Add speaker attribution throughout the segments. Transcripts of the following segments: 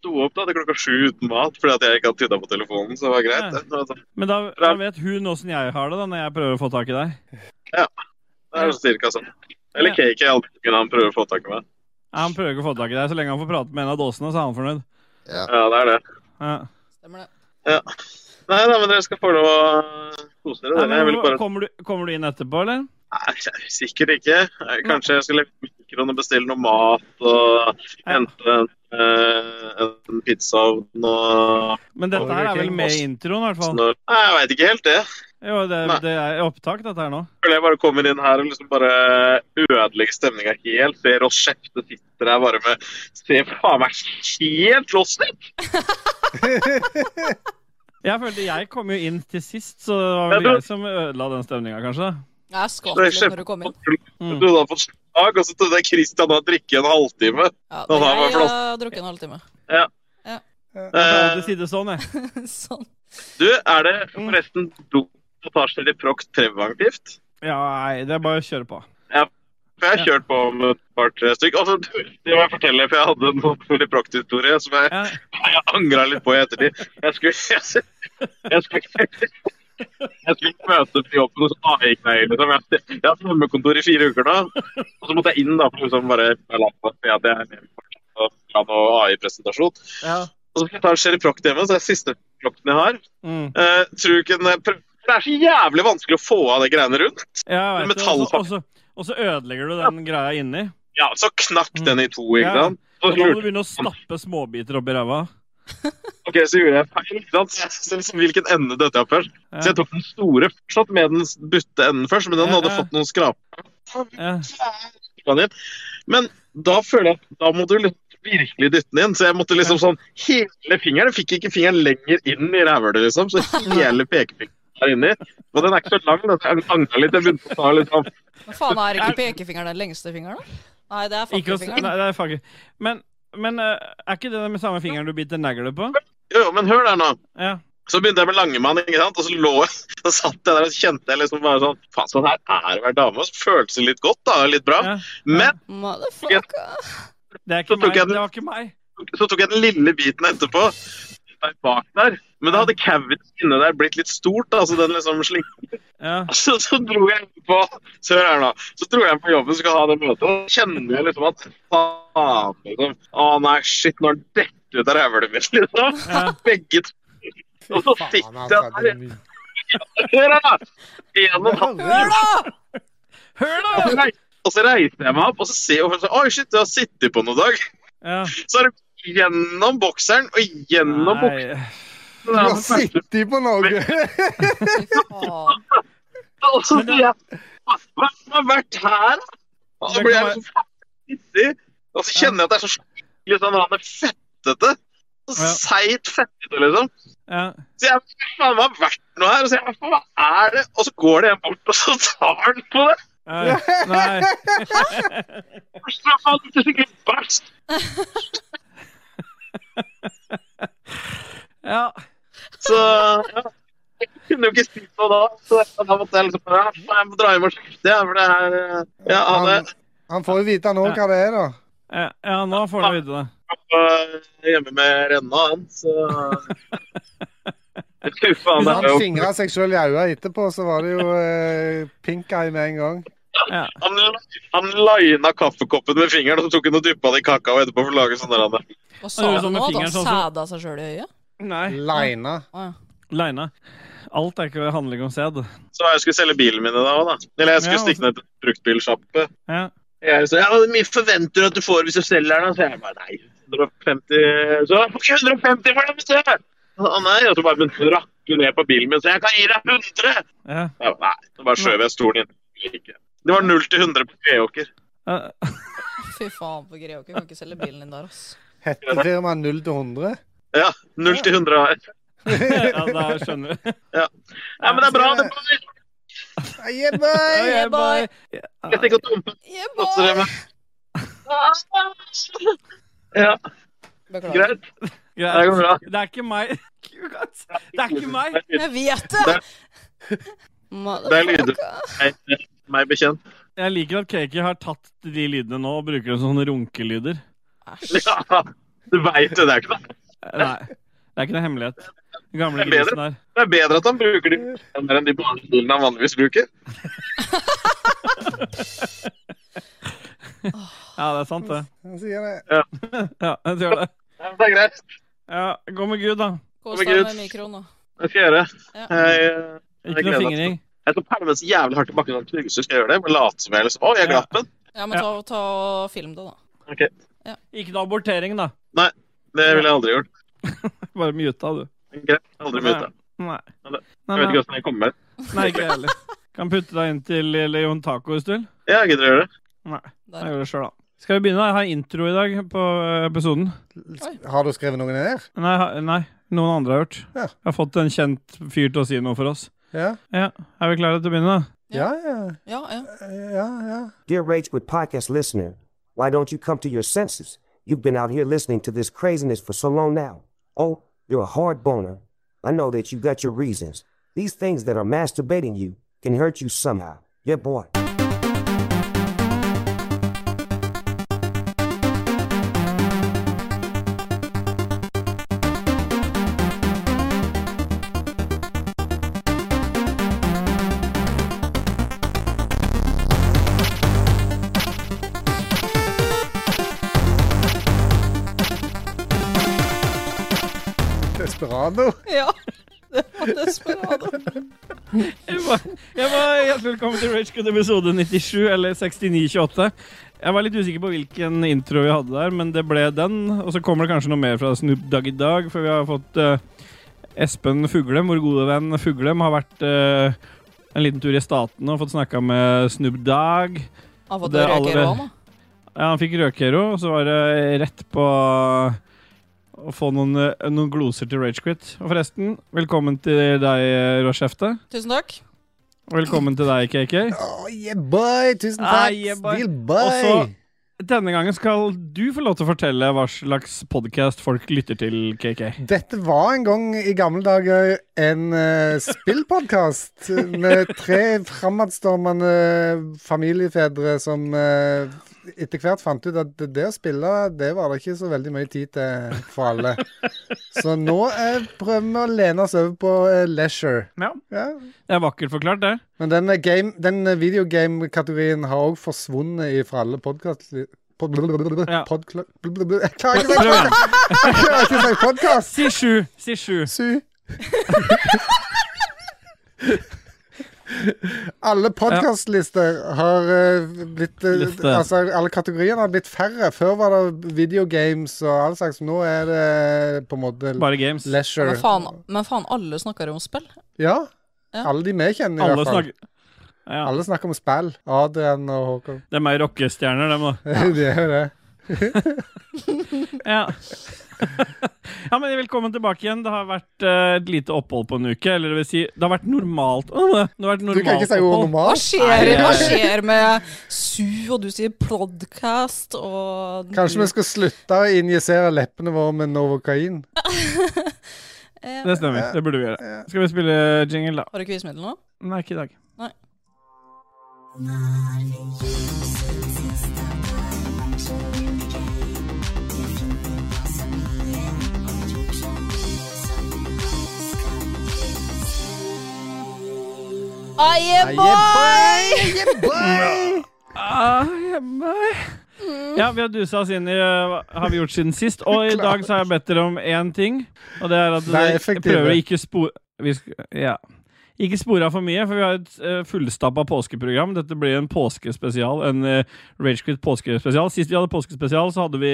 Speaker 1: sto opp da til klokka sju uten mat fordi at jeg ikke hadde tudda på telefonen. Så det var greit.
Speaker 2: Nei.
Speaker 1: Det, var sånn-
Speaker 2: Men da, da vet hun åssen jeg har det da, når jeg prøver å få tak i deg.
Speaker 1: det er cirka sånn. Eller
Speaker 2: Ja.
Speaker 1: Kiki, all dagen han prøver å få tak i meg.
Speaker 2: Ja, Han prøver ikke å få tak i deg. Så lenge han får prate med en av dåsene, så er han fornøyd.
Speaker 1: Ja, det er det.
Speaker 2: Ja.
Speaker 3: Stemmer det.
Speaker 1: Nei da, men dere skal få lov å kose dere.
Speaker 2: Nei,
Speaker 1: dere. Jeg vil
Speaker 2: men,
Speaker 1: bare
Speaker 2: kommer, du, kommer du inn etterpå, eller?
Speaker 1: Nei, sikkert ikke. Kanskje jeg skulle levere mikroen og bestille noe mat og hente en, eh, en pizzaovn og
Speaker 2: Men dette her er vel
Speaker 1: Burger King,
Speaker 2: med
Speaker 1: Moss.
Speaker 2: i introen, i hvert fall.
Speaker 1: Nei, jeg veit ikke helt det.
Speaker 2: Jo, det,
Speaker 1: Nei.
Speaker 2: det er opptak, dette her nå.
Speaker 1: Føler jeg bare kommer inn her og liksom bare ødelegger stemninga helt. Ser oss skjefte sitter her bare med Se faen meg helt lost ut!
Speaker 2: Jeg følte jeg kom jo inn til sist, så det var
Speaker 1: Ja,
Speaker 2: vel
Speaker 1: du-
Speaker 2: jeg som ødela den stemninga, kanskje.
Speaker 3: Jeg skvatt
Speaker 1: Det er
Speaker 3: litt
Speaker 1: kjempe-
Speaker 3: når du kom inn.
Speaker 2: Mm.
Speaker 1: Du hadde fått slag, og så trodde jeg Christian hadde drukket en halvtime.
Speaker 3: Ja,
Speaker 1: Nå,
Speaker 3: det,
Speaker 1: da var
Speaker 3: jeg
Speaker 1: det
Speaker 3: har drukket en halvtime.
Speaker 2: Jeg
Speaker 1: Eh,
Speaker 2: prøvde å si det sånn, jeg.
Speaker 3: sånn.
Speaker 1: du, er det forresten blodspotasjer i prokt preventivt?
Speaker 2: Ja, nei, det er bare å kjøre på.
Speaker 1: For jeg har kjørt på med et par-tre stykk. Altså, du, det må jeg fortelle, for jeg hadde en veldig praktisk historie som jeg,
Speaker 2: Ja.
Speaker 1: jeg angra litt på i ettertid. Jeg skulle, jeg, jeg skulle, jeg skulle møte på jobben hos AIK-eier. Liksom. Jeg, jeg har hatt hjemmekontor i fire uker nå. Og så måtte jeg inn da, for liksom bare jeg la meg si at jeg er med på en AI-presentasjon.
Speaker 2: Ja.
Speaker 1: Og så skal jeg ta en Sherry-prokt hjemme, så det er siste prokten jeg har.
Speaker 2: Mm.
Speaker 1: Eh, tror du ikke den er- det er så jævlig vanskelig å få av de greiene rundt.
Speaker 2: ja jeg vet det. Og så-
Speaker 1: Metallfaktor.
Speaker 2: og så- Og så ødelegger du den greia inni.
Speaker 1: Ja, så knakk den i to, ikke
Speaker 2: Ja.
Speaker 1: sant? Så
Speaker 2: Og da
Speaker 1: lurte
Speaker 2: må du begynne å stappe småbiter oppi ræva.
Speaker 1: Ok, så gjorde jeg feil. ikke sant? Så- Så liksom, hvilken ende døde jeg først?
Speaker 2: Ja.
Speaker 1: Så jeg tok den store fortsatt med den butte enden først, men den
Speaker 2: Ja,
Speaker 1: hadde
Speaker 2: ja.
Speaker 1: fått noen skraper.
Speaker 2: Ja.
Speaker 1: Men da føler jeg da må du liksom virkelig dytte den inn. Så jeg måtte liksom sånn Hele fingeren jeg fikk ikke fingeren lenger inn i rævhølet, liksom. Så hele pekefingeren er inni. Og den er ikke så lang, den. så Jeg angra litt. Jeg begynte å ta litt sånn
Speaker 3: Men faen, er ikke pekefingeren den lengste fingeren, da? Nei, det er
Speaker 2: Ikke å s-
Speaker 3: fattigfingeren.
Speaker 2: Nei, det er fuck it. Men, men eh, er ikke det den med samme fingeren du biter negler på?
Speaker 1: Jo, jo, men hør der nå.
Speaker 2: Ja.
Speaker 1: Så begynte jeg med Langemann, ikke sant? og så lå jeg, så satt jeg der og kjente jeg liksom bare sånn Faen, sånn her er det å være dame. Og så føltes det litt godt, da. og Litt bra.
Speaker 2: Ja.
Speaker 1: Men
Speaker 3: Motherfucker.
Speaker 2: Det er ikke
Speaker 1: Så tok
Speaker 2: meg.
Speaker 1: jeg den-
Speaker 2: Det var ikke meg.
Speaker 1: så tok jeg den lille biten etterpå. der Bak der. Men da hadde cavity inne der blitt litt stort. da, så den liksom slik...
Speaker 2: Ja.
Speaker 1: så, så dro jeg på så hør her nå, så dro jeg på jobben skal ha det møtet. Og så kjenner jeg liksom at faen, liksom. Å nei, shit, nå er den dette ut av rævhølet mitt, liksom.
Speaker 2: Ja.
Speaker 1: Begge to.
Speaker 4: Fy faen, altså. din-
Speaker 1: Hør her, da! En og en halv
Speaker 3: Hør, da!
Speaker 2: Hør,
Speaker 1: Og
Speaker 2: da!
Speaker 1: så rei- Og så reiser jeg meg opp og så ser jeg over, så, Oi, shit, du har sittet på noen dag.
Speaker 2: Ja.
Speaker 1: Så er det gjennom bokseren og gjennom buksen.
Speaker 2: Nei.
Speaker 4: Du har sittet på noe!
Speaker 3: Fy faen.
Speaker 1: Og så
Speaker 2: Men det-
Speaker 1: sier jeg Hva har vært her, da? Og så
Speaker 2: Det
Speaker 1: blir
Speaker 2: kan
Speaker 1: jeg så faen pissig. Og så kjenner jeg at det er så skikkelig sånn han er fettete. Så
Speaker 2: Ja.
Speaker 1: Seigt fettete, liksom.
Speaker 2: Ja.
Speaker 1: Så jeg hva faen hva har vært noe her? Og så jeg, hva er det? Og så går det en bort, og så tar han på det.
Speaker 2: Ja. Nei.
Speaker 1: Og så faen, det er skikkelig bæsj.
Speaker 2: Ja.
Speaker 1: Så ja. Jeg kunne jo ikke si noe da. Så da måtte jeg liksom bare, ja, faen, jeg må dra hjem og skifte, jeg, for det her eh, Ja, han er
Speaker 4: Han, han får jo vite nå hva det er, da.
Speaker 2: Ja, ja, nå får du vite det.
Speaker 1: eh, hjemme med Renna, han, så Fy faen,
Speaker 4: Hvis
Speaker 1: det er
Speaker 4: han
Speaker 1: jo
Speaker 4: fingra seg sjøl i øya etterpå, så var det jo eh, pink eye med en gang.
Speaker 2: Ja.
Speaker 1: Han, han lina kaffekoppen med fingeren, og så tok han og dyppa det i kakao etterpå for å lage sånn der. han.
Speaker 3: Hva sa
Speaker 2: gjorde
Speaker 3: du
Speaker 2: sånn med
Speaker 3: nå? At
Speaker 2: fingeren,
Speaker 3: han
Speaker 2: sånn som-
Speaker 3: sæda seg sjøl i øyet?
Speaker 2: Nei.
Speaker 4: Lina.
Speaker 3: Å, ja.
Speaker 2: Leina. Alt er ikke handling om sæd.
Speaker 1: Så jeg skulle selge bilen min i dag òg, da. Eller jeg skulle
Speaker 2: Ja, og-
Speaker 1: stikke ned til bruktbilsjappe.
Speaker 2: Ja.
Speaker 1: Jeg sa ja, hvor mye forventer du at du får hvis du selger den? da?» Så jeg bare nei, 150 Så «Får ikke 150 for den, hvis du Å nei, og så bare begynte han å rakke ned på bilen min, så jeg kan gi deg 100!
Speaker 2: Ja.
Speaker 1: Ja, nei, så bare skjøv jeg stolen inn. Det var 0 til 100 på Treåker.
Speaker 2: Ja.
Speaker 3: Fy faen, på Greåker kan ikke selge bilen din der, ass.
Speaker 4: Hettefirma 0 til 100.
Speaker 1: Ja, 0 til 100 har jeg.
Speaker 2: ja, da skjønner du.
Speaker 1: Ja, men det er bra. det er bra.
Speaker 4: Yeah, boy!
Speaker 3: yeah, boy.
Speaker 1: Jeg tenker å dumpe
Speaker 3: Yeah,
Speaker 1: koster det
Speaker 3: boy!
Speaker 1: meg. Ja,
Speaker 3: Beklager.
Speaker 1: greit. Det går
Speaker 2: Greit.
Speaker 1: bra.
Speaker 2: Det er ikke meg. Kukat. Det er ikke meg.
Speaker 3: Jeg vet
Speaker 1: Det
Speaker 3: det!
Speaker 1: det er lyder.
Speaker 3: Motherfucker.
Speaker 1: Meg bekjent.
Speaker 2: Jeg liker at Kaki har tatt de lydene nå og bruker dem som sånne runkelyder.
Speaker 3: Æsj.
Speaker 1: Ja, du veit det. Det er ikke noe
Speaker 2: Nei. Det er ikke noe hemmelighet. Den gamle
Speaker 1: Det er bedre.
Speaker 2: grisen der.
Speaker 1: Det er bedre at han bruker de mer enn de barnestolene han vanligvis bruker.
Speaker 2: Ja, det er sant, det.
Speaker 4: Han sier det.
Speaker 2: Ja, jeg tror det.
Speaker 1: Ja, men Det er greit.
Speaker 2: Ja, Gå med Gud, da.
Speaker 3: Kos
Speaker 1: Å,
Speaker 3: deg
Speaker 1: Gud.
Speaker 3: med mikroen, da.
Speaker 1: Det skal jeg gjøre.
Speaker 3: Ja.
Speaker 1: Jeg, Jeg
Speaker 2: Ikke
Speaker 1: gleder
Speaker 2: noe
Speaker 1: meg
Speaker 2: fingring.
Speaker 1: jeg skal pælme så jævlig hardt i bakken at Trygve skal gjøre det. Men late som jeg liksom Å, jeg
Speaker 2: Ja.
Speaker 1: glapp den.
Speaker 3: Ja, men ta, ta og film det, da.
Speaker 2: Ikke noe abortering, da.
Speaker 1: Det ville jeg aldri gjort.
Speaker 2: Bare muta, du.
Speaker 1: Greit. Aldri muta.
Speaker 2: Nei.
Speaker 1: Ja,
Speaker 2: Nei,
Speaker 1: det- Jeg vet
Speaker 2: nei.
Speaker 1: ikke åssen jeg kommer med.
Speaker 2: nei ikke jeg heller. Kan putte deg inn til Leon Taco hvis du vil.
Speaker 1: Ja, Jeg gidder å gjøre det.
Speaker 2: Jeg
Speaker 3: Der.
Speaker 2: gjør det selv, da. Skal vi begynne? da? Jeg har intro i dag på eh, episoden.
Speaker 4: Har du skrevet noe ned?
Speaker 2: Nei, ha- nei, noen andre har gjort.
Speaker 4: Ja.
Speaker 2: Jeg har fått en kjent fyr til å si noe for oss.
Speaker 4: Ja.
Speaker 2: Ja, Er vi klare til å begynne? da?
Speaker 4: Ja, ja.
Speaker 3: Ja, ja.
Speaker 4: ja, ja.
Speaker 5: Dear Rage with podcast listener, why don't you come to your senses? You've been out here listening to this craziness for so long now. Oh, you're a hard boner. I know that you got your reasons. These things that are masturbating you can hurt you somehow. Yeah, boy.
Speaker 4: Desperado.
Speaker 3: ja. Det var desperado.
Speaker 2: Jeg var, jeg var Hjertelig velkommen til Ragecut episode 97, eller 6928. Jeg var litt usikker på hvilken intro vi hadde der, men det ble den. Og så kommer det kanskje noe mer fra Snoop Dogg i dag, for vi har fått eh, Espen Fuglem, vår gode venn Fuglem, har vært eh, en liten tur i Statene og fått snakka med Snoop Dogg.
Speaker 3: Av og
Speaker 2: Det er
Speaker 3: til røyker
Speaker 2: allerede-
Speaker 3: jeg òg, da.
Speaker 2: Ja, han fikk røkero, og så var det rett på å få noen, eh, noen gloser til Ragequit. Og forresten, velkommen til deg, Råskjefte.
Speaker 3: Tusen takk.
Speaker 2: Og velkommen til deg, KK.
Speaker 4: Oh, yeah, boy! Tusen
Speaker 2: Ah,
Speaker 4: takk!
Speaker 2: yeah, boy.
Speaker 4: Still boy!
Speaker 2: Også- Denne gangen skal du få lov til å fortelle hva slags podkast folk lytter til, KK.
Speaker 4: Dette var en gang i gamle dager en uh, spillpodkast med tre framadstormende familiefedre som eh, etter hvert fant ut at det å spille, det var det ikke så veldig mye tid til for alle. Så nå eh, prøver vi å lene oss over på eh, leisure.
Speaker 2: Ja.
Speaker 4: Ja.
Speaker 2: Det er vakkert forklart, det.
Speaker 4: Men den, eh, game, den eh, videogame-kategorien har òg forsvunnet fra alle podkast... Pod,
Speaker 2: Ja.
Speaker 4: podkla- Jeg klarer ikke å
Speaker 2: Prøv
Speaker 4: si-
Speaker 2: igjen.
Speaker 4: jeg klarer ikke å si podkast!
Speaker 2: Si sju. Si sju.
Speaker 4: Su. alle podkastlister har eh, blitt eh,
Speaker 2: Liste.
Speaker 4: Altså, alle kategoriene har blitt færre. Før var det videogames og all slags. Nå er det eh, på en måte
Speaker 2: Bare games.
Speaker 4: leisure.
Speaker 3: Men faen, men faen alle snakker jo om spill.
Speaker 4: Ja.
Speaker 3: Ja.
Speaker 4: Alle de vi kjenner, i
Speaker 2: Alle
Speaker 4: hvert fall.
Speaker 2: snakker ja.
Speaker 4: Alle snakker om spill. Adrian og Håkon.
Speaker 2: Det er meg rockestjerner, dem, da.
Speaker 4: det er jo det.
Speaker 2: Ja. ja, men velkommen tilbake igjen. Det har vært eh, et lite opphold på en uke. Eller det vil si, det har vært normalt. Åh, det har vært
Speaker 4: Du
Speaker 2: normalt
Speaker 4: kan ikke si ordet
Speaker 2: opphold.
Speaker 3: Hva
Speaker 4: normalt.
Speaker 3: skjer,
Speaker 2: Nei,
Speaker 3: hva
Speaker 2: jeg-
Speaker 3: skjer med Su, og du sier podcast, og
Speaker 4: Kanskje vi skal slutte å injisere leppene våre med Novocain?
Speaker 3: Eh,
Speaker 2: Det stemmer. Det burde vi gjøre. Skal vi spille jingle, da?
Speaker 3: Har du quizmiddel nå?
Speaker 2: Nei, ikke i dag.
Speaker 3: Aye, boy!
Speaker 2: Ah, meg. Ja, vi har dusa oss inn i eh, hva har vi gjort siden sist. Og i dag så har jeg bedt dere om én ting, og det er at
Speaker 4: Det er
Speaker 2: dere
Speaker 4: effektive.
Speaker 2: prøver å ikke spore vi sk Ja. Ikke spore av for mye, for vi har et uh, fullstappa påskeprogram. Dette blir en påskespesial. En eh, Ragequit påskespesial. Sist vi hadde påskespesial, så hadde vi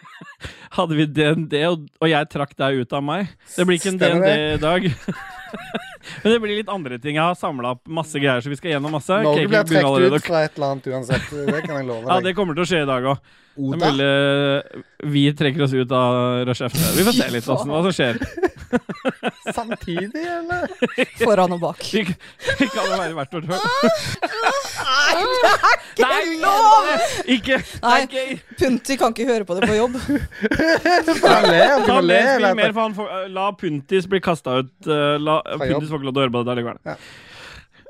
Speaker 2: Hadde vi DND, og, og jeg trakk deg ut av meg. Det blir ikke en DND
Speaker 4: Stemmer det.
Speaker 2: i dag. Men det blir litt andre ting. Jeg har samla opp masse greier, så vi skal gjennom masse.
Speaker 4: Norge
Speaker 2: Cake
Speaker 4: blir
Speaker 2: begynner
Speaker 4: trukket
Speaker 2: allerede å
Speaker 4: ut fra et eller annet uansett. Det kan jeg love
Speaker 2: ja,
Speaker 4: deg.
Speaker 2: det kommer til å skje i dag òg. Det er
Speaker 4: Oda?
Speaker 2: mulig eh, vi trekker oss ut av Rashefte. Vi får se litt hvordan, hva som skjer.
Speaker 4: Samtidig, eller?
Speaker 3: Foran og bak.
Speaker 2: Vi, vi kan jo være hvert vårt høl.
Speaker 3: Nei, det er ikke
Speaker 2: Nei,
Speaker 3: lov!
Speaker 2: Ikke
Speaker 3: Nei.
Speaker 2: Nei, okay.
Speaker 3: Punti kan ikke høre på det på jobb.
Speaker 4: Bare le, du
Speaker 2: Ta
Speaker 4: må le.
Speaker 2: med, spill
Speaker 4: eller?
Speaker 2: mer, for han får, la Puntis bli kasta ut. eh, La,
Speaker 4: jobb.
Speaker 2: Puntis får ikke lov til å høre på dette likevel.
Speaker 4: Ja.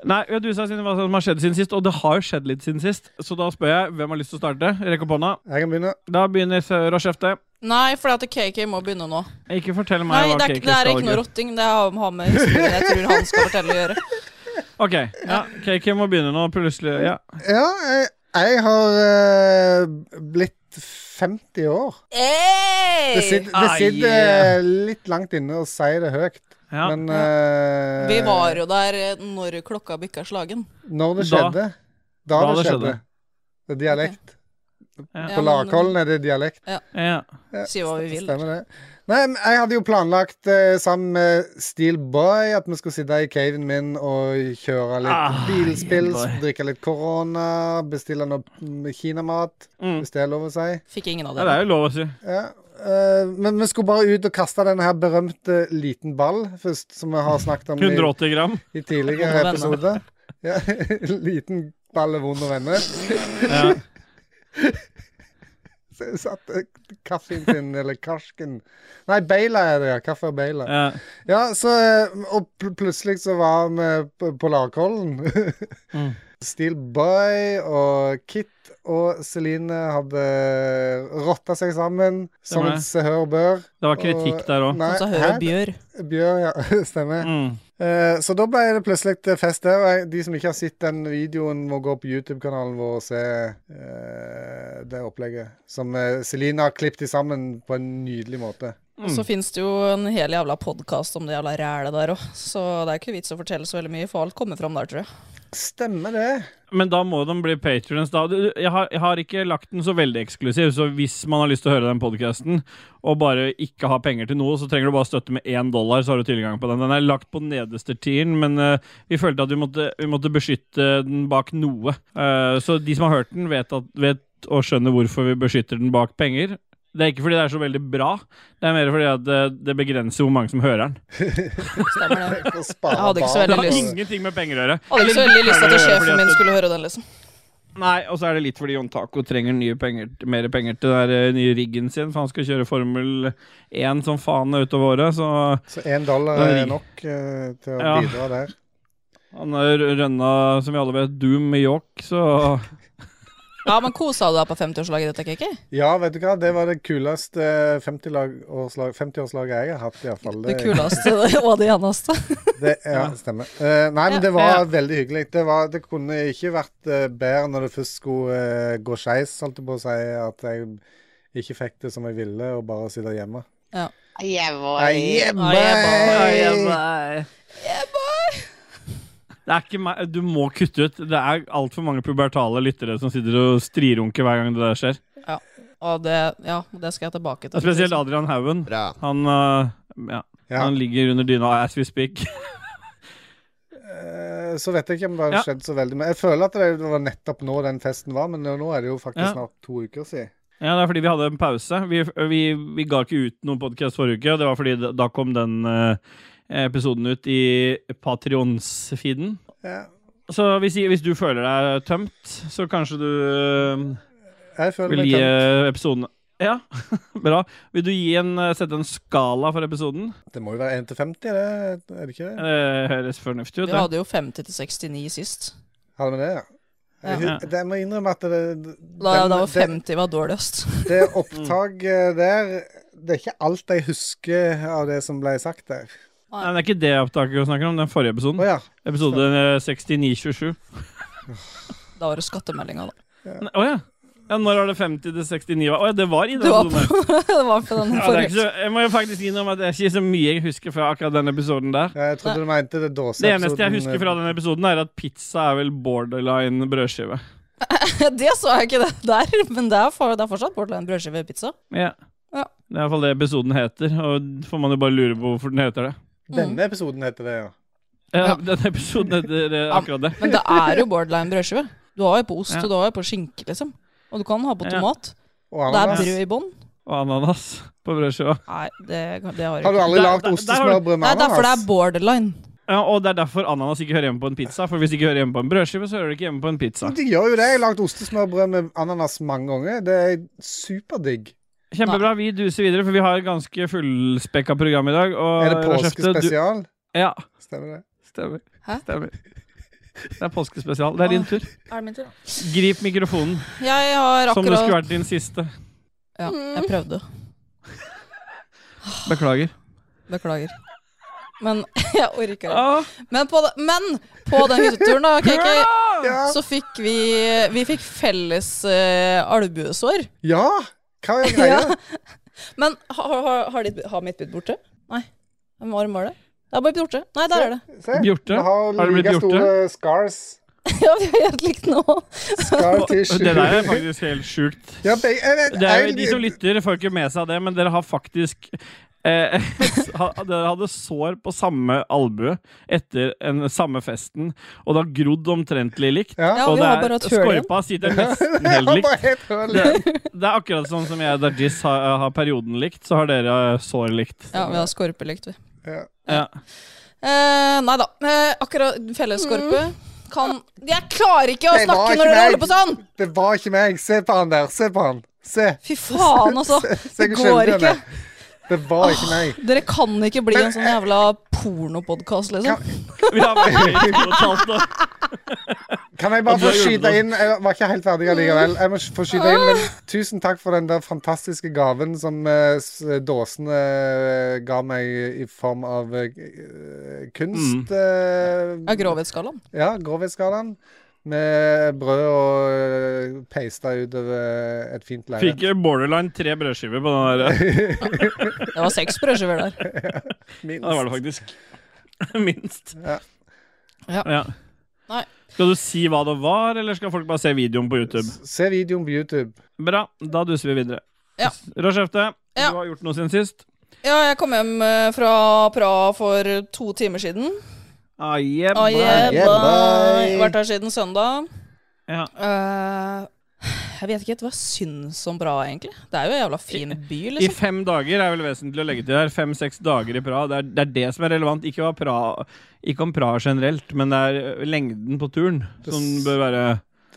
Speaker 2: Nei, ja, du sa siden hva som har skjedd siden sist, og det har jo skjedd litt siden sist. Så da spør jeg hvem har lyst til å starte. Rekk opp hånda.
Speaker 4: Jeg kan begynne.
Speaker 2: Da begynner Rashefte.
Speaker 3: Nei, for at KK må begynne nå.
Speaker 2: Ikke fortell meg
Speaker 3: Nei,
Speaker 2: hva
Speaker 3: det er,
Speaker 2: KK
Speaker 3: det er
Speaker 2: skal
Speaker 3: ikke noe
Speaker 2: gjøre.
Speaker 3: rotting. Det har har med historien jeg tror han skal fortelle å gjøre.
Speaker 2: Ok, ja, KK må begynne nå, plutselig. Ja.
Speaker 4: Ja, jeg, jeg har eh, blitt 50 år. Det sitter, det
Speaker 2: Ai.
Speaker 4: sitter eh, litt langt inne å si det høyt,
Speaker 2: Ja.
Speaker 4: men eh,
Speaker 3: Vi var jo der eh, når klokka bikka slagen.
Speaker 4: Når
Speaker 2: Da-
Speaker 4: det skjedde.
Speaker 2: da
Speaker 4: Da, det
Speaker 2: det
Speaker 4: skjedde.
Speaker 2: skjedde.
Speaker 4: Det er dialekt.
Speaker 2: Ja.
Speaker 4: På Lakhollen er det dialekt.
Speaker 2: Ja.
Speaker 3: Si hva vi vil.
Speaker 4: Stemmer det. Nei, men jeg hadde jo planlagt eh, sammen med Steel Boy at vi skulle sitte i caven min og kjøre litt
Speaker 2: Ah,
Speaker 4: bilspill,
Speaker 2: yeah, boy.
Speaker 4: drikke litt korona, bestille noe mm, kinamat,
Speaker 2: Mm.
Speaker 4: hvis det er lov å si.
Speaker 3: Fikk ingen av
Speaker 2: ja, det
Speaker 3: det.
Speaker 2: er jo lov å si.
Speaker 4: Ja. eh, men vi skulle bare ut og kaste den her berømte liten ball først, som vi har snakket om i,
Speaker 2: 180 gram.
Speaker 4: i tidligere
Speaker 3: Vond å
Speaker 4: episoder. Ja, liten ball er vond å vende.
Speaker 2: Ja.
Speaker 4: Så jeg satte kaffen sin, eller karsken Nei, Beila er det, ja. Kaffe og Beila.
Speaker 2: Ja.
Speaker 4: Ja, så eh, Og pl plutselig så var vi på, på Larkollen.
Speaker 2: Mm.
Speaker 4: Steel Boy og Kit og Celine hadde rotta seg sammen, som
Speaker 2: Stemmer det.
Speaker 4: se hør og bør.
Speaker 2: Det var kritikk der òg.
Speaker 4: Nei,
Speaker 3: Og så
Speaker 4: hæ?
Speaker 3: hører Bjør.
Speaker 4: Bjørn, ja. Stemmer.
Speaker 2: Mm.
Speaker 4: Eh, så da ble det plutselig til fest der. Og jeg, de som ikke har sett den videoen, må gå på YouTube-kanalen vår og se eh, det opplegget. Som eh, Celine har klippet sammen på en nydelig måte.
Speaker 3: Og
Speaker 2: Mm.
Speaker 3: så fins det jo en hel jævla podkast om det jævla rælet der òg, så det er ikke vits å fortelle så veldig mye, for alt kommer fram der, tror jeg.
Speaker 4: Stemmer det.
Speaker 2: Men da må de bli patrons, da. Du- Jeg har, jeg har ikke lagt den så veldig eksklusiv, så hvis man har lyst til å høre den podkasten, og bare ikke har penger til noe, så trenger du bare støtte med én dollar, så har du tilgang på den. Den er lagt på nederste tieren, men eh, vi følte at vi måtte, vi måtte beskytte den bak noe. Eh, så de som har hørt den, vet, at, vet og skjønner hvorfor vi beskytter den bak penger. Det er ikke fordi det er så veldig bra, det er mer fordi at det, det begrenser hvor mange som hører den.
Speaker 3: Stemmer det.
Speaker 4: For å spare
Speaker 3: Jeg hadde ikke så
Speaker 4: barn.
Speaker 2: Det
Speaker 3: veldig
Speaker 2: har
Speaker 3: lyst.
Speaker 2: ingenting med penger å gjøre.
Speaker 3: Hadde ikke så veldig lyst til at
Speaker 2: Fordi
Speaker 3: sjefen min
Speaker 2: at-
Speaker 3: skulle høre den, liksom.
Speaker 2: Nei, og så er det litt fordi Jon Taco trenger nye penger, mer penger til den der, eh, nye riggen sin, for han skal kjøre Formel 1 som faen utover året. Så
Speaker 4: Så én dollar
Speaker 2: Nei.
Speaker 4: er nok eh, til å
Speaker 2: Ja.
Speaker 4: bidra der.
Speaker 2: han har rønna, som vi alle vet, Doom i York, så
Speaker 3: Ja, men kosa du deg på 50-årslaget ditt, Kiki?
Speaker 4: Ja, vet du hva, det var det kuleste 50-årslaget 50 jeg har hatt, iallfall.
Speaker 3: Det kuleste og det eneste.
Speaker 4: det, ja, stemmer. Eh, nei, men det
Speaker 2: Ja.
Speaker 4: var veldig hyggelig. Det, var, det kunne ikke vært eh, bedre når det først skulle eh, gå skeis, holdt jeg på å si, at jeg ikke fikk det som jeg ville, og bare sitte hjemme.
Speaker 6: Yeah, boy.
Speaker 4: Nei,
Speaker 3: Nei, jeg bare- jeg
Speaker 4: hjemme.
Speaker 3: bare-
Speaker 2: Det er ikke meg. Du må kutte ut. Det er altfor mange pubertale lyttere som sitter og strirunker hver gang det der skjer.
Speaker 3: Og det, ja, det skal jeg tilbake til.
Speaker 2: Spesielt Adrian Haugen.
Speaker 7: Bra.
Speaker 2: Han, eh, ja,
Speaker 4: Ja.
Speaker 2: han ligger under dyna as we speak.
Speaker 4: Eh, Så vet jeg ikke om det har
Speaker 2: Ja.
Speaker 4: skjedd så veldig Men Jeg føler at det var nettopp nå den festen var, men nå er det jo faktisk
Speaker 2: Ja.
Speaker 4: snart to uker siden.
Speaker 2: Ja, det er fordi vi hadde en pause. Vi, vi, vi ga ikke ut noen podkast forrige uke, og det var fordi da, da kom den eh, episoden ut i Patrions-feeden.
Speaker 4: Ja.
Speaker 2: Så hvis, hvis du føler deg tømt, så kanskje du eh,
Speaker 4: Jeg føler
Speaker 2: vil
Speaker 4: meg
Speaker 2: gi
Speaker 4: tømt.
Speaker 2: eh, episoden Ja, bra. Vil du gi en, eh, sette en skala for episoden?
Speaker 4: Det må jo være 1 til 50, det, er det ikke det?
Speaker 2: Det høres fornuftig ut.
Speaker 3: Vi
Speaker 2: det.
Speaker 3: hadde jo 50 til 69 sist.
Speaker 4: Har det med det, ja?
Speaker 2: Ja.
Speaker 4: Jeg, hu- det- jeg må innrømme at det, det,
Speaker 3: Da,
Speaker 4: den-
Speaker 3: da var
Speaker 4: det,
Speaker 3: 50 var dårligst.
Speaker 4: det opptaket der Det er ikke alt jeg husker av det som ble sagt der.
Speaker 2: Nei, det er ikke det opptaket vi snakker om. Den forrige
Speaker 4: Å
Speaker 2: episoden.
Speaker 4: ja.
Speaker 2: Episode eh, 6927.
Speaker 3: Da var det skattemeldinga, da.
Speaker 2: Å ja. ja. Når var det 50 til 69? Å ja, det var i den
Speaker 3: Det var
Speaker 2: episoden
Speaker 3: på,
Speaker 2: her.
Speaker 3: det var på den
Speaker 2: Ja, det er
Speaker 3: forrige.
Speaker 2: ikke så, jeg må jo faktisk innrømme at det er ikke så mye jeg husker fra akkurat den episoden der.
Speaker 4: Ja, Jeg trodde du mente det
Speaker 2: Det
Speaker 4: dåseepisoden.
Speaker 2: eneste jeg husker
Speaker 4: eh,
Speaker 2: fra den episoden, er at pizza er vel borderline brødskive.
Speaker 3: Det så jeg ikke det der, men det er, for, det er fortsatt borderline brødskive og pizza.
Speaker 2: Ja.
Speaker 3: Ja.
Speaker 2: Det er iallfall det episoden heter, og får man jo bare lure på hvorfor den heter det.
Speaker 4: eh, Denne episoden heter det, ja.
Speaker 2: Ja, Den episoden heter eh, akkurat det.
Speaker 3: Men det er jo borderline brødskive. Du har jo på ost,
Speaker 2: Ja.
Speaker 3: og du har jo på skinke, liksom. Og du kan ha på
Speaker 2: Ja.
Speaker 3: tomat.
Speaker 4: Og
Speaker 3: Det er
Speaker 4: ananas.
Speaker 3: brød i bånn.
Speaker 2: Og ananas på brødskiva.
Speaker 3: Nei, det, det har jeg
Speaker 4: Har du
Speaker 3: ikke.
Speaker 4: aldri
Speaker 2: Der-
Speaker 4: lagd
Speaker 2: der- der har du-
Speaker 4: ostesmørbrød
Speaker 3: Nei,
Speaker 4: med
Speaker 3: derfor det er
Speaker 4: ananas?
Speaker 3: borderline.
Speaker 2: Ja, og det er derfor ananas ikke hører hjemme på en pizza. For hvis ikke hører hjemme på en brødskive, så hører det ikke hjemme på en pizza.
Speaker 4: De gjør jo det. Jeg har lagd ostesmørbrød med ananas mange ganger. Det er superdigg.
Speaker 2: Kjempebra. Vi duser videre, for vi har et ganske fullspekka program i dag. Og
Speaker 4: Er det
Speaker 2: Rashefte, du-
Speaker 4: påskespesial?
Speaker 2: Ja.
Speaker 4: Stemmer det?
Speaker 2: Stemmer.
Speaker 3: Hæ?
Speaker 2: Stemmer. Det er påskespesial. Det er din tur.
Speaker 3: Er det min tur, da?
Speaker 2: Grip mikrofonen,
Speaker 3: Jeg har
Speaker 2: som det skulle
Speaker 3: akkurat
Speaker 2: vært din siste.
Speaker 3: Ja, jeg prøvde.
Speaker 2: Beklager.
Speaker 3: Beklager. Men jeg orker ikke.
Speaker 2: Ah,
Speaker 3: Men på, de- men på den hytteturen, da, KK,
Speaker 4: Ja.
Speaker 3: så fikk vi Vi fikk felles eh, albuesår.
Speaker 4: ja! Hva er greia?
Speaker 3: Men har, har, har, ditt, har mitt blitt borte? Nei. Hvem var var det? Det er bare blitt borte. Nei, der er det.
Speaker 4: Se,
Speaker 2: Bjorte?
Speaker 4: vi har
Speaker 2: Har det blitt
Speaker 4: like
Speaker 2: Bjorte?
Speaker 4: store scars.
Speaker 3: Ja, vi har helt likt nå.
Speaker 4: Scar tissue.
Speaker 2: det der er faktisk helt sjukt.
Speaker 4: Ja, be- jeg vet,
Speaker 2: Det er jo,
Speaker 4: jeg-
Speaker 2: de som lytter, får ikke med seg det, men dere har faktisk eh, ha- Dere hadde sår på samme albue etter en, samme festen, og det har grodd omtrentlig likt.
Speaker 4: Ja.
Speaker 3: Ja,
Speaker 2: og
Speaker 3: vi
Speaker 2: det
Speaker 3: har
Speaker 2: er-
Speaker 3: bare hatt hull igjen.
Speaker 2: skorpa sitter nesten helt
Speaker 4: Ja,
Speaker 2: likt.
Speaker 4: bare helt høl.
Speaker 2: Det, det er akkurat sånn som jeg og Dajis har, har perioden likt, så har dere eh, sår likt.
Speaker 3: Ja, vi har skorpe likt, vi.
Speaker 4: Ja.
Speaker 2: Ja.
Speaker 3: Eh, nei da. Eh, akkurat fellesskorpe kan Jeg klarer ikke å
Speaker 4: Det var
Speaker 3: snakke
Speaker 4: ikke
Speaker 3: når dere
Speaker 4: meg.
Speaker 3: holder på sånn!
Speaker 4: Det var ikke meg. Se på han der. Se på han. Se.
Speaker 3: Fy faen, altså.
Speaker 4: Se
Speaker 3: Det
Speaker 4: hvor
Speaker 3: går
Speaker 4: skjelven
Speaker 3: ikke.
Speaker 4: er. Det var ikke meg.
Speaker 3: Dere kan ikke bli
Speaker 4: Men,
Speaker 3: en sånn jævla pornopodkast, liksom.
Speaker 2: Vi har vært i to og et halvt år.
Speaker 4: Kan jeg bare
Speaker 2: Og du
Speaker 4: få
Speaker 2: har hjulpet
Speaker 4: skyte
Speaker 2: oss.
Speaker 4: inn? Jeg var ikke helt ferdig allikevel. Jeg må få skyte inn, men tusen takk for den der fantastiske gaven som eh, s- dåsene eh, ga meg i form av eh,
Speaker 2: Mm.
Speaker 4: kunst. eh,
Speaker 3: Ja, Grovhetsskalaen.
Speaker 4: Ja, grovhetsskalaen. Med brød og peista utover et fint leire.
Speaker 2: Fikk borderline tre brødskiver på den der.
Speaker 3: Det var seks brødskiver der.
Speaker 2: Ja,
Speaker 4: Minst.
Speaker 2: det var det faktisk. Minst.
Speaker 4: Ja.
Speaker 3: Ja. Nei.
Speaker 2: Skal du si hva det var, eller skal folk bare se videoen på YouTube?
Speaker 4: Se videoen på YouTube.
Speaker 2: Bra, da duser vi videre.
Speaker 3: Ja.
Speaker 2: Rashefte,
Speaker 3: Ja.
Speaker 2: du har gjort noe siden sist.
Speaker 3: Ja, jeg kom hjem eh, fra Praha for to timer siden.
Speaker 2: Ah, yeah,
Speaker 3: Ah, yeah,
Speaker 4: yeah,
Speaker 3: bye.
Speaker 4: bye.
Speaker 3: Vært her siden søndag.
Speaker 2: Ja.
Speaker 3: Eh, jeg vet ikke helt hva jeg syns om Praha, egentlig. Det er jo en jævla fin by,
Speaker 2: I
Speaker 3: liksom.
Speaker 2: fem dager er vel vesentlig å legge til her. Fem-seks dager i Praha. Det er, det er det som er relevant. Ikke, hva Praha, ikke om Praha generelt, men det er ø, lengden på turen som bør være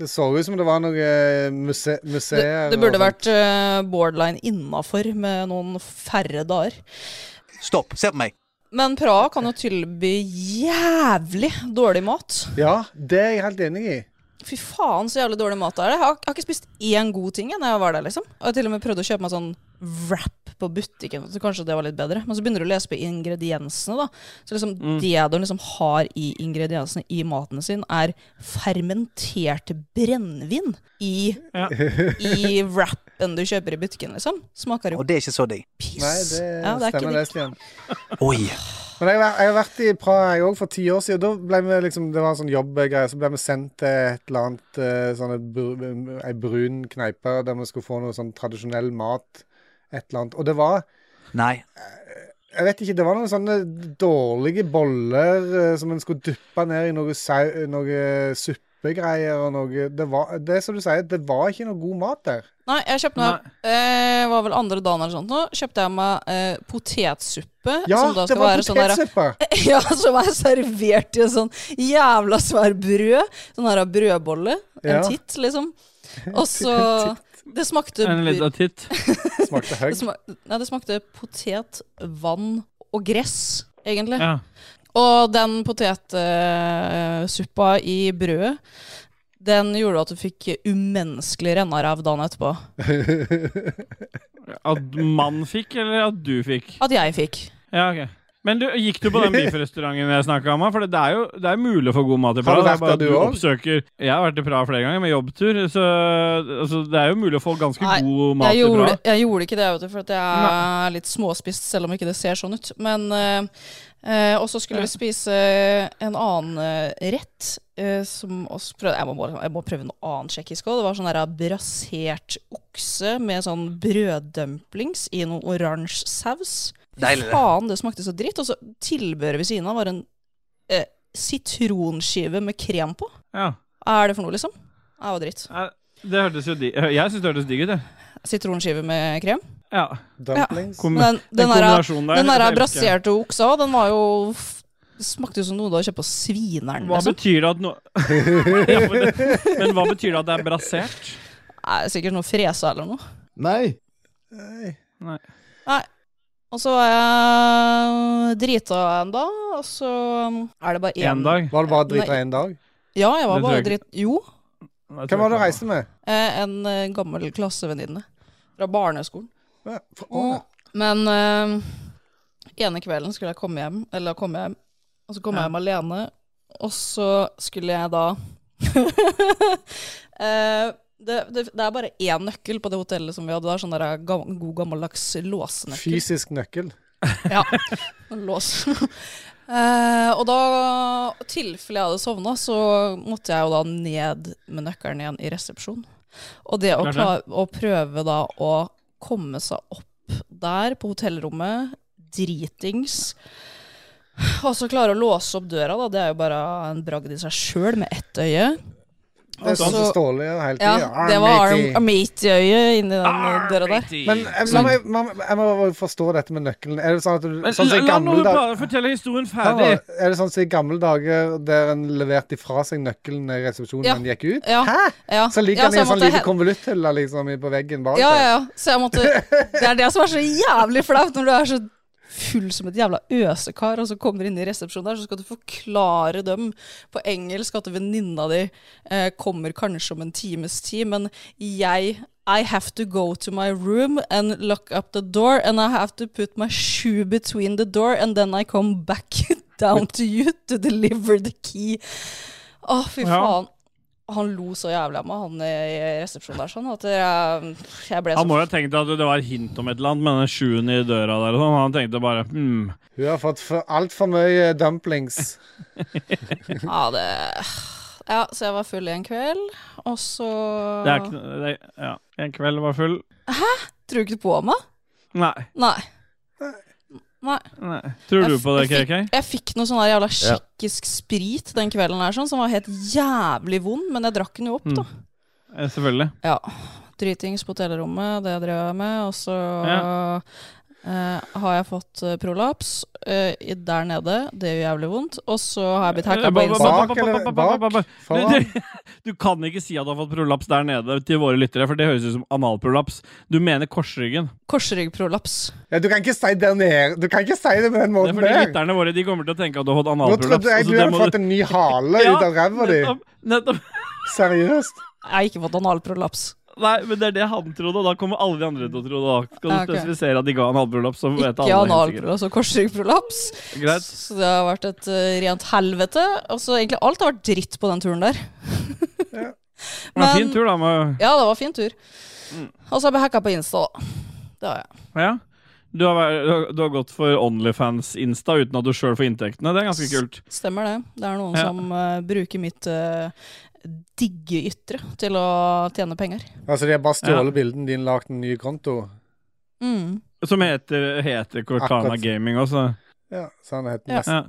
Speaker 4: Det så ut som det var noe eh, muse
Speaker 3: Det,
Speaker 4: museer.
Speaker 3: det burde
Speaker 4: og sånt.
Speaker 3: vært eh, borderline innafor med noen færre dager.
Speaker 6: Stopp, se på meg.
Speaker 3: Men Praha kan jo tilby jævlig dårlig mat.
Speaker 4: Ja, det er jeg helt enig i.
Speaker 3: Fy faen, så jævlig dårlig mat det er. Jeg har, jeg har ikke spist én god ting jeg, når jeg var der, liksom. Og jeg til og med prøvde å kjøpe meg sånn wrap på butikken, så kanskje det var litt bedre. Men så begynner du å lese på ingrediensene, da. Så liksom
Speaker 6: Mm.
Speaker 3: det de liksom har i ingrediensene i maten sin, er fermentert brennevin i,
Speaker 2: Ja.
Speaker 3: i wrapen du kjøper i butikken, liksom. Smaker jo
Speaker 6: Og det er ikke så digg.
Speaker 3: piss.
Speaker 4: Nei, det,
Speaker 3: Ja, det er ikke
Speaker 4: stemmer det,
Speaker 3: digg.
Speaker 4: Stian.
Speaker 6: Oi.
Speaker 4: Men jeg, var- jeg har vært i Praha jeg òg for ti år siden. og Da ble vi liksom, det var en sånn jobbgreie. Så ble vi sendt til et eller annet eh, sånn et br- ei brun kneipe der vi skulle få noe sånn tradisjonell mat. Et eller annet. Og det var
Speaker 6: Nei.
Speaker 4: jeg vet ikke, Det var noen sånne dårlige boller eh, som en skulle dyppe ned i noe, sau, noe suppegreier og noe Det var, det er som du sier, det var ikke noe god mat der.
Speaker 3: Nei, jeg kjøpte meg eh, var vel andre dagen eller sånt nå, kjøpte jeg meg eh, potetsuppe.
Speaker 4: Ja,
Speaker 3: som da
Speaker 4: det
Speaker 3: skal
Speaker 4: var
Speaker 3: være sånn der,
Speaker 4: potetsuppe!
Speaker 3: Ja, som er servert i en sånn jævla svær brød. Sånn her brødbolle.
Speaker 4: Ja.
Speaker 3: En titt, liksom. Og så Det smakte
Speaker 2: en
Speaker 3: br-
Speaker 2: liten titt.
Speaker 4: Smakte
Speaker 3: det,
Speaker 4: høyt.
Speaker 3: sma nei, det smakte potet, vann og gress, egentlig.
Speaker 2: Ja.
Speaker 3: Og den potetsuppa i brødet, den gjorde at du fikk umenneskelig rennaræv dagen etterpå.
Speaker 2: At man fikk, eller at du fikk?
Speaker 3: At jeg fikk.
Speaker 2: Ja, ok. Men du, gikk du på den biffrestauranten jeg snakka om? For det er jo det er mulig å få god mat i
Speaker 4: Har
Speaker 2: Praha.
Speaker 4: du
Speaker 2: det er
Speaker 4: vært
Speaker 2: bare at
Speaker 4: der, du også?
Speaker 2: oppsøker Jeg har vært i Praha flere ganger med jobbtur, så altså, det er jo mulig å få ganske
Speaker 3: Nei,
Speaker 2: god mat i
Speaker 3: Jeg gjorde,
Speaker 2: Praha.
Speaker 3: jeg gjorde ikke det, vet du, for at jeg er litt småspist, selv om ikke det ser sånn ut. Men eh, eh, Og så skulle vi spise en annen eh, rett eh, som også prøvde, jeg, må bare, jeg må prøve noe annet tsjekkisk òg. Det var sånn der brasert okse med sånn brøddumplings i noe oransje saus.
Speaker 6: Deilig, det.
Speaker 3: Faen, det smakte så dritt. Og så tilbehøret ved siden av var en eh, sitronskive med krem på.
Speaker 2: Ja.
Speaker 3: Hva er det for noe, liksom? Det var dritt.
Speaker 2: Nei, Det hørtes jo di Jeg syns det hørtes digg ut, jeg.
Speaker 3: Sitronskive med krem.
Speaker 2: Ja.
Speaker 4: Dumplings.
Speaker 6: Mm.
Speaker 2: Kom,
Speaker 3: Men den,
Speaker 2: den
Speaker 3: den, der,
Speaker 2: kombinasjonen der,
Speaker 3: den
Speaker 2: det elsker
Speaker 3: der
Speaker 2: jeg.
Speaker 3: braserte oksa, den var jo f- Smakte jo som noe du har kjøpt på Svineren.
Speaker 2: Hva
Speaker 3: Liksom.
Speaker 2: betyr det at no... ja, men, men hva betyr det at det er brasert?
Speaker 3: Nei, sikkert noe fresa eller noe.
Speaker 7: Nei.
Speaker 4: Nei.
Speaker 3: Og så var jeg drita en dag, og så um, er det bare én
Speaker 2: Én dag?
Speaker 4: Var det bare drita én dag?
Speaker 3: Ja, jeg
Speaker 2: Det
Speaker 3: var
Speaker 2: tror
Speaker 3: bare
Speaker 2: jeg
Speaker 3: drit... Jo,
Speaker 4: Hvem var det du reiste med?
Speaker 3: eh, en eh, gammel klassevenninne fra barneskolen.
Speaker 4: Ja, for- å,
Speaker 3: Men eh, ene kvelden skulle jeg komme hjem, eller komme hjem, og så kom jeg hjem alene, og så skulle jeg da Eh, det, det, det er bare én nøkkel på det hotellet som vi hadde. Det er sånn der gam- god gammeldags låsenøkkel.
Speaker 4: Fysisk nøkkel.
Speaker 3: Ja, en lås. Eh, og da, i tilfelle jeg hadde sovna, så måtte jeg jo da ned med nøkkelen igjen i resepsjon. Og det å,
Speaker 2: Klart det.
Speaker 3: kla- å prøve da å komme seg opp der på hotellrommet, dritings, og så klare å låse opp døra, da, det er jo bare en bragd i seg sjøl med ett øye.
Speaker 4: Det er sånn som
Speaker 3: Altså-
Speaker 4: Ståle gjør hele
Speaker 3: Ja,
Speaker 4: tida.
Speaker 3: det var Armate-øyet inni den døra der.
Speaker 4: Men eh, la meg, la meg- jeg må bare forstå dette med nøkkelen. Er det sånn at du,
Speaker 2: Men
Speaker 4: sånn som i
Speaker 2: la nå
Speaker 4: gamle dager
Speaker 2: bare fortelle historien
Speaker 4: Ja,
Speaker 2: ferdig.
Speaker 4: Er det sånn som i gamle dager der en leverte ifra seg nøkkelen i resepsjonen
Speaker 3: Ja.
Speaker 4: når en gikk ut?
Speaker 3: Ja.
Speaker 4: Hæ?
Speaker 3: Ja.
Speaker 4: Så ligger
Speaker 3: Ja,
Speaker 4: den i
Speaker 3: jeg
Speaker 4: en sånn
Speaker 3: måtte
Speaker 4: liten
Speaker 3: hen-
Speaker 4: konvolutthylle liksom, i- på veggen bak
Speaker 3: Ja,
Speaker 4: deg.
Speaker 3: ja, ja. Så jeg måtte Det er det som er så jævlig flaut, når du er så full som et jævla øsekar, og så kommer inn i resepsjonen der, så skal du forklare dem på engelsk at venninna di eh, kommer kanskje om en times tid, men jeg I have to go to my room and lock up the door, and I have to put my shoe between the door, and then I come back down to you to deliver the key. Å, fy
Speaker 2: Ja.
Speaker 3: faen. Han lo så jævlig av meg, han i resepsjonen der, sånn, at jeg, jeg ble så
Speaker 2: Han må jo ha tenkt at det var hint om et eller annet med den sjuen i døra der. og sånn. Han tenkte bare hmm.
Speaker 4: Hun har fått for- altfor mye eh, dumplings.
Speaker 3: sånn, Ja, det Ja, så jeg var full i en kveld, og så
Speaker 2: Det er ikke noe det, Ja. En kveld var full.
Speaker 3: Tror du ikke på meg?
Speaker 2: Nei.
Speaker 3: Nei. Nei.
Speaker 2: nei. Tror du
Speaker 3: Jeg f-
Speaker 2: på det,
Speaker 3: jeg
Speaker 2: KK?
Speaker 3: fikk- Jeg fikk noe sånn der jævla tsjekkisk sprit den kvelden her, sånn, som var helt jævlig vond, men jeg drakk den jo opp, da.
Speaker 2: Eh, Selvfølgelig.
Speaker 3: Ja. Dritings på hotellrommet, det drev jeg med, og så eh, har jeg fått eh, prolaps eh, i- der nede. Det gjør jævlig vondt. Og så har jeg blitt hacka på
Speaker 2: Ba- ba-
Speaker 3: Insta.
Speaker 2: ba-
Speaker 4: Bak
Speaker 2: ba- ba-
Speaker 4: eller-
Speaker 2: ba- ba- ba- ba-
Speaker 4: bak,
Speaker 2: Du- du- Du kan ikke si at du har fått prolaps der nede til våre lyttere, for det høres ut som analprolaps. Du mener korsryggen.
Speaker 3: Korsryggprolaps.
Speaker 4: Ja, du kan ikke si der nede. Du kan ikke si det på
Speaker 2: Det
Speaker 4: den
Speaker 2: er
Speaker 4: måten
Speaker 2: fordi
Speaker 4: der.
Speaker 2: lytterne våre de kommer til å tenke at du har fått
Speaker 4: Nå
Speaker 2: analprolaps.
Speaker 4: trodde
Speaker 2: og
Speaker 4: jeg
Speaker 2: så
Speaker 4: du
Speaker 2: det
Speaker 4: hadde
Speaker 2: må
Speaker 4: fått en ny hale ut av ræva di.
Speaker 2: nettopp, nettopp.
Speaker 4: Seriøst.
Speaker 3: Jeg har ikke fått analprolaps.
Speaker 2: Nei, men det er det han trodde, og da kommer alle de andre til å tro det. Da skal du
Speaker 3: Ja, ok.
Speaker 2: spesifisere at de ga analprolaps, så vet
Speaker 3: Ikke
Speaker 2: alle helt sikkert.
Speaker 3: analprolaps og korsryggprolaps.
Speaker 2: Greit.
Speaker 3: Så det har vært et eh, rent helvete. Og så egentlig alt har vært dritt på den turen der.
Speaker 2: Det var en
Speaker 3: Men-
Speaker 2: fin tur, Mm. da. Med,
Speaker 3: Ja, det var fin tur. Og så har jeg blitt hacka på Insta, da. Det har jeg.
Speaker 2: ja. Du har, vært- du har- du har gått for Onlyfans-insta uten at du sjøl får inntektene. Det er ganske kult.
Speaker 3: Stemmer det. Det er noen
Speaker 2: Ja.
Speaker 3: som eh, bruker mitt eh, digge ytre til å tjene penger.
Speaker 4: Altså, de har bare
Speaker 2: Ja.
Speaker 4: stjålet bilden din, lagd en ny konto.
Speaker 3: Mm.
Speaker 2: Som heter, heter Cortana
Speaker 4: Akkurat.
Speaker 2: Gaming også.
Speaker 4: Ja, sånn het den
Speaker 3: Ja.
Speaker 4: nesten.
Speaker 2: Ja.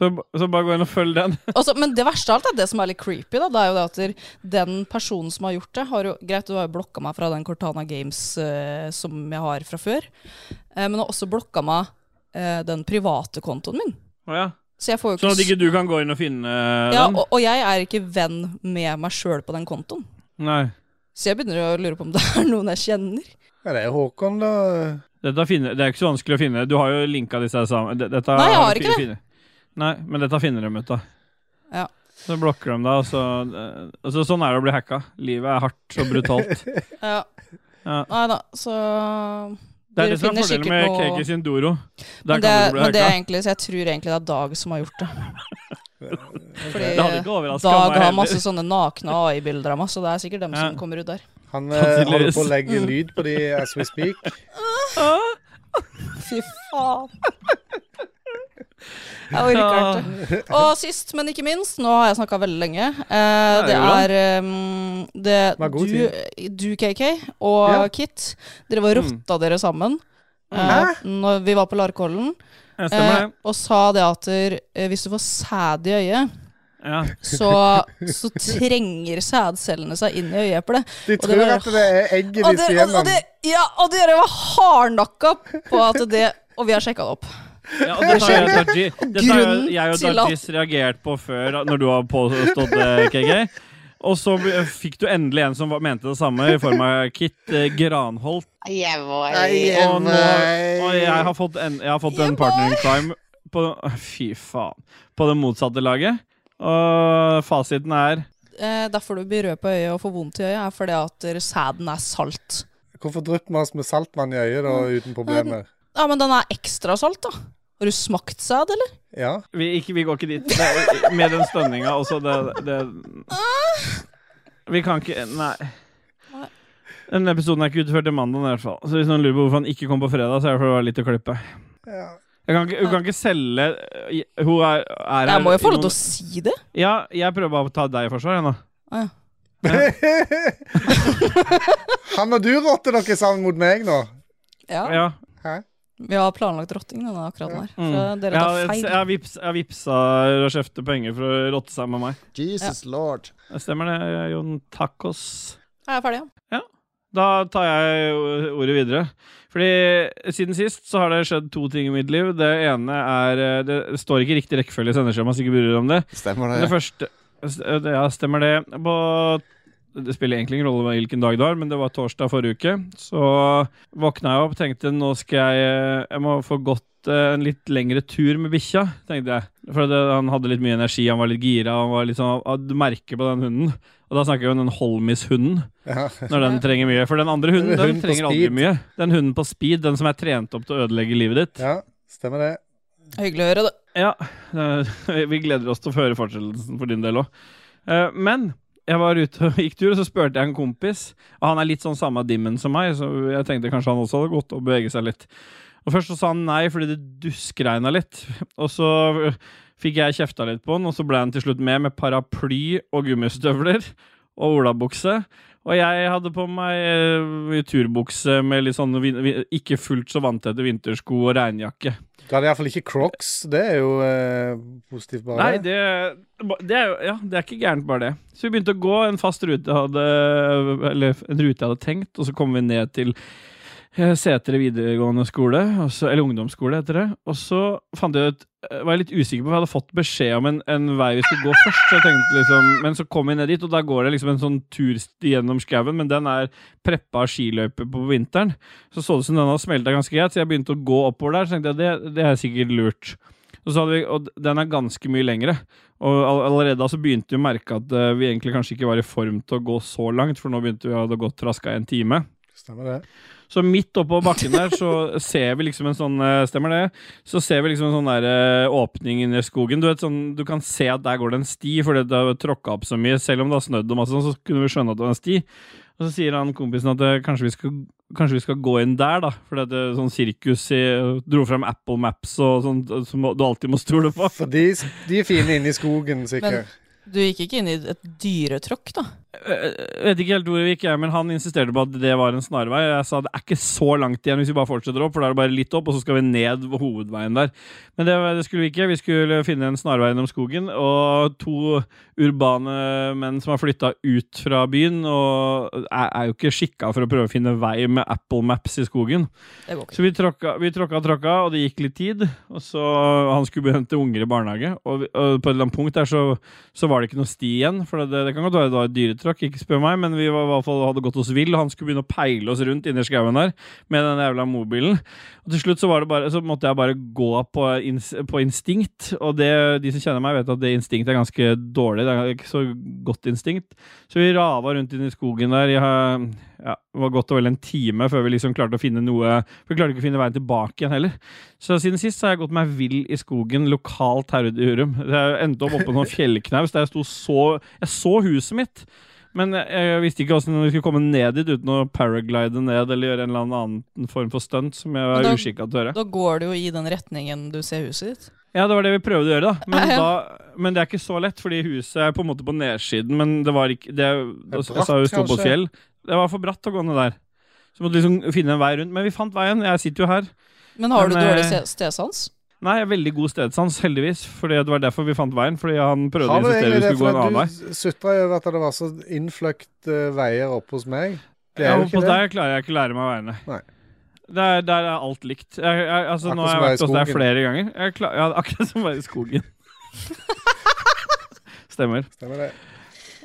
Speaker 2: Så, så bare gå inn og følg den.
Speaker 3: Altså, men det verste av alt er det som er litt creepy. Da, det er jo det at der- Den personen som har gjort det har jo, Greit, du har jo blokka meg fra den Cortana Games eh, som jeg har fra før. Eh, men har også blokka meg eh, den private kontoen min.
Speaker 2: Å ja.
Speaker 3: Så jeg får jo
Speaker 2: Sånn at
Speaker 3: ikke
Speaker 2: ikke du kan gå inn og finne eh,
Speaker 3: ja,
Speaker 2: den?
Speaker 3: og, og jeg er ikke venn med meg sjøl på den kontoen.
Speaker 2: Nei.
Speaker 3: Så jeg begynner å lure på om det er noen jeg kjenner.
Speaker 4: Ja, det er jo Håkon, da.
Speaker 2: Dette finner, det er ikke så vanskelig å finne. Du har jo linka disse her sammen. D- Dette
Speaker 3: Nei, jeg har
Speaker 2: du
Speaker 3: ikke det.
Speaker 2: finner- Nei, men dette finner de ut av.
Speaker 3: Ja.
Speaker 2: Så blokker de deg, og så eh, altså, Sånn er det å bli hacka. Livet er hardt og brutalt.
Speaker 3: Ja.
Speaker 2: Ja.
Speaker 3: Nei da, så
Speaker 2: Det
Speaker 3: Dere
Speaker 2: er det som er
Speaker 3: finner
Speaker 2: fordelen
Speaker 3: sikkert
Speaker 2: med
Speaker 3: noe-
Speaker 2: Keke sin Doro. Der
Speaker 3: Men det,
Speaker 2: kan du bli
Speaker 3: men det er
Speaker 2: hacka.
Speaker 3: egentlig, så jeg tror egentlig det er Dag som har gjort det. Fordi
Speaker 2: Det hadde ikke overrasket meg
Speaker 3: Dag har
Speaker 2: heller.
Speaker 3: masse sånne nakne AI-bilder av meg, så det er sikkert dem
Speaker 2: Ja.
Speaker 3: som kommer ut der.
Speaker 4: Han eh,
Speaker 2: Sannsynligvis.
Speaker 4: holder på å legge lyd på de as we speak.
Speaker 3: Fy faen. Jeg orker ikke. Og sist, men ikke minst, nå har jeg snakka veldig lenge. Eh,
Speaker 2: det
Speaker 3: det
Speaker 2: gjorde
Speaker 3: er ehm, det,
Speaker 4: Vær god
Speaker 3: du, du, KK, og
Speaker 4: Ja.
Speaker 3: Kit. Dere var
Speaker 2: Mm.
Speaker 3: rotta dere sammen eh,
Speaker 4: Hæ?
Speaker 3: når vi var på Larkollen,
Speaker 2: Ja,
Speaker 3: eh,
Speaker 2: stemmer det.
Speaker 3: og sa det at der, eh, hvis du får sæd i øyet,
Speaker 2: Ja.
Speaker 3: så, så trenger sædcellene seg inn i øyeeplet.
Speaker 4: De
Speaker 3: Og det
Speaker 4: tror
Speaker 3: var-
Speaker 4: at det er egget
Speaker 3: og
Speaker 4: de
Speaker 3: dere, og, og
Speaker 4: stjeler.
Speaker 3: dere, ja, og dere var hardnakka på at det Og vi har sjekka det opp.
Speaker 2: Ja, og dette har jeg og Daji- dette har
Speaker 3: Grunnen
Speaker 2: jeg- jeg og
Speaker 3: til at-
Speaker 2: Dajis reagert på før, da, når du har påstått det, KK. Og så b- fikk du endelig en som var- mente det samme, i form av Kit eh, Granholt.
Speaker 7: Jeg var
Speaker 2: Og, nå,
Speaker 4: eh,
Speaker 2: og jeg har fått en, jeg har fått en partner in crime på, Fy faen. På det motsatte laget. Og fasiten er
Speaker 3: Eh, derfor du blir rød på øyet og får vondt i øyet, er fordi at dere- sæden er salt.
Speaker 4: Hvorfor drypper vi oss med saltvann i øyet da, uten problemer?
Speaker 3: Ja, men den er ekstra salt, da. Har du smakt sæd, eller?
Speaker 4: Ja.
Speaker 2: Vi, ikke, vi går ikke dit. Det er, med den stønninga også, det, det Vi kan ikke Nei.
Speaker 3: Nei.
Speaker 2: Denne episoden er ikke utført til mandag, i hvert fall. Så hvis noen lurer på hvorfor han ikke kom på fredag, så er det fordi det var litt å klippe.
Speaker 4: ja.
Speaker 2: Jeg kan ikke, hun kan ikke selge Hun er, er
Speaker 3: Jeg må jo
Speaker 2: her i
Speaker 3: få
Speaker 2: noen-
Speaker 3: lov til å si det.
Speaker 2: Ja, jeg prøver bare å ta deg i forsvar, jeg nå.
Speaker 4: Han og du rotter dere sammen mot meg nå.
Speaker 3: Ja.
Speaker 2: Ja.
Speaker 3: Vi har planlagt rotting denne akkurat den her. Så
Speaker 4: Mm.
Speaker 2: Mm.
Speaker 3: dere
Speaker 2: Jeg
Speaker 3: tar
Speaker 2: har-
Speaker 3: feil.
Speaker 2: jeg har vips, jeg har vipsa Rashefte penger for å rotte seg med meg.
Speaker 7: Jesus lord.
Speaker 2: Det Stemmer det, Jon Tacos?
Speaker 3: Jeg er ferdig, ja.
Speaker 2: Da tar jeg o- ordet videre. Fordi siden sist så har det skjedd to ting i mitt liv. Det ene er eh, Det står ikke i riktig rekkefølge i sendeskjemaet, så ikke bryr dere om det.
Speaker 7: Stemmer
Speaker 2: Men Det
Speaker 7: det?
Speaker 2: første eh, det- Ja, stemmer det. På det spiller egentlig ingen rolle hvilken dag det var, men det var torsdag forrige uke. Så våkna jeg opp tenkte nå skal jeg Jeg må få gått eh, en litt lengre tur med bikkja, tenkte jeg. For det, han hadde litt mye energi, han var litt gira, han var litt sånn han- Du merker på den hunden. Og da snakker jeg om den Holmis-hunden,
Speaker 4: Ja.
Speaker 2: når den trenger mye. For den andre hunden, den
Speaker 4: Hunden på
Speaker 2: trenger aldri
Speaker 4: speed.
Speaker 2: mye. Den hunden på speed, den som er trent opp til å ødelegge livet ditt.
Speaker 4: ja, stemmer det.
Speaker 3: Hyggelig å høre det.
Speaker 2: Ja, eh, vi gleder oss til å høre fortsettelsen for din del òg. Men jeg var ute og gikk tur, og så spurte jeg en kompis. Og han er litt sånn samme dimmen som meg, så jeg tenkte kanskje han også hadde gått og beveget seg litt. Og Først så sa han nei fordi det duskregna litt. Og så fikk jeg kjefta litt på han, og så ble han til slutt med med paraply og gummistøvler og olabukse. Og jeg hadde på meg eh, turbukse med litt sånn vin- vin- ikke fullt så vanntette vintersko og regnjakke.
Speaker 4: Du hadde iallfall ikke crocs. Det er jo eh, positivt, bare.
Speaker 2: Nei, det, det, er, jo- ja, det er ikke gærent, bare det. Så vi begynte å gå en fast rute jeg hadde, eller en rute jeg hadde tenkt, og så kom vi ned til eh, Setre videregående skole, og så- eller ungdomsskole heter det. Og så fant jeg ut, eh, var jeg litt usikker på, for jeg hadde fått beskjed om en, en vei vi skulle gå først. Så jeg tenkte liksom, men så kom vi ned dit, og da går det liksom en sånn tursti gjennom skauen, men den er preppa av skiløyper på vinteren. Så så det ut som den hadde smelta ganske greit, så jeg begynte å gå oppover der. Så tenkte jeg det, det er sikkert lurt. Og, så hadde vi, og den er ganske mye lengre. Og all, allerede da så begynte vi å merke at eh, vi egentlig kanskje ikke var i form til å gå så langt, for nå begynte vi å ha gått traska en time.
Speaker 4: Stemmer det.
Speaker 2: Så midt oppå bakken der så ser vi liksom en sånn eh, Stemmer det? Så ser vi liksom en sånn der eh, åpning inni skogen. Du vet sånn, du kan se at der går det en sti, fordi det har tråkka opp så mye. Selv om det har snødd og masse sånn, så kunne vi skjønne at det var en sti. Og så sier han kompisen at eh, kanskje vi skal, kanskje vi skal gå inn der, da. For det er sånn sirkus i Dro frem Apple Maps og sånt eh, som du alltid må stole på.
Speaker 4: For de, de er fine inne i skogen, sikkert.
Speaker 3: Du gikk ikke inn i et dyretråkk, da?
Speaker 2: Jeg vet ikke helt hvor vi gikk, jeg, men han insisterte på at det var en snarvei. Jeg sa det er ikke så langt igjen hvis vi bare fortsetter opp, for da er det bare litt opp, og så skal vi ned ved hovedveien der. Men det, det skulle vi ikke. Vi skulle finne en snarvei gjennom skogen, og to urbane menn som har flytta ut fra byen, og er, er jo ikke skikka for å prøve å finne vei med Apple Maps i skogen.
Speaker 3: Det går ikke.
Speaker 2: Så vi tråkka, vi tråkka og tråkka, og det gikk litt tid. Og så Han skulle begynne til unger i barnehage, og, vi, og på et eller annet punkt der så, så var det ikke noe sti igjen. For det, det kan godt være det var et dyretråkk, ikke spør meg, men vi var, i hvert fall hadde gått oss vill, og han skulle begynne å peile oss rundt inni skauen der med den jævla mobilen. Og til slutt så, var det bare, så måtte jeg bare gå på, ins, på instinkt, og det, de som kjenner meg, vet at det instinktet er ganske dårlig. Det er ikke så godt instinkt. Så vi rava rundt inni skogen der i eh, ja, det var godt og vel en time før vi liksom klarte å finne noe For vi klarte ikke å finne veien tilbake igjen heller. Så siden sist så har jeg gått meg vill i skogen lokalt her ute i Hurum. Jeg endte opp oppå noen fjellknaus der jeg sto så Jeg så huset mitt. Men jeg, jeg visste ikke hvordan vi skulle komme ned dit uten å paraglide ned eller gjøre en eller annen annen form for stunt som jeg
Speaker 3: Men
Speaker 2: var
Speaker 3: da-
Speaker 2: uskikka til å gjøre.
Speaker 3: Da går det jo i den retningen du ser huset ditt.
Speaker 2: Ja, det var det vi prøvde å gjøre, da. Men,
Speaker 3: Ja, ja.
Speaker 2: da, men det er ikke så lett, fordi huset er på en måte på nedsiden. Men det var ikke det, altså,
Speaker 4: Det er
Speaker 2: Jeg sa jo
Speaker 4: bratt,
Speaker 2: sto på
Speaker 4: kanskje?
Speaker 2: et fjell. Det var for bratt å gå ned der. Så måtte vi liksom finne en vei rundt. Men vi fant veien. Jeg sitter jo her.
Speaker 3: Men har
Speaker 2: Men,
Speaker 3: du dårlig
Speaker 2: eh,
Speaker 3: se- stedsans?
Speaker 2: Nei, jeg har veldig god stedsans, heldigvis. Fordi det var derfor vi fant veien. Fordi han prøvde å
Speaker 4: Har du
Speaker 2: insistere
Speaker 4: egentlig
Speaker 2: vi
Speaker 4: det?
Speaker 2: skulle gå en
Speaker 4: For
Speaker 2: annen vei.
Speaker 4: du sutra over at det var så innfløkt eh, veier oppe hos meg. Det
Speaker 2: Ja,
Speaker 4: er
Speaker 2: og
Speaker 4: jo
Speaker 2: på
Speaker 4: ikke det.
Speaker 2: der klarer jeg ikke å lære meg veiene.
Speaker 4: Nei.
Speaker 2: Der, der er alt likt. Jeg, jeg, altså,
Speaker 4: Akkurat
Speaker 2: nå har jeg
Speaker 4: som
Speaker 2: vært
Speaker 4: å
Speaker 2: hos
Speaker 4: være i
Speaker 2: deg flere ganger. Jeg klar, ja, akkurat som å være i skogen. Stemmer.
Speaker 4: Stemmer det.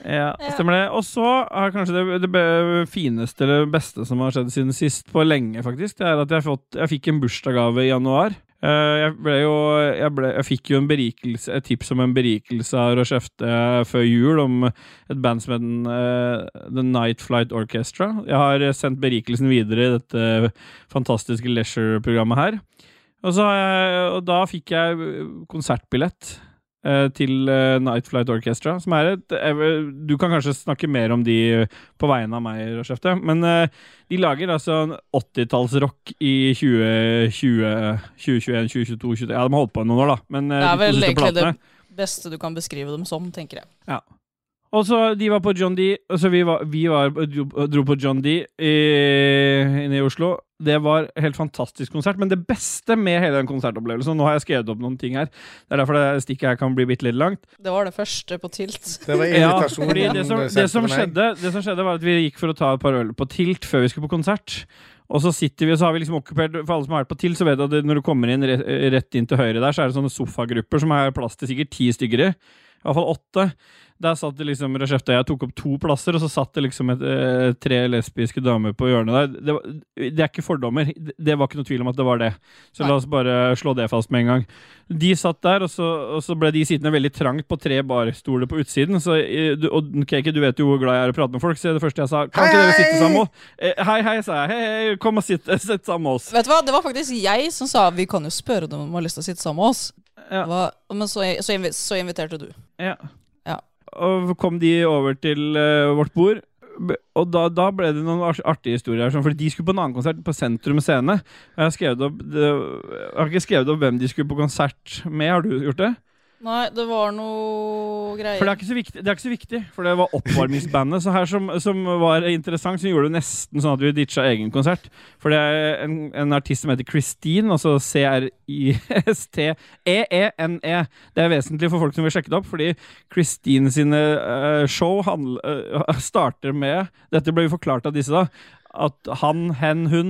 Speaker 2: Ja, stemmer det. Og så er kanskje det, det be- fineste eller beste som har skjedd siden sist, på lenge, faktisk, det er at jeg, fått, jeg fikk en bursdagsgave i januar. Eh, jeg ble jo jeg, ble, jeg fikk jo en berikelse, et tips om en berikelse av å kjefte før jul om et band som heter eh, The Night Flight Orchestra. Jeg har eh, sendt berikelsen videre i dette eh, fantastiske leisure-programmet her. Og, så, har jeg- og da fikk jeg eh, konsertbillett eh, til eh, Night Flight Orchestra, som er et eh, Du kan kanskje snakke mer om de eh, på vegne av meg, Roshefte, men eh, de lager altså en 80-tallsrock i 2020, 2021, 2022, 2023 Ja, de har holdt på i noen år, da. Men eh,
Speaker 3: Det er
Speaker 2: de to
Speaker 3: vel
Speaker 2: siste
Speaker 3: egentlig det
Speaker 2: platene
Speaker 3: beste du kan beskrive dem som, tenker jeg.
Speaker 2: ja. Og så de var på John D, og så vi, var, vi var, dro, dro på John D i, inne i Oslo. Det var helt fantastisk konsert, men det beste med hele den konsertopplevelsen og Nå har jeg skrevet opp noen ting her. Det er derfor det stikket her kan bli bitte litt langt.
Speaker 3: Det var det første på tilt.
Speaker 4: Det var
Speaker 2: Ja,
Speaker 4: invitasjonen.
Speaker 2: fordi det som,
Speaker 4: du
Speaker 2: det, som
Speaker 4: sendte til meg.
Speaker 2: skjedde, det som skjedde, var at vi gikk for å ta et par øl på Tilt før vi skulle på konsert. Og så sitter vi, og så har vi liksom okkupert For alle som har vært på Tilt, så vet du at det, når du kommer inn rett, rett inn til høyre der, så er det sånne sofagrupper som er plass til sikkert ti stykker i. I hvert fall åtte. Der satt det liksom Rashefta og jeg tok opp to plasser, og så satt det liksom et, eh, tre lesbiske damer på hjørnet der. Det, var, det er ikke fordommer. Det det var ikke noe tvil om at det var det. Så
Speaker 3: Nei.
Speaker 2: la oss bare slå det fast med en gang. De satt der, og så, og så ble de sittende veldig trangt på tre barstoler på utsiden. Så, eh, du- og Kake, du vet jo hvor glad jeg er i å prate med folk, så det første jeg sa Kan
Speaker 4: Hei,
Speaker 2: ikke dere
Speaker 4: hei!»
Speaker 2: sitte sammen? også?» Eh, Hei, hei, sa jeg. Hei, hei, kom og sitt, sitt sammen med oss.
Speaker 3: Vet du hva, Det var faktisk jeg som sa vi kan jo spørre dem om de har lyst til å sitte sammen med oss.
Speaker 2: Ja.
Speaker 3: Hva, men så, så, invi så inviterte du.
Speaker 2: Ja.
Speaker 3: Ja.
Speaker 2: Og kom de over til eh, vårt bord. B- Og da, da ble det noen ars- artige historier. her, sånn, Fordi De skulle på en annen konsert på Sentrum Scene. Og jeg har, skrevet opp, det, jeg har ikke skrevet opp hvem de skulle på konsert med. Har du gjort det?
Speaker 3: Nei, det var noe greier.
Speaker 2: For det er ikke så viktig, det, er ikke så viktig, for det var oppvarmingsbandet så her som, som var interessant, som gjorde det nesten sånn at vi ditcha egen konsert. For det er en, en artist som heter Christine, altså E C-R-I-S-T-E-E-N-E. Det er vesentlig for folk som vil sjekke det opp, fordi Christine sine eh, show handl- eh, starter med Dette ble jo forklart av disse, da. At han, hen, hun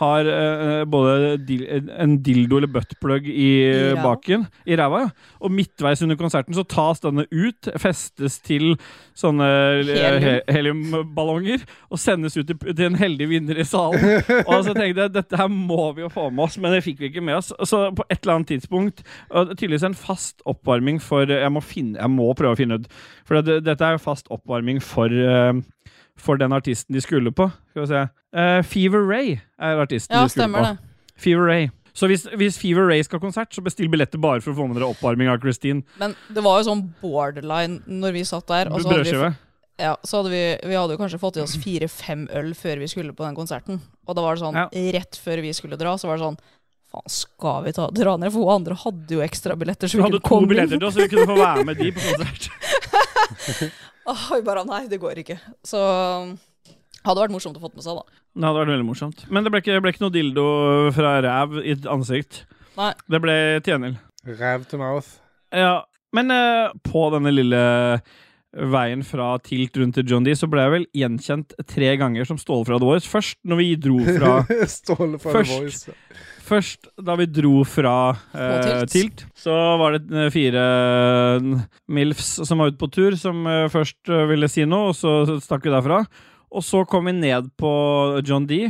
Speaker 2: har eh, både dil, en dildo eller buttplug i
Speaker 3: I ræva.
Speaker 2: baken. I ræva, ja. Og midtveis under konserten så tas denne ut, festes til sånne eh,
Speaker 3: Helium.
Speaker 2: he- heliumballonger og sendes ut til, til en heldig vinner i salen. Og så tenkte jeg dette her må vi jo få med oss, men det fikk vi ikke med oss. Så på et eller annet tidspunkt og det er Tydeligvis en fast oppvarming for eh, Jeg må, finne, jeg må prøve å finne ut, for det, dette er jo fast oppvarming for eh, for den artisten de skulle på. Skal vi se. Eh, Fever Ray er artisten
Speaker 3: ja,
Speaker 2: de skulle på.
Speaker 3: stemmer det.
Speaker 2: Fever Ray. Så hvis, hvis Fever Ray skal ha konsert, så bestill billetter bare for å få med dere oppvarming av Christine.
Speaker 3: Men det var jo sånn borderline når vi satt der. Og så altså, hadde vi,
Speaker 2: Brødskive.
Speaker 3: ja, så hadde vi, vi hadde jo kanskje fått i oss fire-fem øl før vi skulle på den konserten. Og da var det sånn,
Speaker 2: Ja.
Speaker 3: rett før vi skulle dra, så var det sånn Faen, skal vi ta, dra ned? For hun andre hadde jo ekstrabilletter.
Speaker 2: Du
Speaker 3: Så vi
Speaker 2: hadde
Speaker 3: kunne
Speaker 2: to
Speaker 3: komme inn.
Speaker 2: billetter til oss, så vi kunne få være med de på konsert.
Speaker 3: Åh, vi bare nei, det går ikke. Så hadde vært morsomt å få med seg, da.
Speaker 2: Det hadde vært veldig morsomt. Men det ble ikke, det ble ikke noe dildo fra ræv i et ansikt.
Speaker 3: Nei.
Speaker 2: Det ble tjenel.
Speaker 4: Ræv to mouth.
Speaker 2: Ja, men eh, på denne lille veien fra Tilt rundt til John D, så ble jeg vel gjenkjent tre ganger som Ståle fra The Voice. Først når vi dro fra
Speaker 4: Ståle fra
Speaker 2: Først.
Speaker 4: The Voice.
Speaker 2: Først da vi dro fra eh,
Speaker 3: På
Speaker 2: tilt.
Speaker 3: tilt.
Speaker 2: så var det eh, fire eh, MILFs som var ute på tur, som eh, først eh, ville si noe, og så stakk vi derfra. Og så kom vi ned på John D,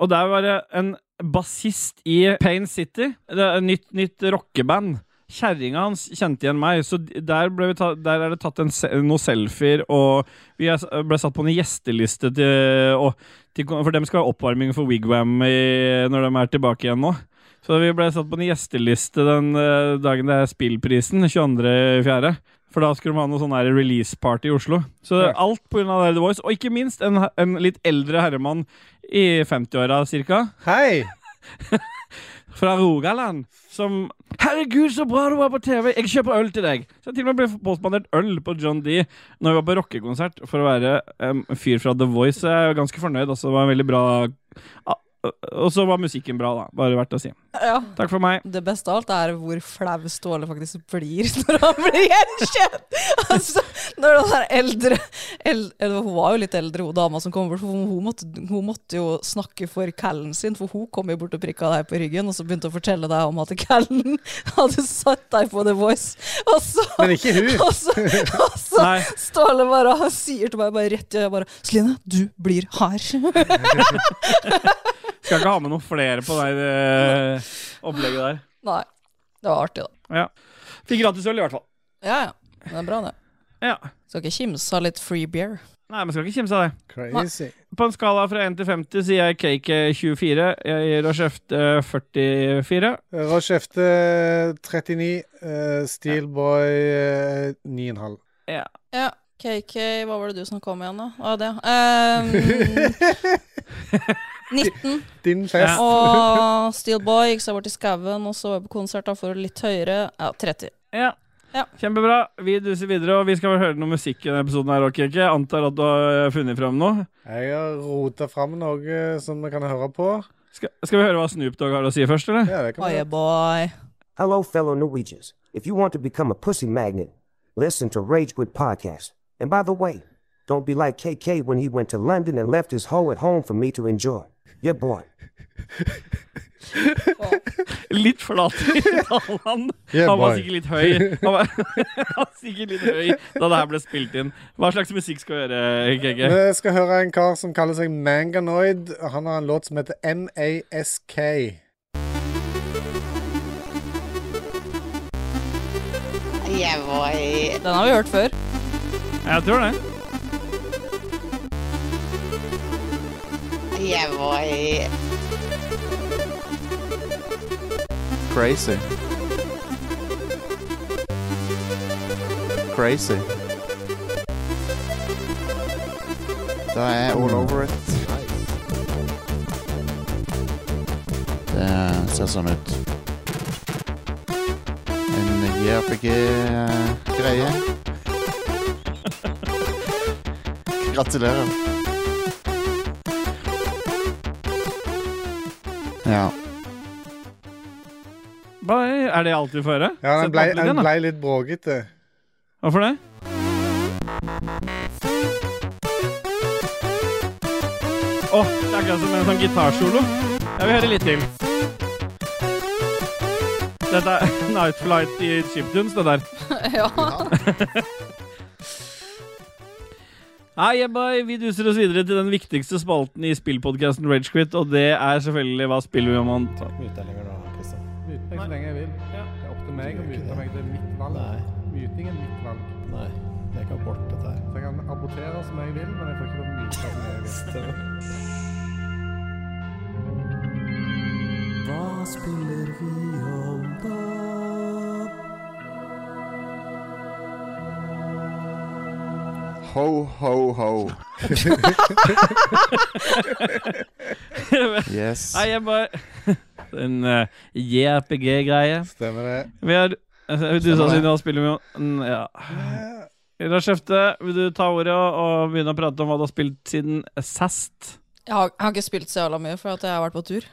Speaker 2: og der var det en bassist i Pain City. Det er et nytt, nytt rockeband. Kjerringa hans kjente igjen meg, så d- der, ble vi ta, der er det tatt en, se- noen selfier, og vi er, s- ble satt på en gjesteliste til, og, til For dem skal ha oppvarming for Wigwam i, når de er tilbake igjen nå. Så vi ble satt på en gjesteliste den eh, dagen det er spillprisen, 22.4. For da skulle de ha noe sånn her release-party i Oslo. Så
Speaker 4: Ja.
Speaker 2: alt på grunn av The Voice, og ikke minst en, en litt eldre herremann i 50-åra cirka,
Speaker 4: Hei!
Speaker 2: fra Rogaland, som Herregud, så bra du var på TV! Jeg kjøper øl til deg! Så jeg til og med ble påspandert øl på John D når vi var på rockekonsert, for å være em, en fyr fra The Voice. Så jeg er ganske fornøyd, altså. Det var en veldig bra Ah, Og så var musikken bra, da. Bare verdt å si.
Speaker 3: Ja.
Speaker 2: Takk for meg.
Speaker 3: Det beste av alt er hvor flau Ståle faktisk blir når han blir gjenkjent! Altså, når den der eldre, el- eller Hun var jo litt eldre, hun dama som kom bort. For hun, hun, måtte, hun måtte jo snakke for callen sin, for hun kom jo bort og prikka deg på ryggen, og så begynte hun å fortelle deg om at callen hadde satt deg på The Voice. Og så,
Speaker 4: Men ikke hun.
Speaker 3: og så, og så
Speaker 2: Nei.
Speaker 3: Ståle bare han sier til meg bare rett i øyet bare 'Celine, du blir her'.
Speaker 2: Så Skal ikke ha med noen flere på det der, eh, opplegget der.
Speaker 3: Nei. Det var artig, da.
Speaker 2: Ja. Fikk gratisøl, i hvert fall.
Speaker 3: Ja, ja. Men Det er bra, det.
Speaker 2: Ja.
Speaker 3: Skal ikke kimse av litt free beer.
Speaker 2: Nei, men skal ikke kimse av det.
Speaker 4: Crazy.
Speaker 2: På en skala fra 1 til 50 sier jeg cake eh, 24. Jeg gir Rochefte eh, 44.
Speaker 4: Rochefte 39, eh, Steelboy eh, 9,5.
Speaker 2: Ja.
Speaker 3: Ja. KK, hva var det du snakka om igjen, da? Ah, det. Ehm, 19.
Speaker 4: Din fest.
Speaker 3: Og Steelboy gikk seg bort i skauen, og så var jeg på konsert da for litt høyere. Ja, 30.
Speaker 2: Ja.
Speaker 3: Ja.
Speaker 2: Kjempebra. Vi duser videre, og vi skal vel høre noe musikk i denne episoden her òg, Kirke. Jeg Antar at du har eh, funnet fram noe.
Speaker 4: Jeg har rota fram noe som vi kan høre på.
Speaker 2: Skal, skal vi høre hva Snoop Dogg har å si først, eller?
Speaker 4: Ja, det kan
Speaker 3: Oh,
Speaker 4: vi
Speaker 3: yeah, boy.
Speaker 5: Hello, fellow Norwegians. If you want to become a pussy magnet, listen to Rage Quit Podcast. And by the way, don't be like KK when he went to London and left his hoe at home for me to enjoy. You're born.
Speaker 2: Litt flat i tallene.
Speaker 4: Yeah,
Speaker 2: han var
Speaker 4: boy.
Speaker 2: sikkert litt høy. Han var, han var sikkert litt høy da det her ble spilt inn. Hva slags musikk skal vi høre, KK?
Speaker 4: Vi skal høre en kar som kaller seg Manganoid. Han har en låt som heter MASK.
Speaker 3: Den har vi hørt før.
Speaker 2: Jeg tror det.
Speaker 7: Crazy. Crazy. Det er all over it. Det ser sånn ut. En JRPG-greie. Gratulerer. Ja.
Speaker 2: Bye. Er det alt vi får høre?
Speaker 4: Ja,
Speaker 2: Sett
Speaker 4: han ble,
Speaker 2: opp litt
Speaker 4: han
Speaker 2: igjen, da.
Speaker 4: ble litt bråkete.
Speaker 2: Hvorfor det? Åh, det er akkurat som en sånn gitarsolo. Jeg vil høre litt til. Dette er Nightflight i Chiptunes, det der.
Speaker 3: ja.
Speaker 2: Hei, Jebbai. Vi duser oss videre til den viktigste spalten i spillpodkasten Ragequit, og det er selvfølgelig Hva spiller vi om man tar.
Speaker 8: Mute lenger nå, Kristian.
Speaker 4: Myte meg så lenge jeg vil. Det er opp til meg å myte meg. Det er mitt valg. Myting er mitt valg.
Speaker 8: Nei, jeg kan borte dette her.
Speaker 4: Så jeg kan abortere som jeg vil, men jeg får ikke lov å myte som jeg vil.
Speaker 7: Ho, ho, ho. Yes.
Speaker 2: Hei, Jebbai. En uh, JRPG-greie.
Speaker 4: Stemmer det.
Speaker 2: Vi har altså, Du sa
Speaker 7: det.
Speaker 2: siden hva spiller vi om? Mm, Ja. Lars Hefte, vil du ta ordet og begynne å prate om hva du har spilt siden sast?
Speaker 3: Jeg har, jeg har ikke spilt så jævla mye, for at jeg har vært på tur.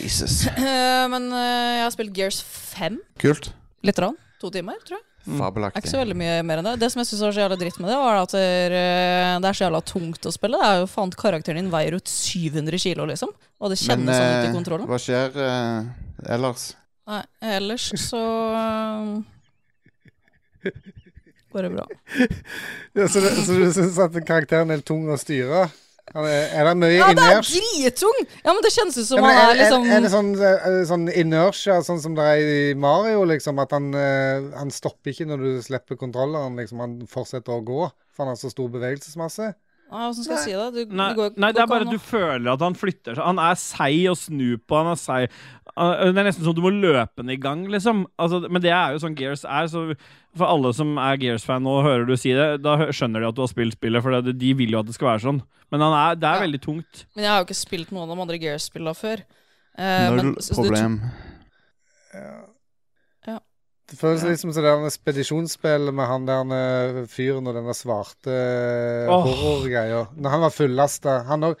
Speaker 7: Jesus.
Speaker 3: Eh, Men eh, jeg har spilt Gears 5.
Speaker 7: Kult.
Speaker 3: Litt. Rann. To timer, tror jeg. Det er ikke så
Speaker 7: Fabelaktig.
Speaker 3: veldig mye mer enn det. Det som jeg syns var så jævla dritt med det, var at eh, det er så jævla tungt å spille. Det er jo faen Karakteren din veier ut 700 kilo, liksom. Og det
Speaker 7: Men
Speaker 3: kjennes sånn ut
Speaker 7: eh,
Speaker 3: i kontrollen.
Speaker 7: hva skjer eh, ellers?
Speaker 3: Nei, ellers så eh, Går det bra.
Speaker 4: Ja, så, det- så du syns at karakteren er tung å styre? Han er, er det mye
Speaker 3: Ja, det er
Speaker 4: inners?
Speaker 3: drittung! Ja, men det kjennes ut
Speaker 4: Ja,
Speaker 3: som han
Speaker 4: men er,
Speaker 3: er
Speaker 4: er,
Speaker 3: liksom
Speaker 4: er det sånn, er det sånn inertia, sånn som det er i Mario, liksom? At han, eh, han stopper ikke når du slipper kontrolleren, liksom. Han fortsetter å gå, for han har så stor bevegelsesmasse.
Speaker 3: Nei, Åssen skal jeg si det? Du,
Speaker 2: Nei,
Speaker 3: du går,
Speaker 2: nei, det
Speaker 3: går
Speaker 2: er bare
Speaker 3: ikke
Speaker 2: du
Speaker 3: an å-
Speaker 2: føler at han flytter seg. Han er seig og snu på, han er seig. Uh, Det er nesten som du må løpe den i gang, liksom. Altså, men det er jo sånn Gears er, så for alle som er Gears-fan og hører du si det, da hø- skjønner de at du har spilt spillet, for det, de vil jo at det skal være sånn. Men han er, det er
Speaker 3: Ja.
Speaker 2: veldig tungt.
Speaker 3: Men jeg har jo ikke spilt noen av de andre Gears-spillene før. Eh,
Speaker 7: Null
Speaker 3: men- så du-
Speaker 7: problem.
Speaker 4: Det føles litt som det der spedisjonsspillet med han der eh, fyren og den der svarte
Speaker 2: Åh.
Speaker 4: oh. horrorgreia. Når han var fullasta. Han òg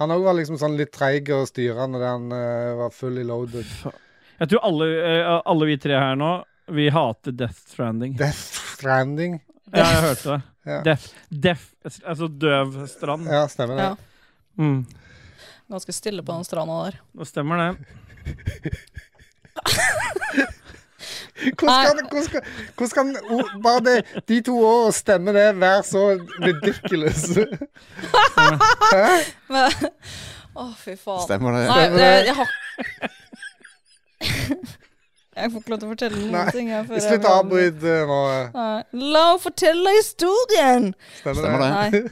Speaker 4: han også var liksom sånn litt treig å styre når han eh, var full i loaded.
Speaker 2: Jeg tror alle, eh, alle vi tre her nå, vi hater Death Stranding.
Speaker 4: Death Stranding.
Speaker 2: Ja, jeg hørte det.
Speaker 4: Ja.
Speaker 2: Deaf, deaf, altså døv strand.
Speaker 4: Ja, stemmer det.
Speaker 3: Ja.
Speaker 2: Mm.
Speaker 3: Ganske stille på den stranda der.
Speaker 2: Det stemmer det.
Speaker 4: Hvordan kan, hvordan skal, hvordan kan o- bare det, de to årene stemme det være så ridiculous?
Speaker 3: Men, Å, fy faen.
Speaker 7: Stemmer det?
Speaker 3: Nei,
Speaker 7: Stemmer
Speaker 3: jeg,
Speaker 7: det?
Speaker 3: jeg har Jeg får ikke lov til å fortelle noen
Speaker 4: Nei,
Speaker 3: ting. her før jeg
Speaker 4: Slutt å
Speaker 3: blir avbrutt.
Speaker 4: avbryte eh, nå. eh.
Speaker 3: Nei. La meg fortelle historien!
Speaker 4: Stemmer,
Speaker 7: Stemmer det?
Speaker 3: Nei.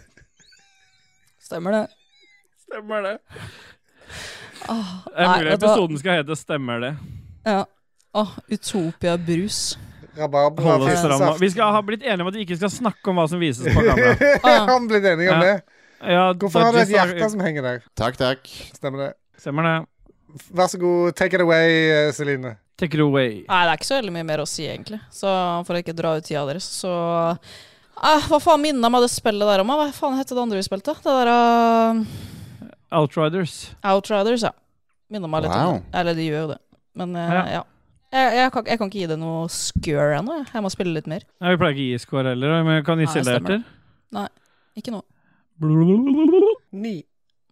Speaker 3: Stemmer det.
Speaker 2: Stemmer det.
Speaker 3: Åh,
Speaker 2: Det er
Speaker 3: nei,
Speaker 2: mulig
Speaker 3: vet du hva?
Speaker 2: episoden skal hete 'Stemmer det'.
Speaker 3: Ja. Åh, Utopia brus.
Speaker 4: Rabarbra
Speaker 2: Holde oss ramma.
Speaker 4: fiskesaft.
Speaker 2: Vi skal ha blitt enige om at vi ikke skal snakke om hva som vises på kamera.
Speaker 3: Ah.
Speaker 4: Han blitt enig om
Speaker 2: Ja.
Speaker 4: det.
Speaker 2: Ja,
Speaker 4: Hvorfor har du et
Speaker 2: Dodges har-
Speaker 4: hjerte som henger der?
Speaker 7: Takk, takk.
Speaker 4: Stemmer det.
Speaker 2: Stemmer det.
Speaker 4: Vær så god, take it away, eh, Celine.
Speaker 2: Take it away.
Speaker 3: Nei, det er ikke så veldig mye mer å si, egentlig. Så for å ikke dra ut tida deres, så eh, Hva faen minna meg det spillet der om? da? Hva faen het det andre vi spilte? Det der eh,
Speaker 2: Outriders.
Speaker 3: Outriders, ja. Minna meg litt om
Speaker 7: Wow.
Speaker 3: det. Eller de gjør jo det. Men eh,
Speaker 2: Ja.
Speaker 3: ja. Jeg, jeg, kan, jeg kan ikke gi det noe score ennå. jeg. Jeg må spille litt mer.
Speaker 2: Nei, vi pleier ikke å gi score heller, men kan gi
Speaker 3: Nei,
Speaker 2: sildeherter.
Speaker 3: Ikke nå.
Speaker 4: Ni.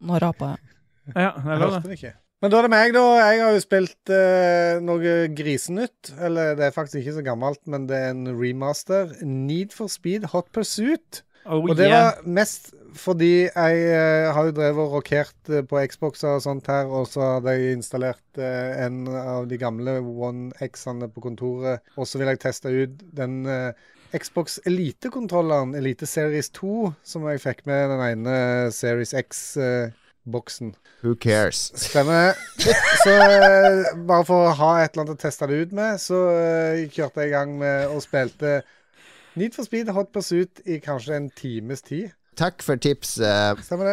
Speaker 3: Nå rapa jeg.
Speaker 2: Ja, det er
Speaker 4: Jeg
Speaker 2: lov,
Speaker 4: hørte
Speaker 2: det.
Speaker 4: den ikke. Men da er det meg, da. Jeg har jo spilt eh, noe grisenytt. Eller det er faktisk ikke så gammelt, men det er en remaster. Need for speed Hot Pursuit.
Speaker 2: Oh,
Speaker 4: Og det
Speaker 2: yeah.
Speaker 4: var mest fordi jeg eh, har jo drevet og rokert eh, på Xboxer og sånt her, og så hadde jeg installert eh, en av de gamle One X-ene på kontoret, og så vil jeg teste ut den eh, Xbox Elite-kontrolleren, Elite Series 2, som jeg fikk med den ene Series X-boksen.
Speaker 9: Who cares?
Speaker 4: Stemmer. Så eh, bare for å ha et eller annet å teste det ut med, så eh, kjørte jeg i gang med og spilte Need for Speed Hot Pursuit i kanskje en times tid.
Speaker 9: Takk for tipset.
Speaker 4: Stemmer det?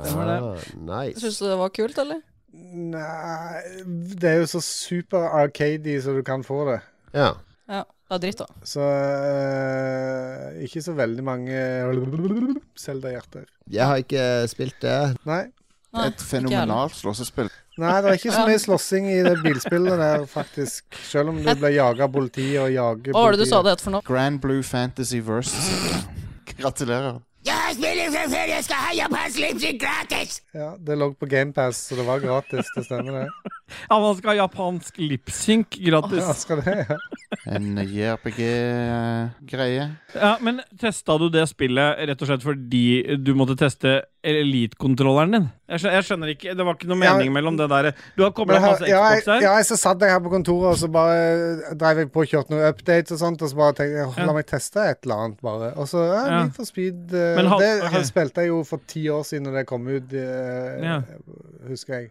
Speaker 9: Ah, nice.
Speaker 3: Syns du det var kult, eller?
Speaker 4: Nei Det er jo så super arcady som du kan få det.
Speaker 9: Ja.
Speaker 3: Ja. Det er dritt, da.
Speaker 4: Så eh, ikke så veldig mange Zelda-hjerter.
Speaker 9: Jeg har ikke spilt det.
Speaker 4: Nei.
Speaker 3: Nei,
Speaker 7: Et fenomenalt slåssespill.
Speaker 4: Nei, det er ikke så mye slåssing i det bilspillet der, faktisk. Selv om du blir jaga av politiet og jager
Speaker 3: Hva var det du sa
Speaker 4: politiet.
Speaker 3: det het for noe?
Speaker 7: Grand Blue Fantasy Versus. Gratulerer.
Speaker 4: Ja, det lå på GamePass, så det var gratis. Det stemmer, det.
Speaker 2: Ja, man skal ha japansk lipsynk
Speaker 4: Ja,
Speaker 2: gratis.
Speaker 4: skal det, ja.
Speaker 7: En eh, JRPG-greie.
Speaker 2: Ja, Men testa du det spillet rett og slett fordi du måtte teste elitekontrolleren din? Jeg skjønner, jeg skjønner ikke, Det var ikke noe
Speaker 4: Ja,
Speaker 2: mening mellom det der Du har
Speaker 4: Men
Speaker 2: kobla
Speaker 4: her,
Speaker 2: masse
Speaker 4: ja, jeg,
Speaker 2: Xbox der.
Speaker 4: ja, jeg- så satt jeg her på kontoret, og så bare eh, drev jeg på og kjørte noen updates og sånt, og så bare tenkte jeg "Åh,
Speaker 2: Ja.
Speaker 4: la meg teste et eller annet, bare. Og så ja,
Speaker 2: Ja.
Speaker 4: Need for speed eh,
Speaker 2: Men han-
Speaker 4: Det
Speaker 2: ok.
Speaker 4: han spilte jeg jo for ti år siden da det kom ut, eh,
Speaker 2: Ja.
Speaker 4: husker jeg.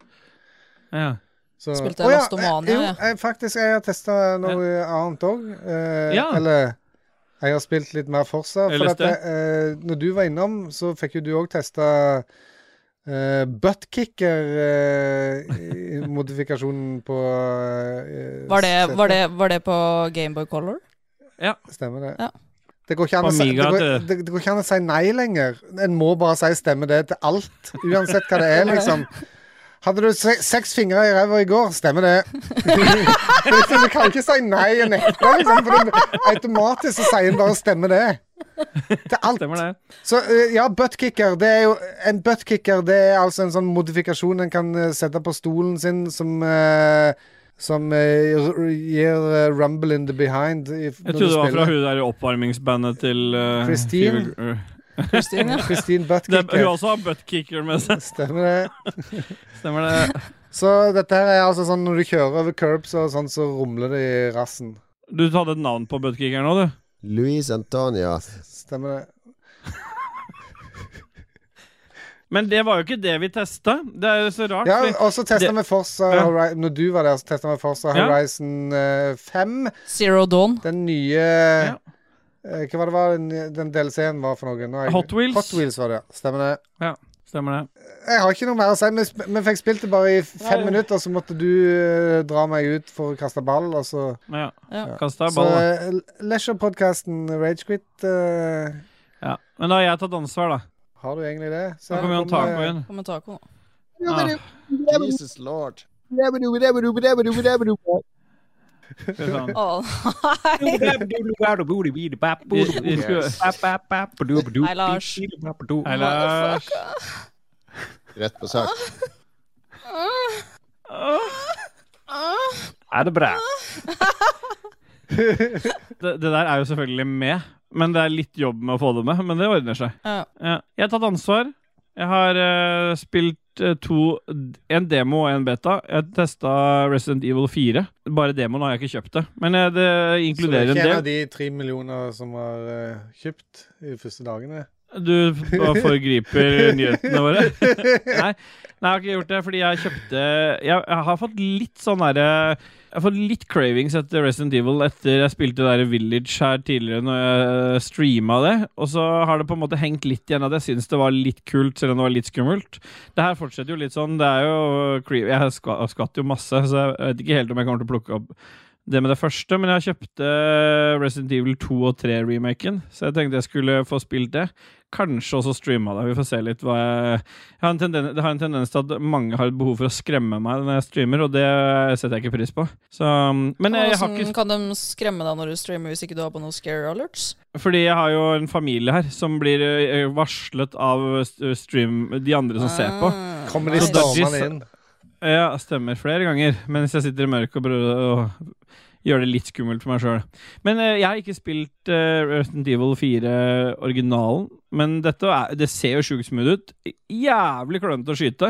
Speaker 2: Ja.
Speaker 4: Så,
Speaker 3: Spilte
Speaker 4: Å ja,
Speaker 3: Lastomania,
Speaker 4: eh,
Speaker 3: ja.
Speaker 4: Jo, jeg, faktisk, jeg har testa noe annet òg. Eh,
Speaker 2: Ja.
Speaker 4: Eller jeg har spilt litt mer Forsa. For
Speaker 2: LSD.
Speaker 4: at, jeg, eh, når du var innom, så fikk jo du òg testa eh, buttkicker-modifikasjonen på eh,
Speaker 3: Var det,
Speaker 4: setet.
Speaker 3: var det, var det på Gameboy Color?
Speaker 4: Stemmer det.
Speaker 3: Ja.
Speaker 4: Det går, ikke an å
Speaker 2: På
Speaker 4: si, det,
Speaker 2: Amiga,
Speaker 4: går,
Speaker 2: vet du.
Speaker 4: det, det går ikke an å si nei lenger. En må bare si stemmer det til alt. Uansett hva det er, liksom. Hadde du se, seks fingre i ræva i går, stemmer det. liksom, du kan ikke si nei og nekte, liksom. For det, automatisk så sier en bare 'stemmer det'. Til alt.
Speaker 2: Stemmer det.
Speaker 4: Så eh, ja, buttkicker. Det er jo En buttkicker det er altså en sånn modifikasjon en kan eh, sette på stolen sin som eh, som eh, r- r- gir eh, 'rumble in the behind'. i-
Speaker 2: Jeg
Speaker 4: når du
Speaker 2: trodde det var fra
Speaker 4: spiller.
Speaker 2: hun der i oppvarmingsbandet til eh,
Speaker 4: Christine.
Speaker 2: Fever Girl.
Speaker 3: Kristin, ja.
Speaker 4: Christine
Speaker 2: Det, hun
Speaker 4: Buttkicker.
Speaker 2: også har buttkicker med seg.
Speaker 4: Stemmer det.
Speaker 2: Stemmer det.
Speaker 4: Så dette her er altså sånn når du kjører over curbs og sånn, så rumler det i rassen.
Speaker 2: Du hadde et navn på buttkickeren nå, du.
Speaker 9: Luis Antonio.
Speaker 4: Stemmer det.
Speaker 2: Men det var jo ikke det vi testa. Det er jo så rart.
Speaker 4: Ja,
Speaker 2: fordi-
Speaker 4: og så testa
Speaker 2: det-
Speaker 4: vi Forza
Speaker 2: Ja.
Speaker 4: Hori- Når du var der, så testa vi Forza
Speaker 2: Ja.
Speaker 4: Horizon eh, 5.
Speaker 3: Zero Dawn.
Speaker 4: Den nye
Speaker 2: Ja.
Speaker 4: eh, Hva var det var den, den DLC-en var for noe? Nå er jeg-
Speaker 2: Hot Wheels.
Speaker 4: Hot Wheels var det, ja. Stemmer det.
Speaker 2: Stemmer det.
Speaker 4: Jeg har ikke noe mer å si. Vi, sp- vi fikk spilt det bare i fem
Speaker 2: Nei.
Speaker 4: minutter, så måtte du eh, dra meg ut for å kaste ball, og så
Speaker 2: Ja.
Speaker 3: Ja.
Speaker 2: Kasta
Speaker 4: Så
Speaker 2: ball, da.
Speaker 4: eh, Leisure-podkasten Ragequit eh,
Speaker 2: Ja. Men da har jeg tatt ansvar, da.
Speaker 4: Har du egentlig det? eh, Så
Speaker 2: Nå kommer jo en
Speaker 4: kommer-
Speaker 2: taco inn.
Speaker 3: Kom med taco. nå.
Speaker 2: Ja.
Speaker 9: Jesus lord.
Speaker 2: Fy faen.
Speaker 3: Å, nei.
Speaker 2: De, de skulle,
Speaker 3: nei, Lars.
Speaker 2: Hei, Lars.
Speaker 9: Rett på sak.
Speaker 3: Ah.
Speaker 2: Det, det der er jo selvfølgelig med, men det er litt jobb med å få det med. Men det ordner seg.
Speaker 3: Ja.
Speaker 2: Ja. Jeg har tatt ansvar. Jeg har eh, spilt eh, to En demo og en beta. Jeg testa Resident Evil 4. Bare demoen har jeg ikke kjøpt det. Men eh, det
Speaker 4: Så det er
Speaker 2: inkluderer
Speaker 4: ikke
Speaker 2: en
Speaker 4: en av
Speaker 2: del.
Speaker 4: de tre millioner som var eh, kjøpt i de første dagene?
Speaker 2: Du f- bare foregriper nyhetene våre. Nei, nei, jeg har ikke gjort det, fordi jeg kjøpte Jeg, jeg har fått litt sånn derre Jeg har fått litt cravings etter Resident Evil etter jeg spilte det der Village her tidligere, når jeg streama det. Og så har det på en måte hengt litt igjen at jeg syns det var litt kult, selv om det var litt skummelt. Det her fortsetter jo litt sånn. Det er jo creepy. Jeg skva- skvatt jo masse, så jeg vet ikke helt om jeg kommer til å plukke opp det med det første, men jeg kjøpte Resident Evil 2 og 3-remaken, så jeg tenkte jeg skulle få spilt det. Kanskje også streama det. Vi får se litt hva jeg jeg har en tenden- Det har en tendens til at mange har et behov for å skremme meg når jeg streamer, og det setter jeg ikke pris på. Så, men eh, jeg, jeg har ikke
Speaker 3: Hvordan sånn, kan de skremme deg når du streamer hvis ikke du har på noen scare alerts?
Speaker 2: Fordi jeg har jo en familie her som blir eh, varslet av eh, stream de andre som ser på.
Speaker 3: Ah,
Speaker 4: Kommer de
Speaker 3: nice.
Speaker 2: storm-
Speaker 4: stormende inn?
Speaker 2: Ja, stemmer flere ganger mens jeg sitter i mørket og prøver å gjøre det litt skummelt for meg sjøl. Men eh, jeg har ikke spilt eh, Resident Evil 4-originalen. Men dette er, det ser jo sjukt smooth ut. Jævlig klønete å skyte.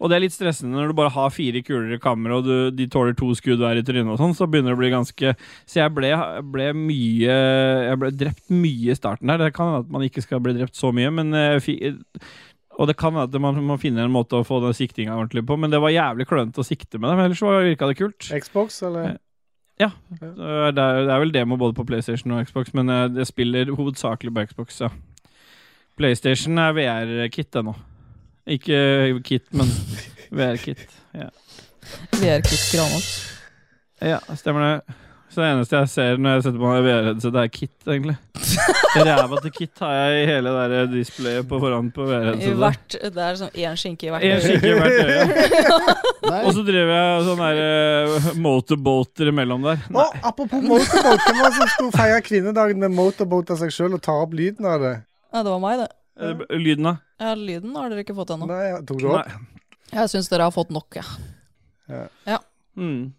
Speaker 2: Og det er litt stressende når du bare har fire kuler i kammeret, og du, de tåler to skudd hver i trynet og sånn, så begynner det å bli ganske Så jeg ble, ble mye Jeg ble drept mye i starten der. Det kan hende at man ikke skal bli drept så mye, men eh, fi, og det kan være at man må finne en måte å få den siktinga ordentlig på, men det var jævlig klønete å sikte med det. Men ellers var- virka det kult.
Speaker 4: Xbox,
Speaker 2: Eh,
Speaker 4: eller?
Speaker 2: Det er, det er vel demo både på PlayStation og Xbox, men eh, det spiller hovedsakelig på Xbox, ja. PlayStation er VR-kit ennå. Ikke kit, men VR-kit.
Speaker 3: VR-kutt granat.
Speaker 2: Ja, stemmer det. Så det eneste jeg ser når jeg setter på meg VR-headset, det er Kit, egentlig. Ræva til Kit har jeg i hele det der displayet på foran på
Speaker 3: I
Speaker 2: VR-headsetet.
Speaker 3: hvert, det er sånn én skinke i hvert
Speaker 2: En
Speaker 3: øre.
Speaker 2: skikkelig hvert øye.
Speaker 7: Nei,
Speaker 2: Og så driver jeg sånn der eh, motorboater imellom der. Nei,
Speaker 4: Og apropos motorboat, hvem var det som skulle feire kvinnedagen med motorboat av seg sjøl og ta opp lyden av det?
Speaker 3: Ja, det var meg, det.
Speaker 2: eh, lyden da?
Speaker 3: Ja, lyden har dere ikke fått ennå.
Speaker 4: Nei, jeg tok det
Speaker 2: Nei.
Speaker 4: opp?
Speaker 3: Jeg syns dere har fått nok, jeg. Ja.
Speaker 2: Mm.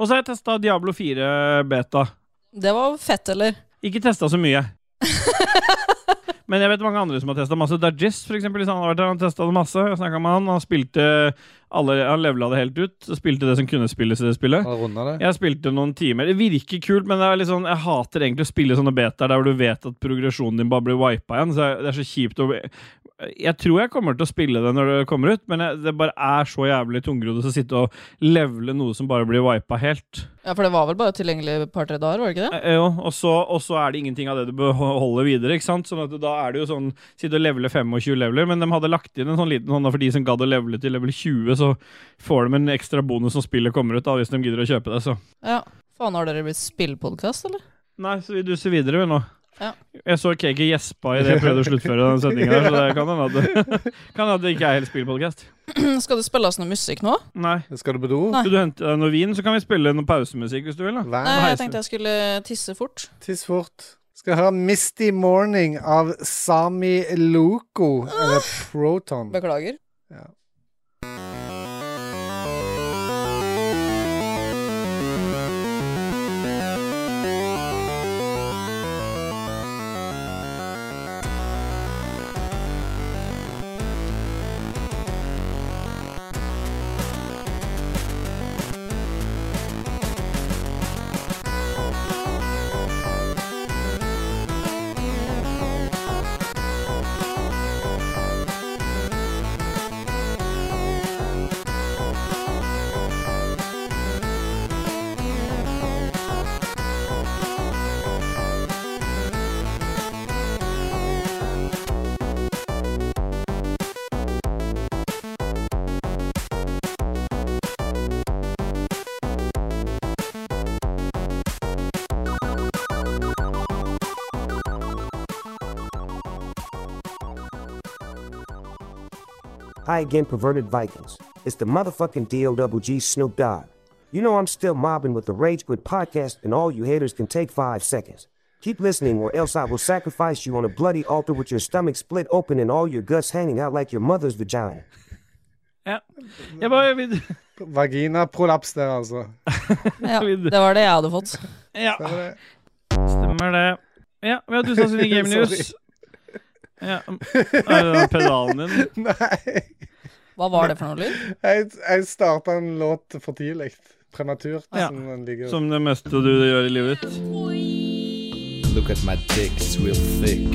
Speaker 2: Og så har jeg testa Diablo 4 beta.
Speaker 3: Det var fett, eller?
Speaker 2: Ikke testa så mye. Men jeg vet mange andre som har testa masse. Dajis, for eksempel, hvis han har vært her, han testa det masse. Jeg snakket med han. Han spilte alle, han levela det helt ut. Spilte det som kunne spilles i det spillet.
Speaker 4: Har runda det?
Speaker 2: Jeg spilte noen timer. Det virker kult, men det er litt sånn, jeg hater egentlig å spille sånne betaer der hvor du vet at progresjonen din bare blir wipa igjen. Så jeg- det er så kjipt å Jeg tror jeg kommer til å spille det når det kommer ut, men jeg, det bare er så jævlig tungrodd å sitte og levele noe som bare blir wipa helt.
Speaker 3: Ja, For det var vel bare tilgjengelig et par-tre dager, var det ikke det?
Speaker 2: Eh, Jo, og så, og så er det ingenting av det du beholder videre. ikke sant? Sånn at da er det jo sånn Sitte og levele 25 leveler, men de hadde lagt inn en sånn liten sånn da, for de som gadd å levele til level 20, så får de en ekstra bonus når spillet kommer ut, da, hvis de gidder å kjøpe det. så.
Speaker 3: Ja. Faen, har dere blitt spillpodkast, eller?
Speaker 2: Nei, så vi duser videre vi nå.
Speaker 3: Ja.
Speaker 2: Jeg så Kaki gjespa idet jeg prøvde å sluttføre den sendinga, så det kan hende at det, kan hende at det ikke er helt spillpodkast.
Speaker 3: Skal det spilles noe musikk nå?
Speaker 2: Nei.
Speaker 4: Skal du på do?
Speaker 3: Nei.
Speaker 2: Vil du hente deg noe vin, så kan vi spille noe pausemusikk hvis du vil. da.
Speaker 4: Vær
Speaker 3: Nei, jeg
Speaker 2: heisen.
Speaker 3: tenkte jeg skulle tisse fort.
Speaker 4: Tiss fort. Skal høre Misty Morning av Sami Loco, eller
Speaker 3: Ah.
Speaker 4: Proton.
Speaker 3: Beklager.
Speaker 5: Hi again, perverted Vikings. It's the motherfucking DOWG Snoop Dogg. You know I'm still mobbing with the Rage Quit podcast, and all you haters can take five seconds. Keep listening, or else I will sacrifice you on a bloody altar with your stomach split open and all your guts hanging out like your mother's vagina.
Speaker 2: Ja. Jeg bare vil,
Speaker 4: Vaginaprolaps der, altså.
Speaker 3: Ja, det var det jeg hadde fått.
Speaker 2: ja.
Speaker 4: Ser du det?
Speaker 2: Stemmer det. Ja, vi har tusen sin i Game
Speaker 4: Sorry.
Speaker 2: News. Ja. um, Er det pedalen din?
Speaker 4: Nei.
Speaker 3: Hva var det for noe lyd?
Speaker 4: Jeg, jeg starta en låt for tidlig. Prematurt,
Speaker 2: Ja.
Speaker 4: som den ligger
Speaker 2: Som det meste du gjør i livet ditt?
Speaker 8: Look at my dick, it's real thick.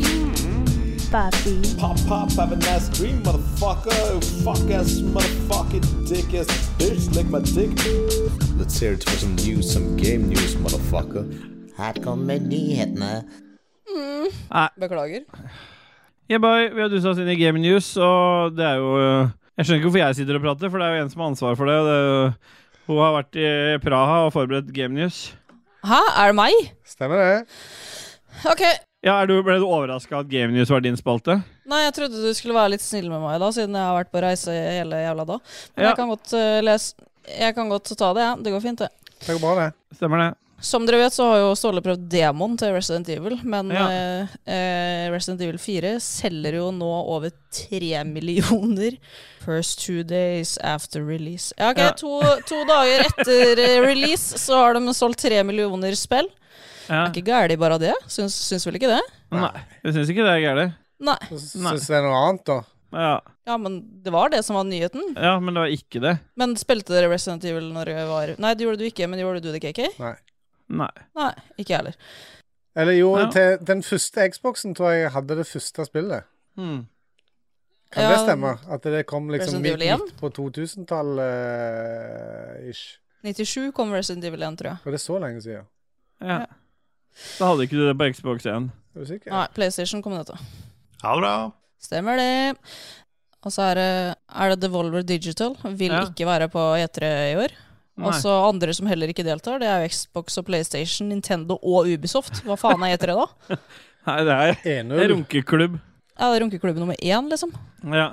Speaker 8: Pop, pop, have a nice dream, motherfucker. Oh, Fuck ass, motherfucking dick ass bitch, lick my dick. Let's hear it for some news, some game news, motherfucker.
Speaker 10: Her kommer nyhetene.
Speaker 3: Beklager.
Speaker 2: Yeah, boy, vi har dusa oss inn i Game News, og det er jo eh, Jeg skjønner ikke hvorfor jeg sitter og prater, for det er jo en som har ansvar for det. og det er jo, hun har vært i Praha og forberedt Game News.
Speaker 3: Hæ, er det meg?
Speaker 4: Stemmer det?
Speaker 3: Ok.
Speaker 2: Ja, er du, Ble du overraska at Game News var din spalte?
Speaker 3: Nei, jeg trodde du skulle være litt snill med meg da, siden jeg har vært på reise hele jævla da. Men
Speaker 2: Ja.
Speaker 3: jeg kan godt eh, lese. Jeg kan godt ta det, jeg. Det går fint, det.
Speaker 4: Det går bra, det.
Speaker 2: Stemmer det?
Speaker 3: Som dere vet, så har jo Ståle prøvd demon til Resident Evil, men
Speaker 2: Ja.
Speaker 3: eh, eh, Resident Evil 4 selger jo nå over tre millioner first two days after release. Ja, ok,
Speaker 2: Ja.
Speaker 3: To, to dager etter eh, release så har de solgt tre millioner spill.
Speaker 2: Ja.
Speaker 3: Er ikke gærent bare det? Syns, syns vel ikke det?
Speaker 2: Nei, jeg syns ikke det er gærent.
Speaker 3: Nei.
Speaker 2: Nei.
Speaker 4: Syns det er noe annet, da.
Speaker 2: Ja.
Speaker 3: Ja, men det var det som var nyheten.
Speaker 2: ja, men det var ikke det.
Speaker 3: Men spilte dere Resident Evil når dere var Nei, det gjorde du ikke, men gjorde du det, KK?
Speaker 2: Nei.
Speaker 3: Nei, ikke jeg heller.
Speaker 4: Eller jo,
Speaker 2: Ja.
Speaker 4: til den første Xboxen tror jeg hadde det første spillet.
Speaker 2: Hmm.
Speaker 4: Kan
Speaker 3: Ja,
Speaker 4: det stemme? At det kom liksom
Speaker 3: Resident
Speaker 4: midt,
Speaker 3: Evil
Speaker 4: midt på 2000-tallet eh, ish.
Speaker 3: 97 kom Resident Evil 1, tror jeg.
Speaker 4: Var det så lenge siden?
Speaker 2: Ja. Da hadde ikke du det på Xbox 1.
Speaker 4: Er du sikker?
Speaker 3: Nei, PlayStation kom dette.
Speaker 7: Ha det bra.
Speaker 3: Stemmer det. Og så er det, er det Devolver Digital. Vil
Speaker 2: Ja.
Speaker 3: ikke være på E3 i år. Og så andre som heller ikke deltar, det er jo Xbox og PlayStation, Nintendo og Ubisoft. Hva faen er E3 da?
Speaker 2: Nei, det er, det er
Speaker 4: Enøl.
Speaker 2: runkeklubb.
Speaker 3: Er det runkeklubben nummer én, liksom?
Speaker 2: Ja.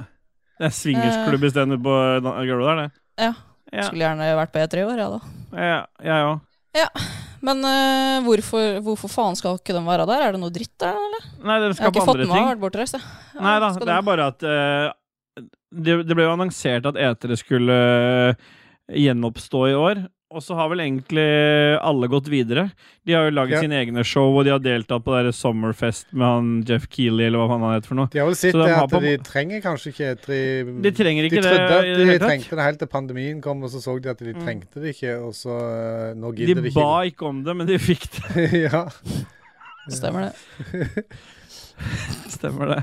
Speaker 2: Det er swingersklubb isteden på da- gulvet der, det.
Speaker 3: Eh. Ja.
Speaker 2: Ja,
Speaker 3: Skulle gjerne vært på E3 i år, ja da.
Speaker 2: ja, jeg òg.
Speaker 3: Men eh, hvorfor, hvorfor faen skal ikke de være der? Er det noe dritt der, eller?
Speaker 2: Nei, den
Speaker 3: Jeg har
Speaker 2: skal på
Speaker 3: ikke fått
Speaker 2: andre
Speaker 3: med meg, jeg
Speaker 2: ting.
Speaker 3: har vært bortreist, jeg. Ja,
Speaker 2: Nei da,
Speaker 3: skal
Speaker 2: det
Speaker 3: de-
Speaker 2: er bare at eh, det, det ble jo annonsert at etere skulle eh, gjenoppstå i år. Og så har vel egentlig alle gått videre. De har jo laget
Speaker 4: Ja.
Speaker 2: sine egne show, og de har deltatt på det der Summerfest med han Jeff Keeley, eller hva faen han heter for noe.
Speaker 4: De har vel sett
Speaker 2: Så de
Speaker 4: det
Speaker 2: har
Speaker 4: at
Speaker 2: på-
Speaker 4: de trenger kanskje ikke tre
Speaker 2: De trenger ikke
Speaker 4: de trodde
Speaker 2: det. i
Speaker 4: at
Speaker 2: det
Speaker 4: de
Speaker 2: hele tatt.
Speaker 4: trengte det helt til pandemien kom, og så så de at
Speaker 3: Mm.
Speaker 4: de trengte det ikke, og så eh, Nå gidder
Speaker 2: De
Speaker 4: de
Speaker 2: ba
Speaker 4: ikke.
Speaker 2: ikke om det, men de fikk det.
Speaker 4: ja.
Speaker 3: Stemmer det.
Speaker 2: Stemmer det.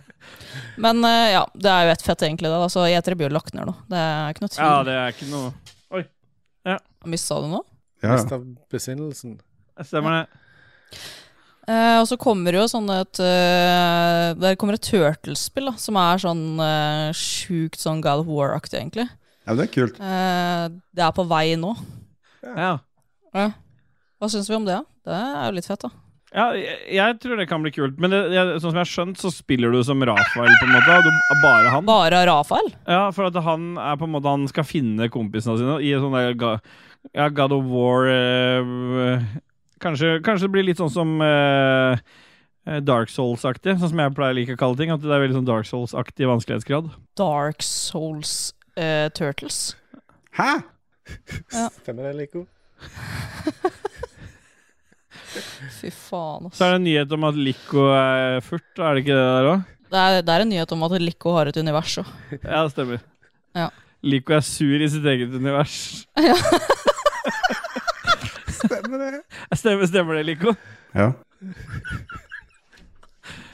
Speaker 3: Men eh, ja, det er jo ett fett, egentlig. det da, Så E3 blir jo lagt ned nå. Det er ikke noe tvil.
Speaker 2: Ja, det er ikke noe
Speaker 3: Mista du noe?
Speaker 7: Ja.
Speaker 4: Mest av besinnelsen.
Speaker 2: Stemmer det.
Speaker 3: Eh, og så kommer jo sånn et eh, Der kommer et Turtles-spill, da, som er sånn eh, sjukt sånn God of War-aktig, egentlig.
Speaker 7: ja, men det er kult.
Speaker 3: Eh, det er på vei nå.
Speaker 2: Ja.
Speaker 3: Hva syns vi om det? Det er jo litt fett, da.
Speaker 2: Ja, jeg, jeg tror det kan bli kult, men det, jeg, sånn som jeg har skjønt, så spiller du som Rafael, på en måte. og Du, bare han.
Speaker 3: Bare Rafael?
Speaker 2: Ja, for at han er på en måte Han skal finne kompisene sine i sånn der ga, ja, God of War eh, kanskje, kanskje det blir litt sånn som eh, eh, Dark Souls-aktig, sånn som jeg pleier å like å kalle ting. At det er veldig sånn Dark Souls-aktig vanskelighetsgrad.
Speaker 3: Dark Souls eh, Turtles.
Speaker 7: Hæ?
Speaker 3: Ja.
Speaker 4: Stemmer det, Lico?
Speaker 3: Fy faen, ass.
Speaker 2: Så er det en nyhet om at Lico er furt, er det ikke det der òg?
Speaker 3: Det er, det er en nyhet om at Lico har et univers òg.
Speaker 2: Ja, det stemmer.
Speaker 3: Ja.
Speaker 2: Lico er sur i sitt eget univers.
Speaker 4: Stemmer det.
Speaker 2: Stemmer, stemmer det, Lico?
Speaker 7: Ja.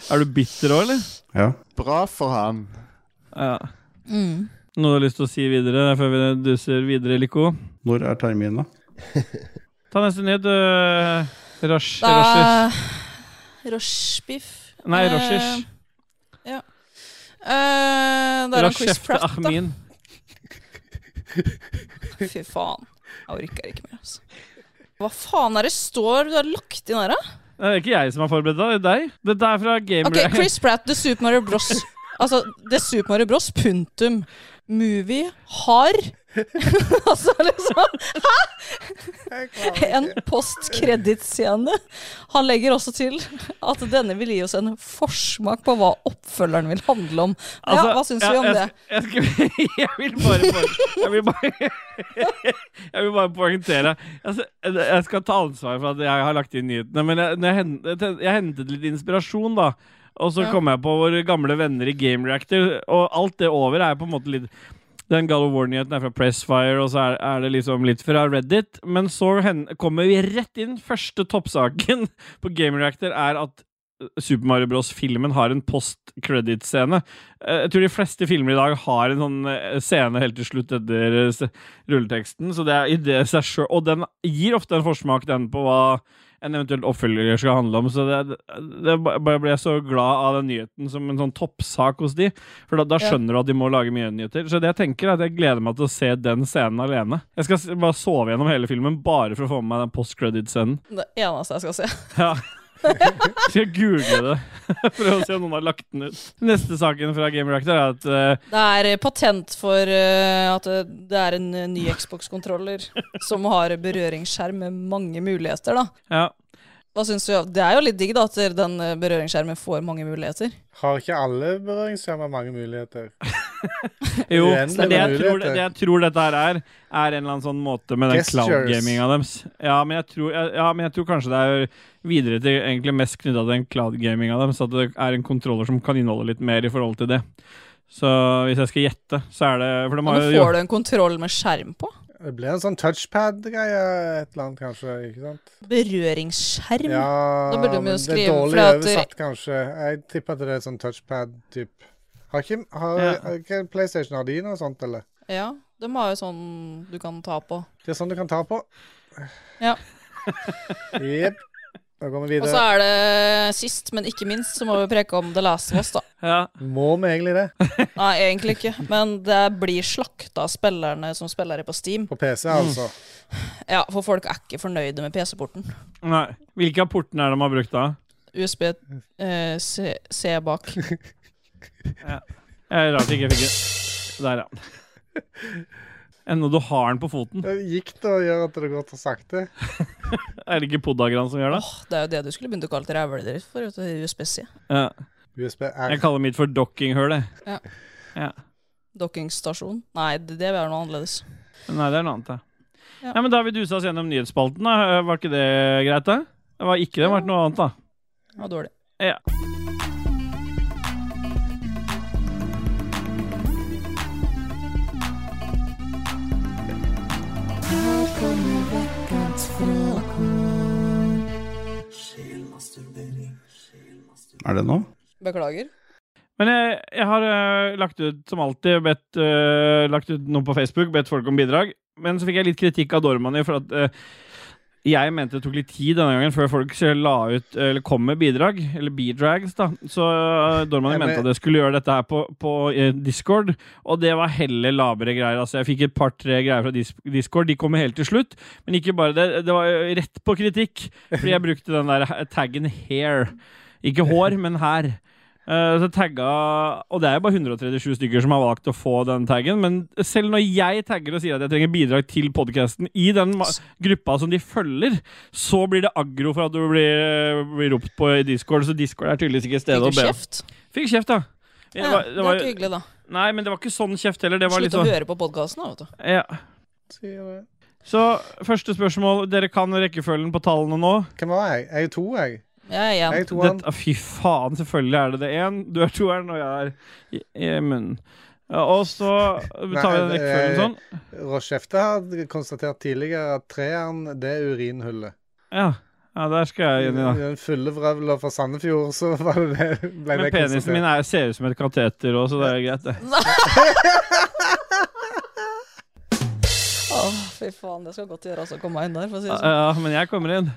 Speaker 2: Er du bitter òg, eller?
Speaker 7: ja.
Speaker 9: Bra for han.
Speaker 2: Ja.
Speaker 3: Mm.
Speaker 2: Noe du har lyst til å si videre før vi duser videre, Lico?
Speaker 7: Når er terminen, da?
Speaker 2: Ta neste nyhet, øh, Rosh.
Speaker 3: Det
Speaker 2: Roshers.
Speaker 3: er Roshbiff.
Speaker 2: Nei, Roshers.
Speaker 3: Eh, det er han Chris
Speaker 2: Roshef til
Speaker 3: Pratt, da.
Speaker 2: Ahmin.
Speaker 3: Fy faen. Jeg orker ikke mer, altså. Hva faen er det står du har lagt inn her, da?
Speaker 2: Det er ikke jeg som har forberedt deg, det er deg. Dette er fra Gamer
Speaker 3: Ok, Chris Pratt, The Super Mario Bros. Altså, The Super Mario Bros. Punktum. Movie har Altså, liksom En postkredittscene. Han legger også til at denne vil gi oss en forsmak på hva oppfølgeren vil handle om.
Speaker 2: Altså,
Speaker 3: ja, hva
Speaker 2: ja,
Speaker 3: syns vi om
Speaker 2: jeg,
Speaker 3: det?
Speaker 2: Jeg, skal, jeg vil bare for- Jeg vil bare, jeg vil bare poengtere altså, Jeg skal ta ansvar for at jeg har lagt inn nyhetene, men jeg, når jeg, hentet, jeg hentet litt inspirasjon, da. Og så
Speaker 3: Ja.
Speaker 2: kom jeg på våre gamle venner i Game Reactor, og alt det over er på en måte litt den God of War-nyheten er fra Pressfire, og så er, er det liksom litt fra Reddit. Men så hen, kommer vi rett inn. Første toppsaken på Game Reactor er at Super Mario Bros.-filmen har en post-credit-scene. Eh, Jeg tror de fleste filmer i dag har en sånn eh, scene helt til slutt etter eh, s- rulleteksten, så det er i det seg sjøl Og den gir ofte en forsmak, den, på hva en eventuell oppfølger skal handle om. Så det, det jeg bare ble så glad av den nyheten som en sånn toppsak hos de. For da, da
Speaker 3: Ja.
Speaker 2: skjønner du at de må lage mye nyheter. Så det jeg tenker er at jeg gleder meg til å se den scenen alene. Jeg skal s- bare sove gjennom hele filmen bare for å få med meg den post-credit-scenen.
Speaker 3: Det eneste jeg skal se.
Speaker 2: Ja. Skal jeg google det for å se om noen har lagt den ut. Neste saken fra Game Reactor er at eh,
Speaker 3: Det er eh, patent for eh, at eh, det er en eh, ny Xbox-kontroller som har berøringsskjerm med mange muligheter, da.
Speaker 2: ja,
Speaker 3: Hva syns du? av- Det er jo litt digg, da, at den eh, berøringsskjermen får mange muligheter.
Speaker 4: Har ikke alle berøringsskjermer mange muligheter?
Speaker 2: Jo,
Speaker 4: Uendelig
Speaker 2: det, er det, jeg tror,
Speaker 4: med
Speaker 2: det,
Speaker 4: muligheter.
Speaker 2: det jeg tror dette her er, er en eller annen sånn måte med den
Speaker 4: Gestures.
Speaker 2: cloud-gaminga deres. Ja men, jeg tror, ja, ja, men jeg tror kanskje det er videre til egentlig mest knytta til den cloud-gaminga deres, at det er en kontroller som kan inneholde litt mer i forhold til det. Så hvis jeg skal gjette, så er det For de
Speaker 3: Men
Speaker 2: har jo
Speaker 3: får du en kontroll med skjerm på?
Speaker 4: Det blir en sånn touchpad-greie, et eller annet kanskje, ikke sant?
Speaker 3: Berøringsskjerm?
Speaker 4: Ja,
Speaker 3: da burde vi
Speaker 4: men
Speaker 3: jo
Speaker 4: det er
Speaker 3: skrive
Speaker 4: dårlig
Speaker 3: fra at
Speaker 4: oversatt, kanskje. Jeg tipper at det er sånn touchpad-typ. Har ikke har,
Speaker 2: Ja.
Speaker 4: har ikke PlayStation har de noe sånt, eller?
Speaker 3: Ja, de har jo sånn du kan ta på.
Speaker 4: Det er sånn du kan ta på.
Speaker 3: Ja.
Speaker 4: Jepp. Da går vi
Speaker 3: Og så
Speaker 4: videre.
Speaker 3: er det sist, men ikke minst, så må vi preke om The Last of Us, da.
Speaker 2: ja,
Speaker 4: Må vi egentlig det?
Speaker 3: Nei, egentlig ikke, men det blir slakta av spillerne som spiller det på Steam.
Speaker 4: På PC, altså.
Speaker 3: Ja, for folk er ikke fornøyde med PC-porten.
Speaker 2: Nei. Hvilke av portene er det de har brukt da?
Speaker 3: USB eh, C, C bak.
Speaker 2: Jeg er Rart jeg ikke fikk Der, ja. Ennå du har den på foten.
Speaker 4: Det gikk det å gjøre at det går for sakte?
Speaker 2: Er det ikke Podagran som gjør det?
Speaker 3: Åh, det er jo det du skulle begynt å kalle det rævledritt for, vet du, USB-C.
Speaker 2: Ja.
Speaker 4: USB-R.
Speaker 2: Jeg kaller mitt for dockinghull, jeg.
Speaker 3: Dockingstasjon. Nei, det, det er noe annerledes.
Speaker 2: Nei, det er noe annet, ja.
Speaker 3: Ja.
Speaker 2: ja. men da har vi dusa oss gjennom nyhetsspalten, da. Var ikke det greit, da? Det var ikke det, det ble noe annet, da.
Speaker 3: Det var dårlig.
Speaker 2: Ja.
Speaker 8: Er det nå?
Speaker 3: Beklager.
Speaker 2: Men jeg, jeg har øh, lagt ut, som alltid, bedt, øh, lagt ut noe på Facebook, bedt folk om bidrag. Men så fikk jeg litt kritikk av Dormani for at øh, jeg mente det tok litt tid denne gangen før folk la ut, eh, eller kom med bidrag, eller bidrags, da. Så øh, Dormani
Speaker 4: Ja, men-
Speaker 2: mente at jeg skulle gjøre dette her på, på eh, Discord, og det var heller labre greier. Altså, jeg fikk et par-tre greier fra Dis Discord, de kommer helt til slutt. Men ikke bare det, det var øh, rett på kritikk, fordi jeg brukte den der ha- taggen 'hair'. Ikke hår, men her. Eh, Så tagga Og det er jo bare 137 stykker som har valgt å få den taggen. Men selv når jeg tagger og sier at jeg trenger bidrag til podkasten i den ma- gruppa som de følger, så blir det aggro for at du blir, blir ropt på i Discord. Så Discord er tydeligvis ikke stedet
Speaker 3: Fikk
Speaker 2: å
Speaker 3: du
Speaker 2: be om.
Speaker 3: kjeft?
Speaker 2: Fikk kjeft, ja. Det
Speaker 3: Ja,
Speaker 2: var-
Speaker 3: det
Speaker 2: det var-
Speaker 3: er ikke hyggelig, da.
Speaker 2: nei, men det var ikke sånn kjeft heller. Det var
Speaker 3: Slutt
Speaker 2: litt
Speaker 3: å
Speaker 2: sånn
Speaker 3: høre på podkasten, da, vet du.
Speaker 2: ja.
Speaker 4: Sier det.
Speaker 2: Så første spørsmål. Dere kan rekkefølgen på tallene nå.
Speaker 4: Hvem var jeg? Jeg er to, jeg.
Speaker 3: Jeg er igjen.
Speaker 4: Jeg er toeren.
Speaker 2: Dette, ah, fy faen, selvfølgelig er det det. Én, du er toeren, og jeg er i, i munnen. Ja, og så tar vi den
Speaker 4: Nei, det-
Speaker 2: rekkefølgen sånn.
Speaker 4: Rochefte har konstatert tidligere at treeren, det er urinhullet.
Speaker 2: Ja. ja, der skal jeg inn i, da.
Speaker 4: Den fulle vrøvla fra Sandefjord, så var det det, ble
Speaker 2: Men
Speaker 4: det
Speaker 2: penisen min er, ser ut som et kateter òg, så det er greit, det.
Speaker 3: Åh, fy faen, det skal godt gjøres å komme meg inn der, for å si det sånn.
Speaker 2: Ja, men jeg kommer inn.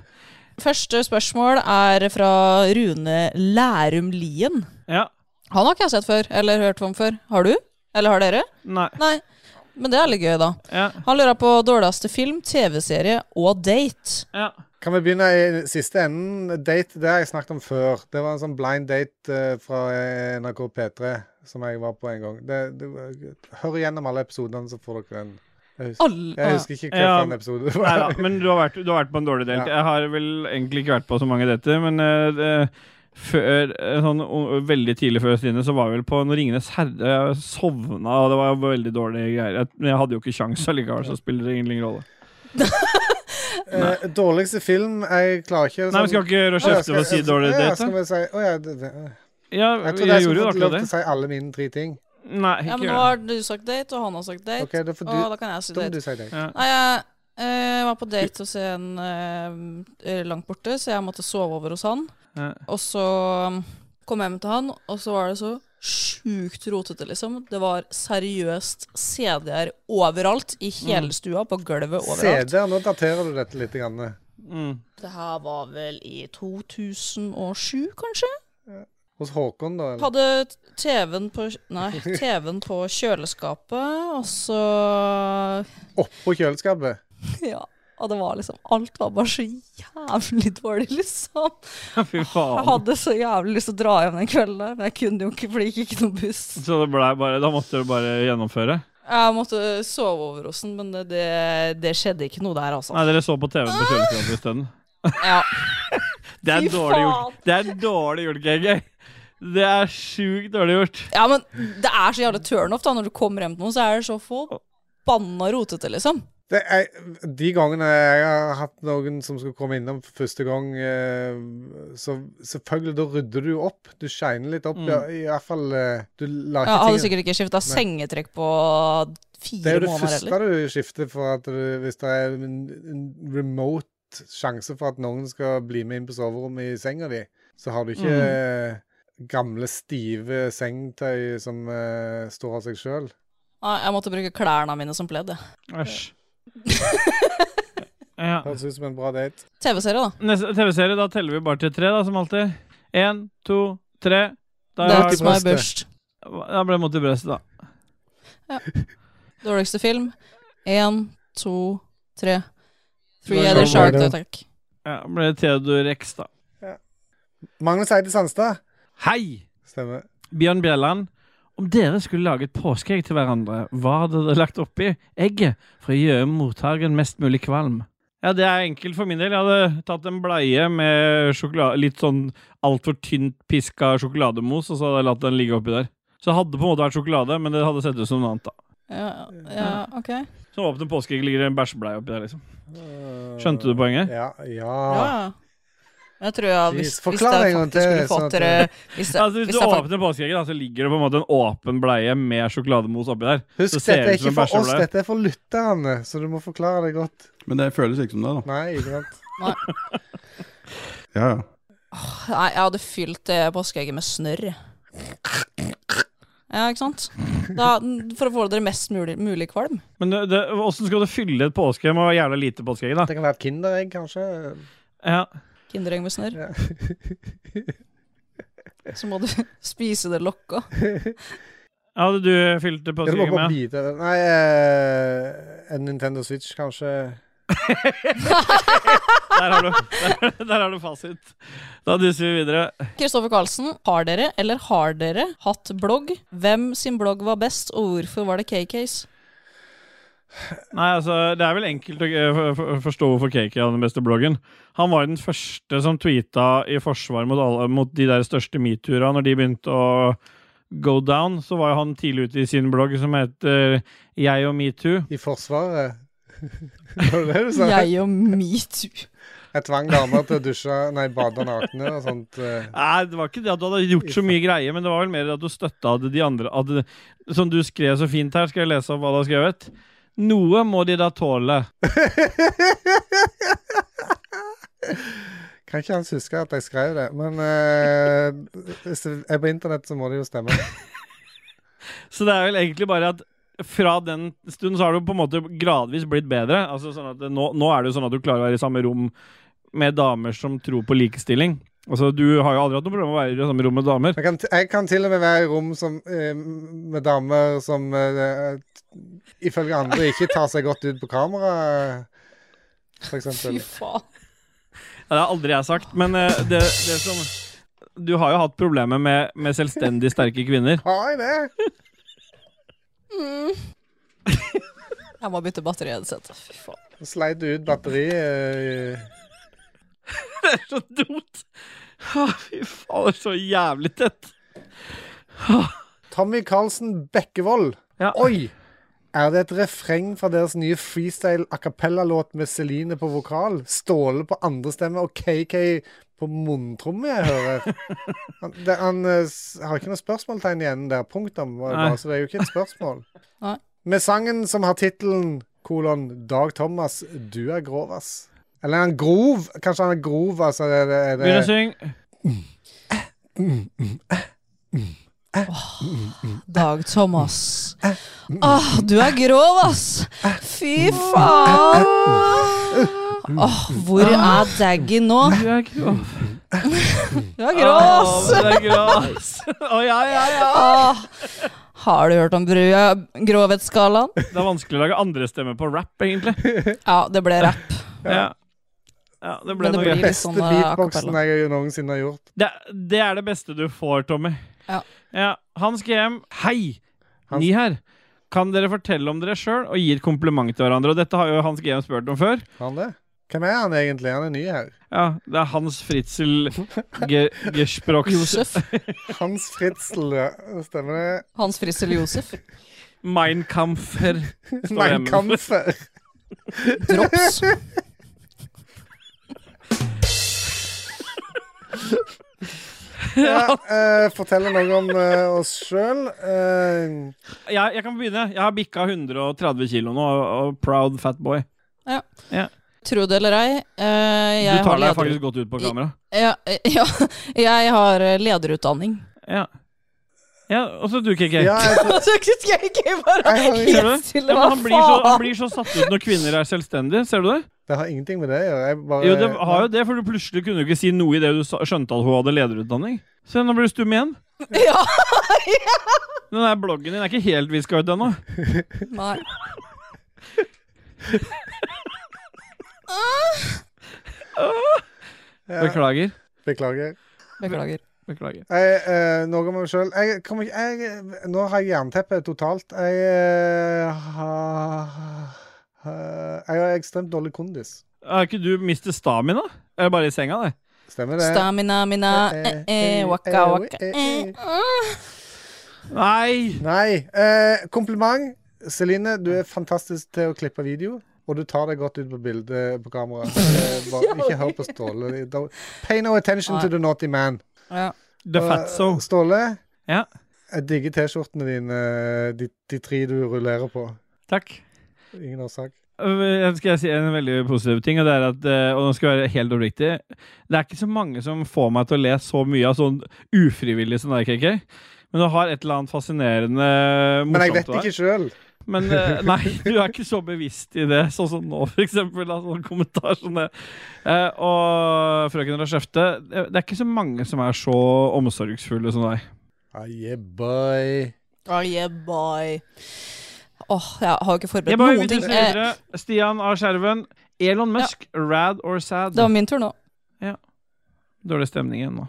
Speaker 3: Første spørsmål er fra Rune Lærum Lien.
Speaker 2: Ja.
Speaker 3: Han har ikke jeg sett før, eller hørt om før. Har du? Eller har dere?
Speaker 2: Nei.
Speaker 3: Nei. Men det er litt gøy, da.
Speaker 2: Ja.
Speaker 3: Han lurer på dårligste film, TV-serie og date.
Speaker 2: ja.
Speaker 4: Kan vi begynne i siste enden? Date, det har jeg snakket om før. Det var en sånn blind date eh, fra eh, NRK P3 som jeg var på en gang. Det, det, var- hør igjennom alle episodene, så får dere den. Jeg husker,
Speaker 3: Alle
Speaker 4: jeg husker ikke
Speaker 2: Ja.
Speaker 4: hvilken episode det
Speaker 2: Nei da,
Speaker 4: var.
Speaker 2: men du har, vært, du har vært på en dårlig date.
Speaker 4: Ja.
Speaker 2: Jeg har vel egentlig ikke vært på så mange dater, men eh, det- før, eh, sånn o- veldig tidlig før Stine, så var jeg vel på når 'Ringenes herre'. Jeg sovna, og det var veldig dårlige greier. Jeg, men jeg hadde jo ikke kjangs allikevel, så spiller det ingen rolle.
Speaker 4: Eh, dårligste film Jeg klarer ikke sånn-
Speaker 2: Nei, vi skal ikke
Speaker 4: Å, ja,
Speaker 2: rushe etter å si dårlig
Speaker 4: ja,
Speaker 2: date.
Speaker 4: skal
Speaker 2: da.
Speaker 4: vi si Å ja, det, det.
Speaker 2: Ja,
Speaker 4: jeg
Speaker 2: jeg
Speaker 4: tror jeg
Speaker 2: gjorde
Speaker 4: skulle
Speaker 2: jo
Speaker 4: fått
Speaker 2: akkurat
Speaker 4: lov til å
Speaker 2: det.
Speaker 4: si alle mine tre ting.
Speaker 2: Nei, ikke
Speaker 3: Ja, men nå
Speaker 2: gjør det.
Speaker 3: har du sagt date, og han har sagt date.
Speaker 4: Ok, da får du-
Speaker 3: og da kan jeg si
Speaker 4: da må
Speaker 3: date.
Speaker 4: du si date. Ja.
Speaker 3: Nei, jeg eh, var på date hos en eh, langt borte, så jeg måtte sove over hos han.
Speaker 2: Ja.
Speaker 3: Og så um, kom jeg hjem til han, og så var det så sjukt rotete, liksom. Det var seriøst CD-er overalt, i hele
Speaker 4: Mm.
Speaker 3: stua, på gulvet overalt.
Speaker 4: CD-er, nå daterer du dette litt. Grann.
Speaker 3: Det her var vel i 2007, kanskje?
Speaker 4: Hos Håkon, da? Eller?
Speaker 3: Hadde TV-en på Nei, TV-en på kjøleskapet, og så
Speaker 4: Oppå kjøleskapet?
Speaker 3: Ja. Og det var liksom Alt var bare så jævlig dårlig, liksom.
Speaker 2: Fy
Speaker 3: Jeg
Speaker 2: faen.
Speaker 3: hadde så jævlig lyst til å dra hjem den kvelden, der, men jeg kunne jo ikke, for det gikk ikke noen buss.
Speaker 2: Så det ble bare, da måtte du bare gjennomføre?
Speaker 3: Jeg måtte sove over hos den, men det, det, det skjedde ikke noe der, altså.
Speaker 2: Nei, dere så på TV-en på kjøleskapet isteden.
Speaker 3: Ja.
Speaker 2: Det er
Speaker 3: Fy
Speaker 2: dårlig
Speaker 3: faen.
Speaker 2: gjort. Det er dårlig gjort, GG. Det er sjukt dårlig gjort.
Speaker 3: ja, men det er så jævlig turnoff, da. Når du kommer hjem til noen, så er det så forbanna rotete, liksom.
Speaker 4: Det er, de gangene jeg har hatt noen som skulle komme innom for første gang, eh, så selvfølgelig, da rydder du jo opp. Du shiner litt opp,
Speaker 3: Mm.
Speaker 4: ja, i hvert fall. eh, Du lar
Speaker 3: Jeg
Speaker 4: ikke
Speaker 3: hadde
Speaker 4: tingene-
Speaker 3: sikkert ikke skifta
Speaker 4: Nei.
Speaker 3: sengetrekk på
Speaker 4: Det
Speaker 3: fire
Speaker 4: er jo det
Speaker 3: måneder
Speaker 4: første
Speaker 3: heller.
Speaker 4: du skifter for at du, hvis det er en, en remote sjanse for at noen skal bli med inn på soverommet i senga di, så har du ikke
Speaker 3: Mhm.
Speaker 4: eh, gamle, stive sengetøy som eh, står av seg sjøl.
Speaker 3: Nei, jeg måtte bruke klærne mine som pledd, jeg.
Speaker 2: Æsj. Ja.
Speaker 4: Høres ut som en bra date.
Speaker 3: TV-serie, da.
Speaker 2: Neste TV-serie, da teller vi bare til tre, da, som alltid. Én, to, tre. Da er
Speaker 3: That's
Speaker 2: det-
Speaker 3: my burst.
Speaker 2: Da ble det mot i brøstet, da.
Speaker 3: Dårligste film. Én, to, tre. Three
Speaker 2: Shark
Speaker 3: Other Shark,
Speaker 2: Weather.
Speaker 3: takk.
Speaker 2: Ja, ble det Theodor X, da.
Speaker 4: Magnus Eide Sandstad.
Speaker 2: Hei!
Speaker 4: Stemmer.
Speaker 2: Bjørn Bjelland. Om dere skulle lage et påskeegg til hverandre, hva hadde dere lagt oppi egget for å gjøre mottageren mest mulig kvalm? Ja, det er enkelt for min del. Jeg hadde tatt en bleie med sjokolade, litt sånn altfor tynt piska sjokolademos, og så hadde jeg latt den ligge oppi der. Så det hadde på en måte vært sjokolade, men det hadde sett ut som noe annet, da.
Speaker 3: Ja, ja, ok.
Speaker 2: Så åpner påskeegg ligger det en bæsjbleie oppi der, liksom. Skjønte du poenget?
Speaker 4: Eh, Ja. ja.
Speaker 3: Ja, ja. Jeg tror jeg, hvis,
Speaker 4: Jeez,
Speaker 3: hvis
Speaker 4: forklar
Speaker 3: jeg
Speaker 4: en gang
Speaker 3: faktisk
Speaker 4: til,
Speaker 3: skulle
Speaker 4: sånn
Speaker 3: fått
Speaker 4: at
Speaker 3: dere
Speaker 4: jeg-
Speaker 3: Hvis jeg,
Speaker 2: Altså, hvis
Speaker 3: hvis
Speaker 2: du
Speaker 3: jeg fakt-
Speaker 2: åpner påskeegget, da, så ligger det på en måte en åpen bleie med sjokolademos oppi der.
Speaker 4: Husk,
Speaker 2: Så ser
Speaker 4: dette er
Speaker 2: det ut som
Speaker 4: ikke
Speaker 2: en
Speaker 4: for oss,
Speaker 2: bæsjebleie.
Speaker 4: dette er for lytterne, så du må forklare det godt.
Speaker 11: Men det føles ikke som det, da.
Speaker 4: Nei, ikke sant?
Speaker 3: Nei.
Speaker 11: Ja, ja.
Speaker 3: Nei, jeg hadde fylt det påskeegget med snørr. Ja, ikke sant? Da, for å få dere mest mulig, mulig kvalm.
Speaker 2: Men det- det- hvordan skal du fylle et påskeegg med jævla lite påskeegg, da?
Speaker 4: Det kan være et kinderegg, kanskje.
Speaker 2: Ja.
Speaker 3: Kinderegg med snørr. Så må du spise det lokka.
Speaker 2: Hadde du fylt det
Speaker 4: Ja, du må
Speaker 2: påskeegget med?
Speaker 4: bare bite det. Nei, eh, en Nintendo Switch, kanskje.
Speaker 2: Der har du, der, der har du fasit. Da duser vi videre.
Speaker 3: Kristoffer Karlsen, har dere eller har dere hatt blogg? Hvem sin blogg var best, og hvorfor var det KKs?
Speaker 2: Nei, altså, det er vel enkelt å eh, for- for- forstå hvorfor Kaki hadde den beste bloggen. Han var den første som tweeta i forsvar mot, alle, mot de der største metoo-ene når de begynte å go down. Så var jo han tidlig ute i sin blogg som heter Jeg og metoo.
Speaker 4: I Forsvaret? Var det det du sa?
Speaker 3: Jeg og metoo.
Speaker 4: Jeg tvang damer til å dusje, nei, bade nakne og sånt. eh.
Speaker 2: Nei, det var ikke det at du hadde gjort så mye greie, men det var vel mer at du støtta at de andre at, Som du skrev så fint her, skal jeg lese opp hva du har skrevet? Noe må de da tåle.
Speaker 4: Kan ikke hans huske at jeg skrev det, men eh, hvis det er på internett, så må det jo stemme.
Speaker 2: Så det er vel egentlig bare at fra den stund så har du på en måte gradvis blitt bedre. Altså sånn at det, nå, nå er det jo sånn at du klarer å være i samme rom med damer som tror på likestilling. Altså Du har jo aldri hatt noe problem med å være i det samme rom med damer.
Speaker 4: Jeg kan, t- jeg kan til og med være i rom som, eh, med damer som eh, ifølge andre ikke tar seg godt ut på kamera, for
Speaker 3: Fy
Speaker 4: eksempel.
Speaker 3: faen.
Speaker 2: Ja, Det har aldri jeg sagt, men eh, det, det som Du har jo hatt problemer med, med selvstendig sterke kvinner.
Speaker 4: Har jeg det?
Speaker 3: Mm. Jeg må bytte batteri-headset. Fy faen.
Speaker 4: Sleit du ut batteriet? eh,
Speaker 2: Det er så dumt! Å, Fy faen, det er så jævlig tett.
Speaker 4: Tommy Carlsen Bekkevold.
Speaker 2: Ja.
Speaker 4: Oi! Er det et refreng fra deres nye freestyle a cappella-låt med Celine på vokal, Ståle på andre stemme og KK på munntromme jeg hører? Han, det, han eh, s- har ikke noe spørsmålstegn igjen der, punktum, var det
Speaker 2: Nei.
Speaker 4: bare, så det er jo ikke et spørsmål.
Speaker 3: Nei.
Speaker 4: Med sangen som har tittelen kolon Dag Thomas, du er grov, ass. Eller er han grov? Kanskje han er grov, altså. Er det, er det...
Speaker 2: Begynn å synge.
Speaker 3: Dag Thomas. Åh, du er grov, ass! Fy faen! Åh, hvor er Daggy nå? Du
Speaker 2: er grov.
Speaker 3: Du er grov, ass!
Speaker 2: Å, det er grås. Å, ja, ja, ja.
Speaker 3: Åh, har du hørt om brua- grovhetsskalaen?
Speaker 2: Det er vanskelig å lage andre stemmer på rap, egentlig.
Speaker 3: Ja, det ble rapp.
Speaker 2: Ja. Ja, det ble
Speaker 3: Men det
Speaker 2: noe
Speaker 3: blir
Speaker 2: gøy.
Speaker 3: litt sånn,
Speaker 4: Beste
Speaker 3: eh,
Speaker 4: beatboxen
Speaker 3: acapella.
Speaker 4: jeg noensinne har gjort.
Speaker 2: Det, det er det beste du får, Tommy.
Speaker 3: Ja.
Speaker 2: Hans GM, hei! Ni her. Kan dere fortelle om dere sjøl, og gir kompliment til hverandre? Og dette har jo Hans GM spurt om før.
Speaker 4: Han det? Hvem er han egentlig? Han er ny her.
Speaker 2: Ja, det er Hans Fritzel Ge Gersprox.
Speaker 3: Josef.
Speaker 4: Hans Fritzel, ja. Stemmer det?
Speaker 3: Hans Fritzel Josef.
Speaker 2: Mein Kampfer. står
Speaker 4: Mein
Speaker 2: hjemme.
Speaker 4: Kampfer.
Speaker 3: Drops.
Speaker 4: Ja, eh, fortell noe om eh, oss Eh, sjøl.
Speaker 2: Jeg, jeg kan begynne. Jeg har bikka 130 kilo nå, og, og proud fat boy.
Speaker 3: Ja.
Speaker 2: Ja.
Speaker 3: Tro det eller ei. eh, jeg
Speaker 2: du
Speaker 3: har
Speaker 2: tar deg
Speaker 3: leder-
Speaker 2: faktisk godt ut på kamera.
Speaker 3: Ja, eh, ja, jeg har eh, lederutdanning.
Speaker 2: Ja. ja og så du, KK.
Speaker 4: Ja, jeg-
Speaker 3: Så skal jeg ikke bare
Speaker 2: Ser du det?
Speaker 3: helt stille,
Speaker 2: Ja, men
Speaker 3: hva
Speaker 2: han, blir så, han
Speaker 3: faen?
Speaker 2: blir så satt ut når kvinner er selvstendige, ser du det?
Speaker 4: det har ingenting med det å gjøre. Jeg bare
Speaker 2: Jo, det har jo det, for du plutselig kunne jo ikke si noe idet du sa- skjønte at hun hadde lederutdanning. Se, nå blir du stum igjen.
Speaker 3: Ja,
Speaker 2: Den der bloggen din er ikke helt viska ut ennå.
Speaker 3: Nei.
Speaker 4: Ja.
Speaker 2: Beklager.
Speaker 4: Beklager.
Speaker 3: Beklager.
Speaker 2: Beklager.
Speaker 4: Jeg, eh, noe om meg sjøl. Jeg kommer ikke jeg, Nå har jeg jernteppe totalt. Jeg eh, har har- Jeg har ekstremt dårlig kondis.
Speaker 2: Er ikke du Mr. Stamina? Er det bare i senga, det?
Speaker 4: Stemmer det.
Speaker 3: Stamina mina, eh, eh, waka waka. eh.
Speaker 2: Nei!
Speaker 4: Nei. Eh, kompliment. Celine, du er fantastisk til å klippe video. Og du tar deg godt ut på bildet på kamera. Eh, bare, ikke hør på Ståle. Don't- Pay no attention to the naughty man.
Speaker 3: Ja.
Speaker 2: The
Speaker 4: Og,
Speaker 2: fatso.
Speaker 4: Ståle,
Speaker 2: Ja.
Speaker 4: jeg digger T-skjortene dine, de, de tre du rullerer på.
Speaker 2: Takk.
Speaker 4: Ingen årsak.
Speaker 2: Øh, Skal jeg si en veldig positiv ting, og det er at øh, Og nå skal jeg være helt oppriktig. Det er ikke så mange som får meg til å le så mye av sånn ufrivillig som deg, KK. Men du har et eller annet fascinerende morsomt
Speaker 4: Men jeg vet
Speaker 2: ved deg.
Speaker 4: ikke sjøl.
Speaker 2: Men eh, nei, du er ikke så bevisst i det, sånn som nå, for eksempel. da, Sånn kommentar som det. Eh, og frøken Rachefte, det det er ikke så mange som er så omsorgsfulle som deg.
Speaker 4: Ah, yeah, boy.
Speaker 3: Oh, yeah, boy. Åh, jeg har jo ikke forberedt
Speaker 2: Jeg bare
Speaker 3: noen
Speaker 2: vil
Speaker 3: ting.
Speaker 2: tusen
Speaker 3: Eh,
Speaker 2: videre. Stian A. Skjerven. Elon Musk, rad or sad?
Speaker 3: det var min tur nå.
Speaker 2: Dårlig stemning igjen nå.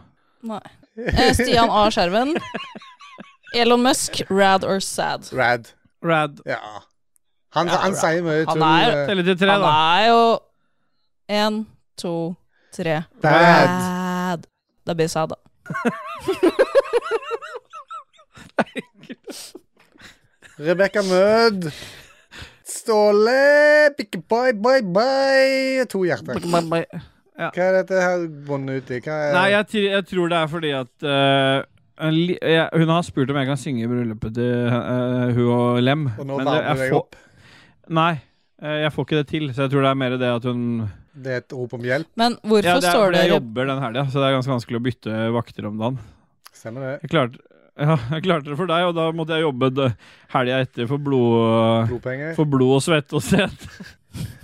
Speaker 3: Nei. Eh, Stian A. Skjerven. Elon Musk, rad or sad?
Speaker 4: Rad.
Speaker 2: Rad.
Speaker 4: Ja. Han,
Speaker 3: Ja,
Speaker 4: han
Speaker 3: rad.
Speaker 4: sier mye
Speaker 3: Han
Speaker 4: tull.
Speaker 3: er-
Speaker 4: eh,
Speaker 2: Telle til tre,
Speaker 3: Han
Speaker 2: da.
Speaker 3: er jo En, to, tre.
Speaker 4: Bad.
Speaker 3: Rad. Da blir det sad, da.
Speaker 4: Rebekka Mød. Ståle pikke, bye, bye, bye. To hjerter. Hva er dette her bundet ut i? Hva er
Speaker 2: Nei, jeg, tri- jeg tror det er fordi at eh, en li- jeg, Hun har spurt om jeg kan synge i bryllupet til eh, hun og Lem.
Speaker 4: Og nå
Speaker 2: men det-
Speaker 4: varmer du
Speaker 2: jeg
Speaker 4: deg
Speaker 2: får-
Speaker 4: opp.
Speaker 2: Nei, eh, jeg får ikke det til. Så jeg tror det er mer det at hun
Speaker 4: Det er et rop om hjelp.
Speaker 3: Men hvorfor
Speaker 2: Ja, det er
Speaker 3: står
Speaker 2: fordi
Speaker 3: det
Speaker 2: jeg jobber den helga, så det er ganske vanskelig å bytte vakter om dagen.
Speaker 4: Stemmer det.
Speaker 2: Jeg klarte, ja, jeg klarte det for deg, og da måtte jeg jobbe d- helga etter for blod,
Speaker 4: Blodpenger.
Speaker 2: for blod og svette og sted.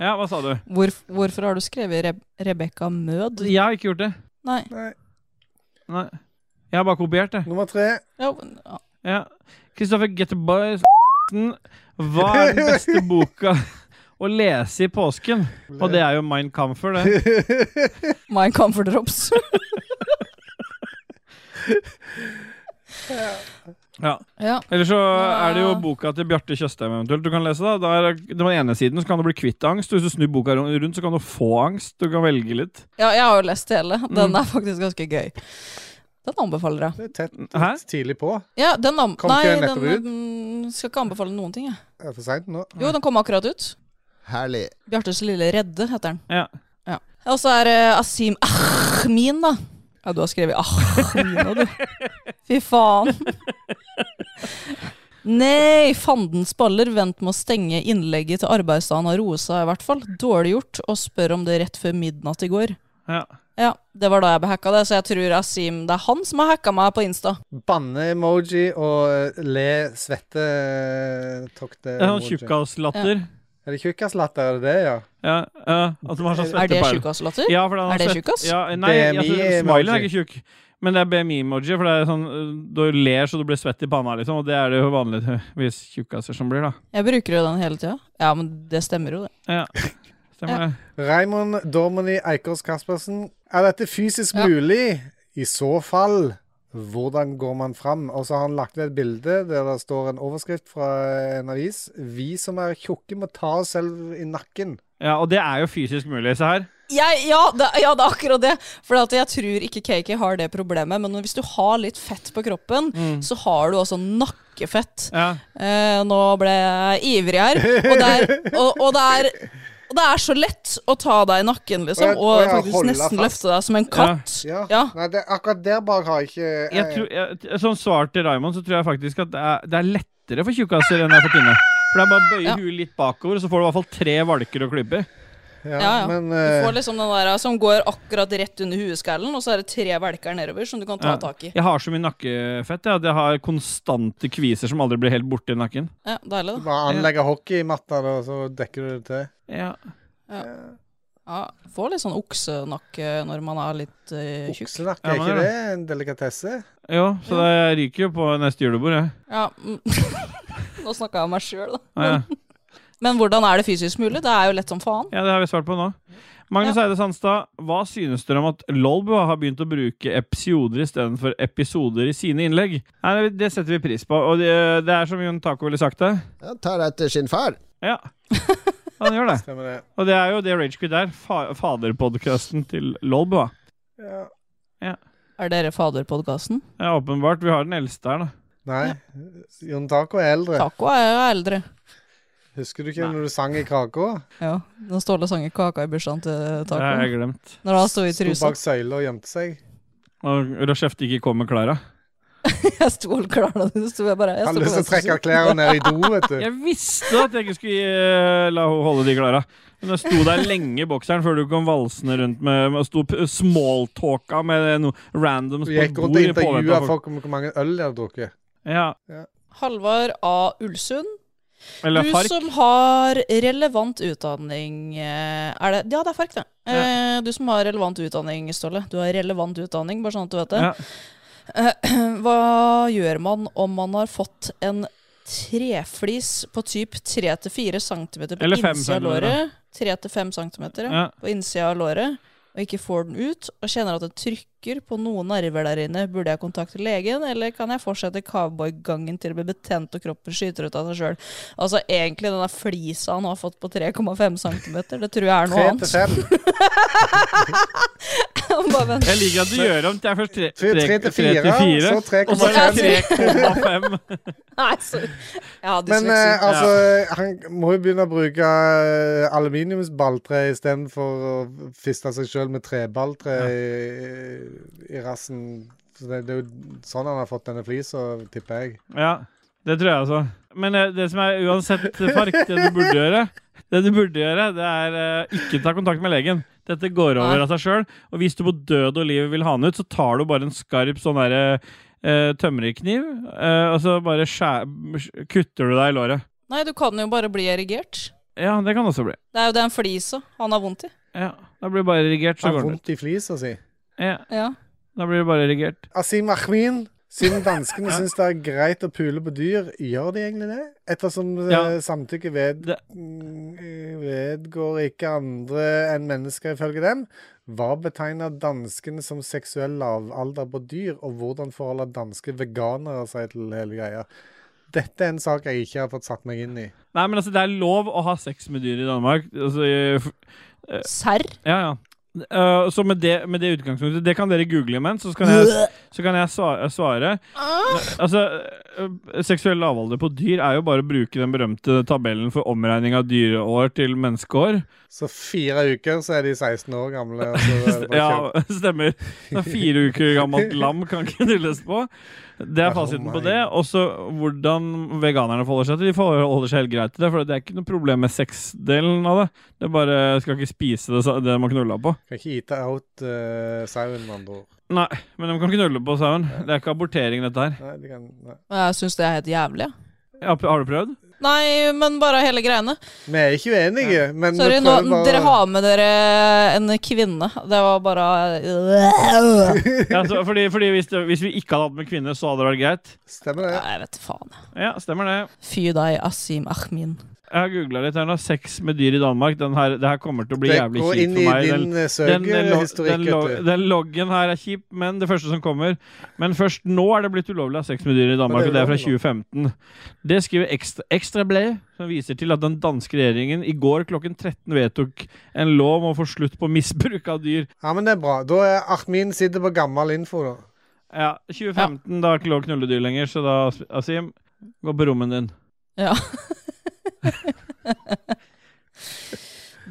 Speaker 2: Ja, hva sa du?
Speaker 3: Hvor, Hvorfor har du skrevet Re Rebekka Mød?
Speaker 2: Jeg har ikke gjort det.
Speaker 3: Nei.
Speaker 4: Nei.
Speaker 2: Nei. Jeg har bare kopiert det.
Speaker 4: Nummer tre.
Speaker 3: Ja, men- ja.
Speaker 2: Ja. Kristoffer Getteberg Hva er den beste boka å lese i påsken? Og det er jo Mind Comfort, det.
Speaker 3: Mine comfort drops.
Speaker 2: Ja.
Speaker 3: ja.
Speaker 2: Eller så er det jo boka til Bjarte Tjøstheim eventuelt du kan lese. da Da er det- På den ene siden så kan du bli kvitt angst. og Hvis du snur boka rund- rundt, så kan du få angst. Du kan velge litt.
Speaker 3: ja, jeg har jo lest hele. Den
Speaker 2: Mm.
Speaker 3: er faktisk ganske gøy. Den anbefaler jeg.
Speaker 4: Det er tett, litt tidlig på.
Speaker 3: Ja, den am
Speaker 4: Kom
Speaker 3: Nei, den
Speaker 4: ikke nettopp ut?
Speaker 3: mm, skal ikke anbefale noen ting, jeg.
Speaker 4: Er det for seint nå?
Speaker 3: Jo, den kom akkurat ut.
Speaker 9: Herlig.
Speaker 3: Bjartes lille redde heter den.
Speaker 2: Ja.
Speaker 3: Og så er det Asim Ahmin, da. Ja, du har skrevet Ahmin nå, du. Fy faen. Nei, fandens baller. Vent med å stenge innlegget til arbeidsdagen har roet seg, i hvert fall. Dårlig gjort. Og spør om det rett før midnatt i går.
Speaker 2: Ja.
Speaker 3: Ja, det var da jeg ble hacka det, så jeg tror Asim Det er han som har hacka meg på Insta.
Speaker 4: Banne-emoji og eh, le svette-tokte-emoji.
Speaker 2: Det er sånn tjukkaslatter. Ja.
Speaker 4: Er det tjukkaslatter? Er det det, ja?
Speaker 2: Ja, ja, at de har sånn
Speaker 3: Er det
Speaker 2: svetteperle.
Speaker 3: tjukkaslatter?
Speaker 2: Ja, for den har
Speaker 3: Er det
Speaker 2: svett-
Speaker 3: tjukkas?
Speaker 2: Ja, nei, altså,
Speaker 4: BMI-emoji.
Speaker 2: smilen er ikke tjukk. Men det er BMI-emoji, for det er sånn øh, Du ler så du blir svett i panna, liksom. Og det er det jo vanligvis tjukkaser som blir, da.
Speaker 3: Jeg bruker jo den hele tida. Ja, men det stemmer jo, det.
Speaker 2: Ja. Stemmer det.
Speaker 4: Raymond Dormony Eikås Kaspersen. Er dette fysisk mulig? I så fall, hvordan går man fram? Og så har han lagt ved et bilde der det står en overskrift fra en avis. Vi som er tjukke, må ta oss selv i nakken.
Speaker 2: Ja, og det er jo fysisk mulig, se her.
Speaker 3: Jeg, ja, det, ja, det er akkurat det. For at jeg tror ikke KK har det problemet. Men hvis du har litt fett på kroppen,
Speaker 4: Mm.
Speaker 3: så har du også nakkefett. Eh, nå ble jeg ivrig her. Og det er, og, og det er og det er så lett å ta deg i nakken, liksom,
Speaker 4: Og jeg-
Speaker 3: og
Speaker 4: og jeg
Speaker 3: faktisk
Speaker 4: holder
Speaker 3: nesten
Speaker 4: fast.
Speaker 3: løfte deg som en katt.
Speaker 4: Ja. Nei, det, akkurat der bak har jeg ikke
Speaker 2: Jeg tror, jeg, som svar til Raymond, så tror jeg faktisk at det er, det er lettere for tjukkaser enn det er for tynne. For det er bare å bøye huet litt bakover, så får du i hvert fall tre valker og klubber.
Speaker 4: Ja,
Speaker 3: Ja, ja.
Speaker 4: men
Speaker 3: du
Speaker 4: eh,
Speaker 3: får liksom den der som går akkurat rett under hueskallen, og så er det tre velker nedover som du kan ta
Speaker 2: Ja.
Speaker 3: tak i.
Speaker 2: Jeg har så mye nakkefett jeg, at jeg har konstante kviser som aldri blir helt borte i nakken.
Speaker 3: Ja, deilig,
Speaker 4: du
Speaker 3: da.
Speaker 4: bare anlegger hockey i matta, da, så dekker du det til.
Speaker 2: Ja.
Speaker 3: Ja. ja. Får litt sånn oksenakke når man er litt eh, tjukk.
Speaker 4: Oksenakke, er
Speaker 2: Ja, men-
Speaker 4: ikke det en delikatesse?
Speaker 2: Jo, så det, jeg ryker jo på neste julebord, jeg.
Speaker 3: Ja, mm. Nå snakka jeg om meg sjøl, da.
Speaker 2: Ja, ja.
Speaker 3: Men hvordan er det fysisk mulig? Det er jo lett som faen.
Speaker 2: Ja, det har vi svart på nå. Magnus Eide Sandstad, hva synes dere om at Lolbua har begynt å bruke episoder istedenfor episoder i sine innlegg? Nei, Det setter vi pris på, og det, det er som Jon Taco ville sagt det.
Speaker 9: Han tar etter sin far.
Speaker 2: Ja. Han gjør det.
Speaker 4: Stemmer det.
Speaker 2: Og det er jo det Ragequid er. Fa Faderpodkasten til Lolbua.
Speaker 4: Ja.
Speaker 3: Er dere faderpodkasten?
Speaker 2: Ja, åpenbart. Vi har den eldste her, da.
Speaker 4: Nei. Jon Taco er eldre.
Speaker 3: Taco er jo eldre.
Speaker 4: Husker du ikke når du sang i kaka?
Speaker 3: Ja, Når Ståle sang i kaka i bursdagen til Taco.
Speaker 2: Det har jeg glemt.
Speaker 3: Når han sto i
Speaker 4: Sto
Speaker 3: trusa.
Speaker 4: bak søyla og gjemte seg.
Speaker 2: Og Rashefte ikke kom med klærne.
Speaker 3: Jeg sto og klar da du sto jeg bare jeg
Speaker 4: Har
Speaker 3: sto på
Speaker 4: lyst til å
Speaker 3: venstre
Speaker 4: trekke
Speaker 3: side.
Speaker 4: klærne ned i do, vet du.
Speaker 2: Jeg visste at jeg ikke skulle eh, la henne holde de klara. Men jeg sto der lenge i bokseren før du kom valsende rundt med og sto p- smalltalka med noe randoms
Speaker 4: Du
Speaker 2: på et
Speaker 4: gikk rundt
Speaker 2: bord i
Speaker 4: og
Speaker 2: påvente
Speaker 4: intervjua
Speaker 2: av folk.
Speaker 4: folk om hvor mange øl de hadde drukket.
Speaker 2: Ja.
Speaker 3: Halvard A. Ulsund.
Speaker 2: Eller
Speaker 3: du
Speaker 2: Fark.
Speaker 3: som har relevant utdanning eh, Er det Ja, det er Fark, det. Eh, Du som har relevant utdanning, Ståle. Du har relevant utdanning, bare sånn at du vet det.
Speaker 2: Ja.
Speaker 3: Eh, Hva gjør man om man har fått en treflis på typ 3-4 cm på
Speaker 2: Eller fem
Speaker 3: innsida av
Speaker 2: centimeter,
Speaker 3: låret? 3-5 cm
Speaker 2: Ja.
Speaker 3: på innsida av låret, og ikke får den ut, og kjenner at det trykker på noen nerver der inne. Burde jeg kontakte legen, eller kan jeg fortsette cowboygangen til det blir betent og kroppen skyter ut av seg sjøl? Altså egentlig den der flisa han har fått på 3,5 cm, det tror jeg er noe
Speaker 4: Tre til
Speaker 3: annet.
Speaker 4: fem.
Speaker 3: Bare vent.
Speaker 2: Jeg liker at du gjør om til først tre-
Speaker 4: Tre-
Speaker 2: tre-
Speaker 4: tre til fire, så tre
Speaker 2: og så er det
Speaker 4: komma
Speaker 2: 3,5.
Speaker 3: Nei, så Ja,
Speaker 4: Men
Speaker 3: dysleksi.
Speaker 4: eh, altså, han må jo begynne å bruke eh, aluminiumsballtre istedenfor å fiste seg sjøl med treballtre i, i rassen. Så det, det er jo sånn han har fått denne flisa, tipper jeg.
Speaker 2: Ja, det tror jeg også. Men eh, det som er uansett Fark, det du burde gjøre, det du burde gjøre, det er eh, ikke ta kontakt med legen. Dette går over
Speaker 3: Nei.
Speaker 2: av seg sjøl. Og hvis du på død og liv vil ha den ut, så tar du bare en skarp sånn derre eh, tømmerkniv, eh, og så bare skjær, kutter du deg i låret.
Speaker 3: Nei, du kan jo bare bli erigert.
Speaker 2: Ja, det kan også bli.
Speaker 3: Det er jo den flisa han har vondt i.
Speaker 2: Ja, Da blir det bare erigert, så
Speaker 4: Han har
Speaker 2: går den ut.
Speaker 4: vondt i flisa si.
Speaker 2: Ja,
Speaker 3: Ja.
Speaker 2: da blir det bare erigert.
Speaker 4: Asim Ahmin, siden danskene syns det er greit å pule på dyr, gjør de egentlig det? Ettersom eh,
Speaker 2: Ja.
Speaker 4: samtykke ved,
Speaker 2: Det-
Speaker 4: mm, eh, vedgår ikke andre enn mennesker, ifølge dem. Hva betegner danskene som seksuell lavalder på dyr, og hvordan forholder danske veganere seg til hele greia? Dette er en sak jeg ikke har fått satt meg inn i.
Speaker 3: Eh.
Speaker 2: Nei, men altså, det er lov å ha sex med dyr i Danmark. Altså, i- f-
Speaker 3: Serr?
Speaker 2: Ja, ja. Eh, så med det, med det utgangspunktet Det kan dere google imens, så kan jeg, så kan jeg svare. svare. Altså, eh, Seksuell lavalder på dyr er jo bare å bruke den berømte tabellen for omregning av dyreår til menneskeår.
Speaker 4: Så fire uker, så er de 16 år gamle. og så er det bare
Speaker 2: Ja,
Speaker 4: kjøp.
Speaker 2: stemmer. Det er fire uker gammelt lam kan ikke nulles på. Det er
Speaker 4: Oh
Speaker 2: fasiten på
Speaker 4: my.
Speaker 2: det. Også hvordan veganerne forholder seg til det. De forholder seg helt greit til det, for det er ikke noe problem med sexdelen av det. Det er bare skal ikke spise det, sa- det man knulla på.
Speaker 4: Kan ikke eate out uh, sauen, med andre ord.
Speaker 2: Nei, men de kan knulle på sauen. Det er ikke abortering, dette her.
Speaker 4: Nei, de kan, nei.
Speaker 3: Men Jeg syns det er helt jævlig. ja.
Speaker 2: Ja, har du prøvd?
Speaker 3: Nei, men bare hele greiene.
Speaker 4: Vi er ikke uenige, men vi
Speaker 3: Sorry, nå,
Speaker 4: prøver bare-
Speaker 3: dere har med dere en kvinne. Det var bare
Speaker 2: Ja, så, fordi fordi hvis, det, hvis vi ikke hadde hatt med kvinner, så hadde det vært greit.
Speaker 4: Stemmer det.
Speaker 3: Nei, jeg vet faen.
Speaker 2: Ja, stemmer det.
Speaker 3: Fy deg, Asim Ahmin.
Speaker 2: Jeg har googla litt. her nå. Sex med dyr i Danmark. Den her, det her kommer til å bli
Speaker 4: Det
Speaker 2: jævlig
Speaker 4: går
Speaker 2: kjipt
Speaker 4: inn
Speaker 2: for
Speaker 4: i
Speaker 2: meg.
Speaker 4: din, eh, søkehistorikk,
Speaker 2: den, lo-
Speaker 4: vet du.
Speaker 2: den loggen her er kjip, men det første som kommer Men først nå er det blitt ulovlig å ha sex med dyr i Danmark, og det
Speaker 4: Men det
Speaker 2: er
Speaker 4: er
Speaker 2: fra
Speaker 4: ulovlig
Speaker 2: 2015. Det skriver Ekstra, ekstra Blad, som viser til at den danske regjeringen i går klokken 13 vedtok en lov om å få slutt på misbruk av dyr.
Speaker 4: Ja, men det er bra. Da er Ahmin sitter på gammel info, da.
Speaker 2: Ja, 2015, da er ikke lov å knulle dyr lenger, så da, Asim, gå på rommet din.
Speaker 3: Ja.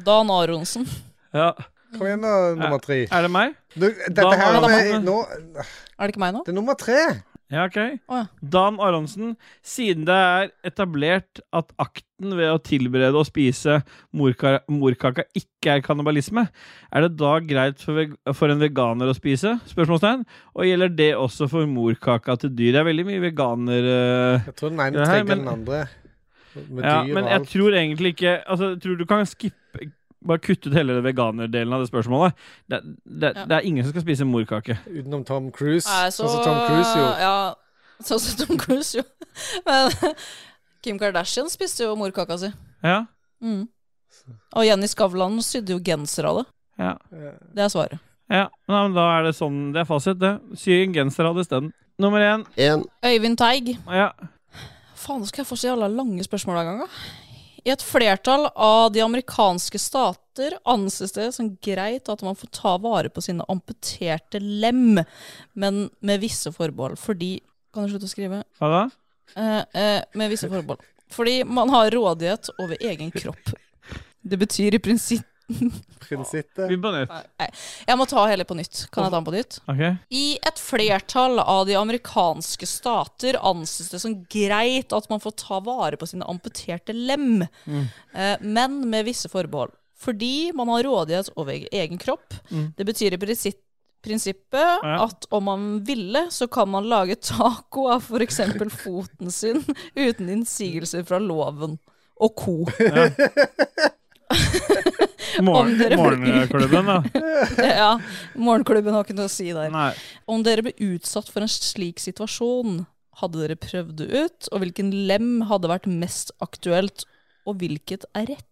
Speaker 3: Dan Aronsen.
Speaker 2: Ja.
Speaker 4: Kom igjen, da, nummer tre.
Speaker 2: Er det meg?
Speaker 4: Du,
Speaker 2: Dan
Speaker 4: dette her
Speaker 2: Aronsen.
Speaker 4: med, nå,
Speaker 3: Er det ikke meg nå?
Speaker 4: Det er nummer tre.
Speaker 2: Ja, ok.
Speaker 3: Å, ja.
Speaker 2: Dan Aronsen, siden det er etablert at akten ved å tilberede og spise morka, morkaka ikke er kannibalisme, er det da greit for, veg for en veganer å spise? Spørsmålstegn. Og gjelder det også for morkaka til dyr? Det er veldig mye veganer... eh,
Speaker 4: Jeg tror den ene
Speaker 2: det her,
Speaker 4: trenger
Speaker 2: men-
Speaker 4: den andre. Med
Speaker 2: ja,
Speaker 4: dyr
Speaker 2: men
Speaker 4: og
Speaker 2: jeg
Speaker 4: alt.
Speaker 2: tror egentlig ikke Altså, jeg tror du kan skippe Bare kutte ut hele veganerdelen av det spørsmålet. Det, det, det er ingen som skal spise morkake.
Speaker 4: Utenom Tom Cruise.
Speaker 3: Nei, så,
Speaker 4: Sånn som Tom Cruise gjorde.
Speaker 3: Ja, sånn som Tom Cruise gjorde. Men Kim Kardashian spiste jo morkaka si.
Speaker 2: Ja.
Speaker 3: Mm. Og Jenny Skavlan sydde jo genser av det.
Speaker 2: Ja.
Speaker 3: Det er svaret.
Speaker 2: Ja, nei, men da er det sånn Det er fasit, det. Sy en genser av det isteden. Nummer én.
Speaker 3: Øyvind Teig.
Speaker 2: Ja.
Speaker 3: Faen, nå skal jeg få så jævla lange spørsmål hver gang, da. I et flertall av de amerikanske stater anses det som greit at man får ta vare på sine amputerte lem, men med visse forbehold. Fordi Kan du slutte å skrive?
Speaker 2: Hva da?
Speaker 3: Eh, eh, med visse forbehold. Fordi man har rådighet over egen kropp. Det betyr i prinsipp
Speaker 4: Prinsippet.
Speaker 2: Vi på nytt.
Speaker 3: Nei, jeg må ta hele på nytt. Kan jeg ta den på nytt?
Speaker 2: Ok.
Speaker 3: I et flertall av de amerikanske stater anses det som greit at man får ta vare på sine amputerte lem,
Speaker 12: Mm.
Speaker 3: eh, men med visse forbehold. Fordi man har rådighet over egen kropp.
Speaker 12: Mm.
Speaker 3: Det betyr i prinsipp, prinsippet
Speaker 12: Ja.
Speaker 3: at om man ville, så kan man lage taco av f.eks. foten sin uten innsigelser fra loven. Og ko. Om
Speaker 2: Morgen-
Speaker 3: dere blir-
Speaker 2: Morgenklubben, da.
Speaker 3: ja, morgenklubben har ikke noe å si der.
Speaker 2: Nei.
Speaker 3: Om dere ble utsatt for en slik situasjon, hadde dere prøvd det ut? Og hvilken lem hadde vært mest aktuelt, og hvilket er rett?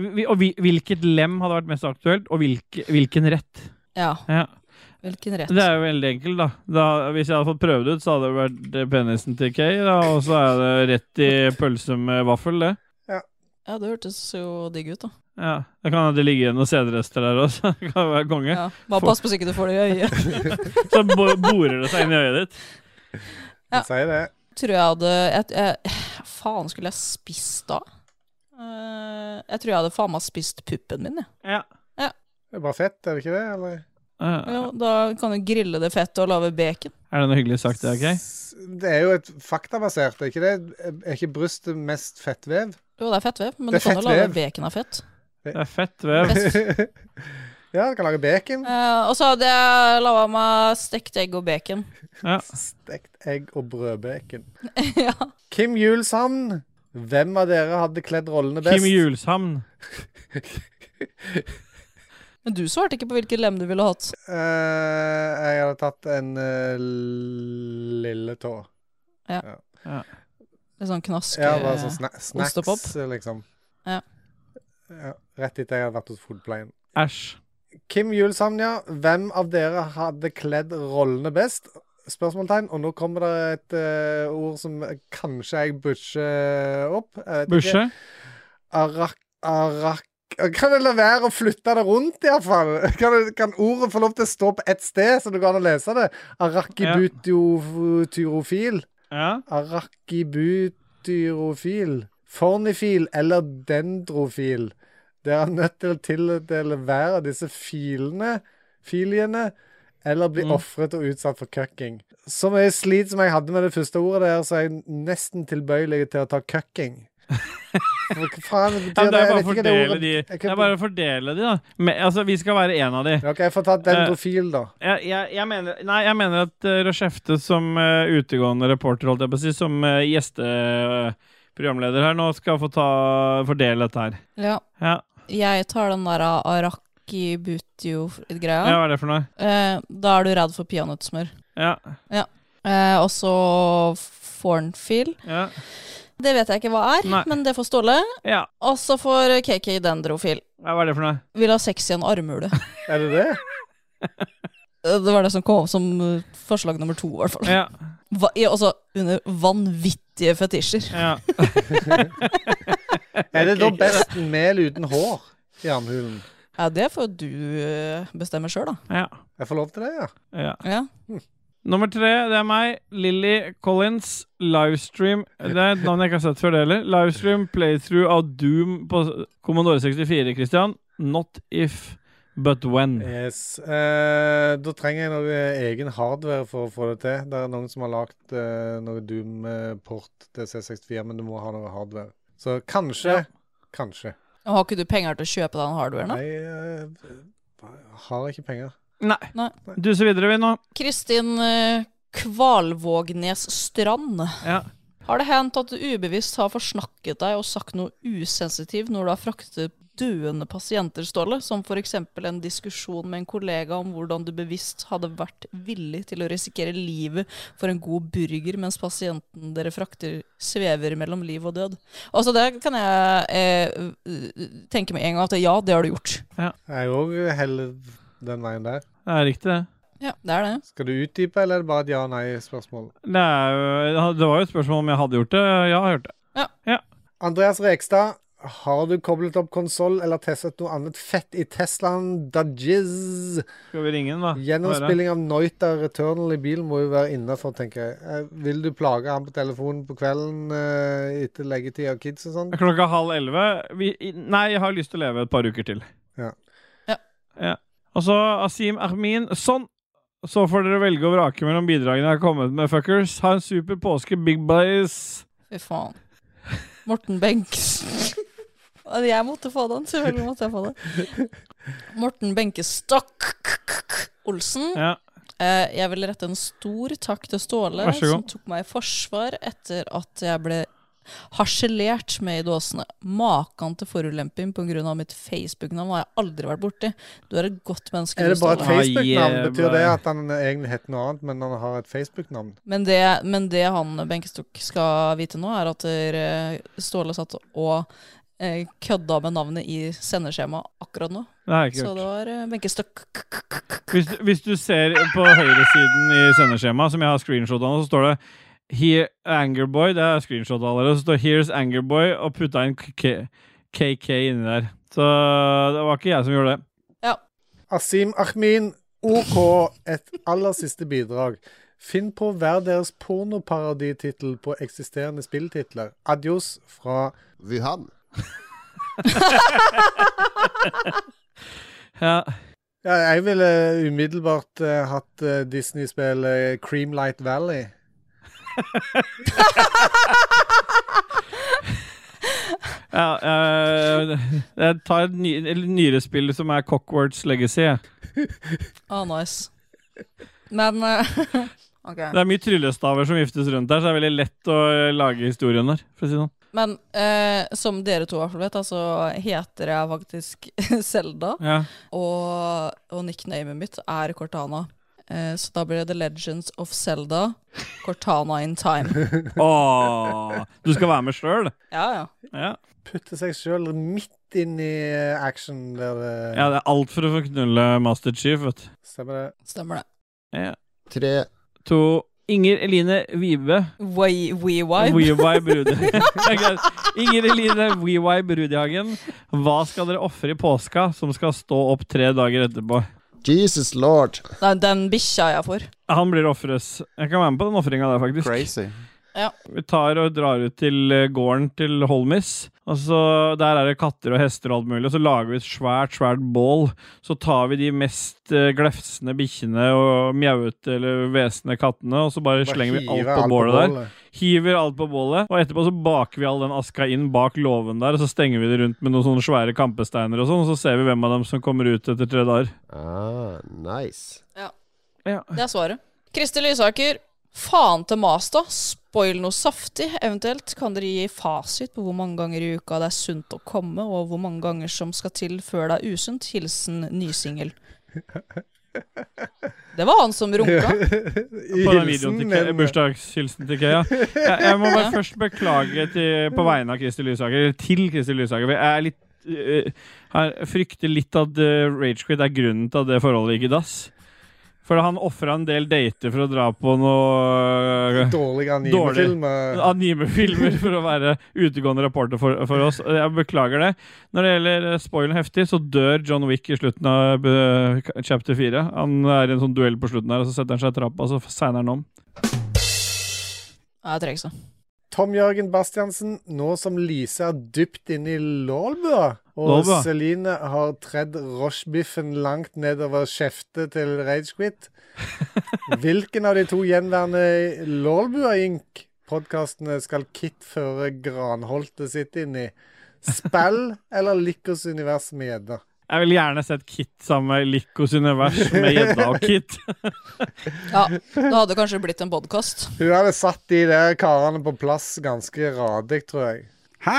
Speaker 2: Vi, og vi, hvilket lem hadde vært mest aktuelt, og hvilke, hvilken rett?
Speaker 3: Ja,
Speaker 2: Ja.
Speaker 3: hvilken rett?
Speaker 2: Det er jo veldig enkelt, da. da. Hvis jeg hadde fått prøvd det ut, så hadde det vært eh, penisen til Kay, da, og så er det rett i pølse med vaffel, det.
Speaker 3: Ja, det hørtes jo digg ut, da.
Speaker 2: Ja. Det kan hende det ligger igjen noen sædrester der også. Det kan være konge.
Speaker 3: Ja, bare
Speaker 2: Få-
Speaker 3: pass på så ikke du får det i øyet.
Speaker 2: så bo borer det seg inn i øyet ditt.
Speaker 3: Ja.
Speaker 4: Si det.
Speaker 3: Tror jeg hadde jeg, jeg, Faen, skulle jeg spist da? Eh, jeg tror jeg hadde faen meg spist puppen min, jeg.
Speaker 2: Ja.
Speaker 4: Det er bare fett, er det ikke det? Eller?
Speaker 3: Jo, da kan du grille det fettet og lage bacon.
Speaker 2: Er det noe hyggelig sagt, det, Kay?
Speaker 4: Det er jo et faktabasert, er ikke det? Er ikke brystet mest fettvev?
Speaker 3: Jo, det er fettvev, men
Speaker 4: Det
Speaker 3: du
Speaker 4: er
Speaker 3: kan jo lage
Speaker 4: fettvev.
Speaker 3: bacon av fett.
Speaker 2: Det er fett vev.
Speaker 4: ja, du kan lage bacon.
Speaker 3: Eh, og så hadde jeg laga meg stekt egg og bacon.
Speaker 4: Stekt egg og brødbacon. Kim Julshamn, hvem av dere hadde kledd rollene best?
Speaker 2: Kim Julshamn.
Speaker 3: Men du svarte ikke på hvilket lem du ville hatt.
Speaker 4: Eh, jeg hadde tatt en eh, lille tå.
Speaker 3: Ja.
Speaker 2: Ja.
Speaker 3: Det er sånn knask
Speaker 4: Ja, bare sånn sna
Speaker 3: eh, ostepop.
Speaker 4: snacks, liksom.
Speaker 3: Ja.
Speaker 4: Ja, rett etter jeg hadde vært hos fotpleien.
Speaker 2: Æsj.
Speaker 4: Kim Julshamn, ja. Hvem av dere hadde kledd rollene best? Spørsmålstegn. Og nå kommer det et eh, ord som kanskje jeg busher opp. Jeg vet ikke.
Speaker 2: Bushe?
Speaker 4: Arak... Arak... Kan det la være å flytte det rundt, iallfall? Kan, det- kan ordet få lov til å stå på ett sted, så det går an å lese det? Arakibutyrofil.
Speaker 2: Ja.
Speaker 4: Arakibutyrofil. Fornifil eller dendrofil. Det er nødt til å tildele hver av disse filene, filiene, eller bli
Speaker 2: Mm.
Speaker 4: ofret og utsatt for cucking. Så mye slit som jeg hadde med det første ordet der, så er jeg nesten tilbøyelig til å ta cucking. For Hva faen betyr
Speaker 2: Ja, men det
Speaker 4: Jeg
Speaker 2: er bare
Speaker 4: vet
Speaker 2: å
Speaker 4: ikke det ordet-
Speaker 2: fordele de. Det er bare å fordele de, da. Men, altså, vi skal være en av de.
Speaker 4: Ok, jeg får ta
Speaker 2: Eh.
Speaker 4: dendrofil, da.
Speaker 2: Jeg, jeg, jeg mener, nei, jeg mener at uh, Rochefte som eh, utegående reporter, holdt jeg på å si, som uh, gjesteprogramleder her nå, skal få ta, fordele dette her.
Speaker 3: Ja.
Speaker 2: Ja.
Speaker 3: Jeg tar den der arakibutio-greia.
Speaker 2: Ja, hva er det for noe?
Speaker 3: Eh, da er du redd for peanøttsmør.
Speaker 2: Ja.
Speaker 3: Ja. Eh, og så fornfil.
Speaker 2: Ja.
Speaker 3: Det vet jeg ikke hva er,
Speaker 2: Nei.
Speaker 3: men det får Ståle.
Speaker 2: Ja.
Speaker 3: Og så får KK dendrofil.
Speaker 2: Ja, hva er det for noe?
Speaker 3: Vil ha sex i en armhule.
Speaker 4: er det det?
Speaker 3: Det var det som kom opp som eh, forslag nummer to, i hvert fall.
Speaker 2: Ja.
Speaker 3: Va ja, altså under vanvittige fetisjer.
Speaker 4: Er det da best mel uten hår i armhulen?
Speaker 3: Ja, det får du eh, bestemme sjøl, da.
Speaker 2: Ja.
Speaker 4: Jeg får lov til det, ja.
Speaker 2: Ja.
Speaker 3: Ja.
Speaker 2: Nummer tre, det er meg. Lilly Collins. Livestream Det er et navn jeg ikke har sett før, det heller. Livestream playthrough av Doom på Commodore 64, Christian. Not if, but when.
Speaker 4: Yes. Eh, da trenger jeg noe egen hardware for å få det til. Det er noen som har lagd eh, noe Doom-port til C64, men du må ha noe hardware. Så kanskje, kanskje.
Speaker 3: Og har ikke du penger til å kjøpe den hardwaren, da?
Speaker 4: Nei, eh, har ikke penger.
Speaker 2: Nei.
Speaker 3: Nei.
Speaker 2: Duser videre, vi nå.
Speaker 3: Kristin eh, Kvalvågnes Strand.
Speaker 2: Ja.
Speaker 3: Har det hendt at du ubevisst har forsnakket deg og sagt noe usensitivt når du har fraktet døende pasienter, Ståle? Som f.eks. en diskusjon med en kollega om hvordan du bevisst hadde vært villig til å risikere livet for en god burger mens pasienten dere frakter, svever mellom liv og død. Altså, det kan jeg eh, tenke med en gang at ja, det har du gjort.
Speaker 4: Jeg òg heller den veien der.
Speaker 2: Det er riktig, det.
Speaker 3: Ja, det er det.
Speaker 4: Skal du utdype, eller er det bare et ja- og nei-spørsmål?
Speaker 2: Det, er, jo- det var jo et spørsmål om jeg hadde gjort det. Ja, jeg har gjort det.
Speaker 4: Andreas Rekstad, har du koblet opp konsoll eller testet noe annet fett i Teslaen Dodges?
Speaker 2: Skal vi ringe den, da?
Speaker 4: Gjennomspilling av Noita Returnal i bilen må jo være innafor, tenker jeg. Eh, Vil du plage han på telefonen på kvelden eh, etter leggetid av kids og sånn?
Speaker 2: Klokka halv elleve. Vi, i- nei, jeg har lyst til å leve et par uker til.
Speaker 4: Ja.
Speaker 3: Ja.
Speaker 2: Og så Asim Ahmin. Sånn! Så får dere velge og vrake mellom bidragene jeg har kommet med, fuckers. Ha en super påske, big boys.
Speaker 3: Fy faen. Morten Benks. Jeg måtte få den, selvfølgelig måtte jeg få det. Morten Benkestokk Olsen.
Speaker 2: Ja.
Speaker 3: Eh, Jeg vil rette en stor takk til Ståle,
Speaker 2: Vær så god.
Speaker 3: som tok meg i forsvar etter at jeg ble harselert med i dåsene. Makan til forulemping pga. mitt Facebook-navn har jeg aldri vært borti. Du er et godt menneske.
Speaker 4: Er det
Speaker 3: du,
Speaker 4: bare et
Speaker 3: Ståle.
Speaker 4: Facebook-navn?
Speaker 2: Ah,
Speaker 4: Betyr det
Speaker 2: jævla.
Speaker 4: at han egentlig heter noe annet, men han har et Facebook-navn?
Speaker 3: Men det, men det han Benkestok skal vite nå, er at eh, Ståle satt og eh, kødda med navnet i sendeskjemaet akkurat nå.
Speaker 2: Det har jeg ikke
Speaker 3: Så
Speaker 2: gjort.
Speaker 3: det var eh, Benkestok.
Speaker 2: Hvis, du- hvis du ser på høyresiden i sendeskjemaet, som jeg har screenshot av, nå, så står det Here Angerboy. Det er screenshot allerede. Så står Here's Angerboy, og putta inn K- KK inni der. Så det var ikke jeg som gjorde det.
Speaker 4: Asim Ahmin, OK, et aller siste bidrag. Finn på hver deres pornoparoditittel på eksisterende spilltitler. Adios fra Wuhan.
Speaker 2: Ja.
Speaker 4: Ja, jeg ville umiddelbart eh, hatt eh, Disney-spillet Creamlight Valley.
Speaker 2: Ja, eh, jeg tar et ny, eller nyere spill som er Cockwards Legacy. jeg.
Speaker 3: Ah, nice. Men eh, ok.
Speaker 2: Det er mye tryllestaver som viftes rundt der, så det er veldig lett å eh, lage historien der. For å si det sånn.
Speaker 3: Men eh, som dere to i hvert fall vet, da, så heter jeg faktisk Selda.
Speaker 2: Ja.
Speaker 3: Og, og nicknamet mitt er Cortana. Eh, så da blir det The Legends of Selda, Cortana in Time.
Speaker 2: Åh, du skal være med sjøl?
Speaker 3: Ja,
Speaker 2: ja.
Speaker 4: Putte seg sjøl midt inn i eh, action der eh, det
Speaker 2: Ja, det er alt for å få knulle Master Chief, vet du.
Speaker 4: Stemmer det.
Speaker 3: Stemmer det.
Speaker 2: Ja.
Speaker 9: Tre,
Speaker 2: to, Inger Eline Vibe.
Speaker 3: WeWibe.
Speaker 2: WeWibe Brude. Det er greit. Inger Eline WeWibe Brudhagen. Hva skal dere ofre i påska som skal stå opp tre dager etterpå?
Speaker 9: Jesus lord.
Speaker 3: Nei, den bikkja jeg får.
Speaker 2: Han blir ofres. Jeg kan være med på den ofringa der, faktisk.
Speaker 3: Ja.
Speaker 2: Vi tar og drar ut til eh, gården til Holmis. Og så Der er det katter og hester og alt mulig. Og så lager vi et svært, svært bål. Så tar vi de mest eh, glefsende bikkjene og mjauete eller hvesende kattene, og så bare,
Speaker 11: Bare
Speaker 2: slenger vi
Speaker 11: hiver
Speaker 2: alt på
Speaker 11: alt på
Speaker 2: bålet der.
Speaker 11: bålet.
Speaker 2: Hiver alt på bålet, og etterpå så baker vi all den aska inn bak låven der, og så stenger vi det rundt med noen sånne svære kampesteiner og sånn, og så ser vi hvem av dem som kommer ut etter tre dager.
Speaker 9: Ah, nice.
Speaker 3: Ja.
Speaker 2: Ja.
Speaker 3: Det er svaret. Kristel Lysaker, faen til mas, da. Spoil noe saftig. Eventuelt kan dere gi fasit på hvor mange ganger i uka det er sunt å komme, og hvor mange ganger som skal til før det er usunt. Hilsen nysingel. Det var han som runka.
Speaker 2: På den videoen til Ke- bursdagshilsen til Kea. Jeg, jeg må bare
Speaker 3: Ja.
Speaker 2: først beklage til, på vegne av Kristi Lysaker, til Kristi Lysaker. for Jeg er litt øh, her, frykter litt at øh, Ragequit er grunnen til at det forholdet gikk i dass. For han ofra en del dater for å dra på
Speaker 4: eh,
Speaker 2: noe øh,
Speaker 4: Dårlige animefilmer.
Speaker 2: dårlig- Animefilmer for å være utegående reporter for, for oss. Jeg beklager det. Når det gjelder eh, spoilen heftig, så dør John Wick i slutten av eh, chapter 4. Han er i en sånn duell på slutten her, og så setter han seg i trappa, og så segner han om.
Speaker 3: Ja, Jeg trenger ikke.
Speaker 4: Tom Jørgen Bastiansen, nå som Lise er dypt inne i lålbua, og
Speaker 2: Lålbua.
Speaker 4: Celine har tredd rochebiffen langt nedover kjeftet til Ragequit Hvilken av de to gjenværende Lålbua Inc.-podkastene skal Kit føre Granholtet sitt inn i? Spill eller Lykkos univers med gjedda?
Speaker 2: Jeg vil gjerne sett Kit sammen med Likos univers med gjedda og Kit.
Speaker 3: Ja, det hadde kanskje blitt en podkast.
Speaker 4: Hun hadde satt de der karene på plass ganske radig, tror jeg. Hæ?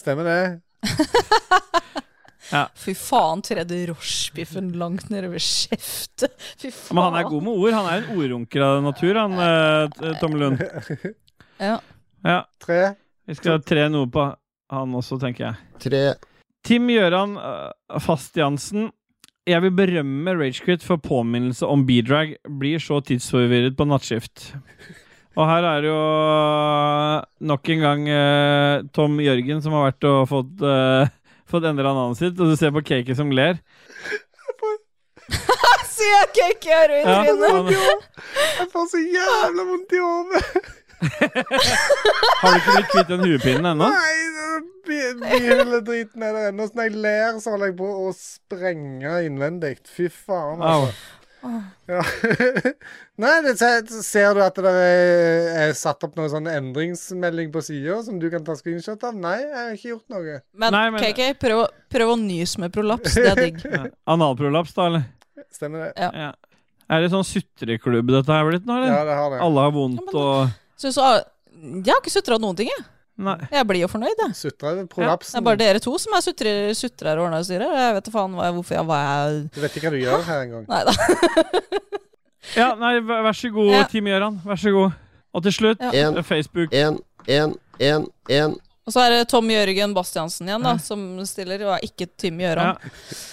Speaker 4: Stemmer det?
Speaker 3: Fy faen, tredde rochebiffen langt nedover kjeftet. Fy faen.
Speaker 2: Men han er god med ord. Han er en ordrunker av natur, han eh, t- Tom Lund.
Speaker 3: Ja.
Speaker 2: Ja.
Speaker 4: Tre.
Speaker 2: Vi skal tre noe på han også, tenker jeg.
Speaker 9: Tre.
Speaker 2: Tim Gjøran eh, Fast-Jansen. Jeg vil berømme Ragequit for påminnelse om B-drag. Blir så tidsforvirret på nattskift. Og her er det jo nok en gang eh, Tom Jørgen som har vært og fått, eh, fått endra navnet sitt, og du ser på Cakey som ler.
Speaker 3: Se, jeg kan ikke gjøre
Speaker 2: Ja,
Speaker 3: det i
Speaker 2: han-
Speaker 3: trynet!
Speaker 4: Jeg får så jævla vondt i hodet.
Speaker 2: Har du ikke blitt kvitt den huepinen ennå?
Speaker 4: Nei, den bi- bihuledriten er der ennå. Så når jeg ler, så holder jeg på å sprenge innvendig. Fy faen,
Speaker 2: Au.
Speaker 4: altså. Ja. Nei, det, ser- ser du at det er, er satt opp noen sånn endringsmelding på sida som du kan ta screenshot av? Nei, jeg har ikke gjort noe.
Speaker 3: Men, KK, prøv, å- prøv å nys med prolaps. Det er digg.
Speaker 2: Ja. Analprolaps, da, eller?
Speaker 4: Stemmer det.
Speaker 3: Ja.
Speaker 2: Er det sånn sutreklubb dette her blitt nå, eller?
Speaker 4: Ja, det har det.
Speaker 2: Alle har vondt og
Speaker 3: Synes, ah, jeg har ikke sutra noen ting, jeg.
Speaker 2: Nei.
Speaker 3: Jeg blir jo fornøyd, jeg.
Speaker 4: Sutra over
Speaker 3: Det
Speaker 4: prolapsen.
Speaker 3: er bare dere to som er sutrer, sutrer og ordner og styrer. Jeg vet da faen hva jeg, hvorfor jeg hva jeg
Speaker 4: Du vet ikke hva du gjør her engang.
Speaker 3: Nei da.
Speaker 2: Ja, nei, vær vær så god,
Speaker 3: Ja.
Speaker 2: Team Gjøran. Vær så god. Og til slutt, eh,
Speaker 9: En.
Speaker 2: Facebook.
Speaker 9: En, en, en, en.
Speaker 3: Og så er det Tom Jørgen Bastiansen igjen, da, som stiller, og er ikke Tim Gjøran.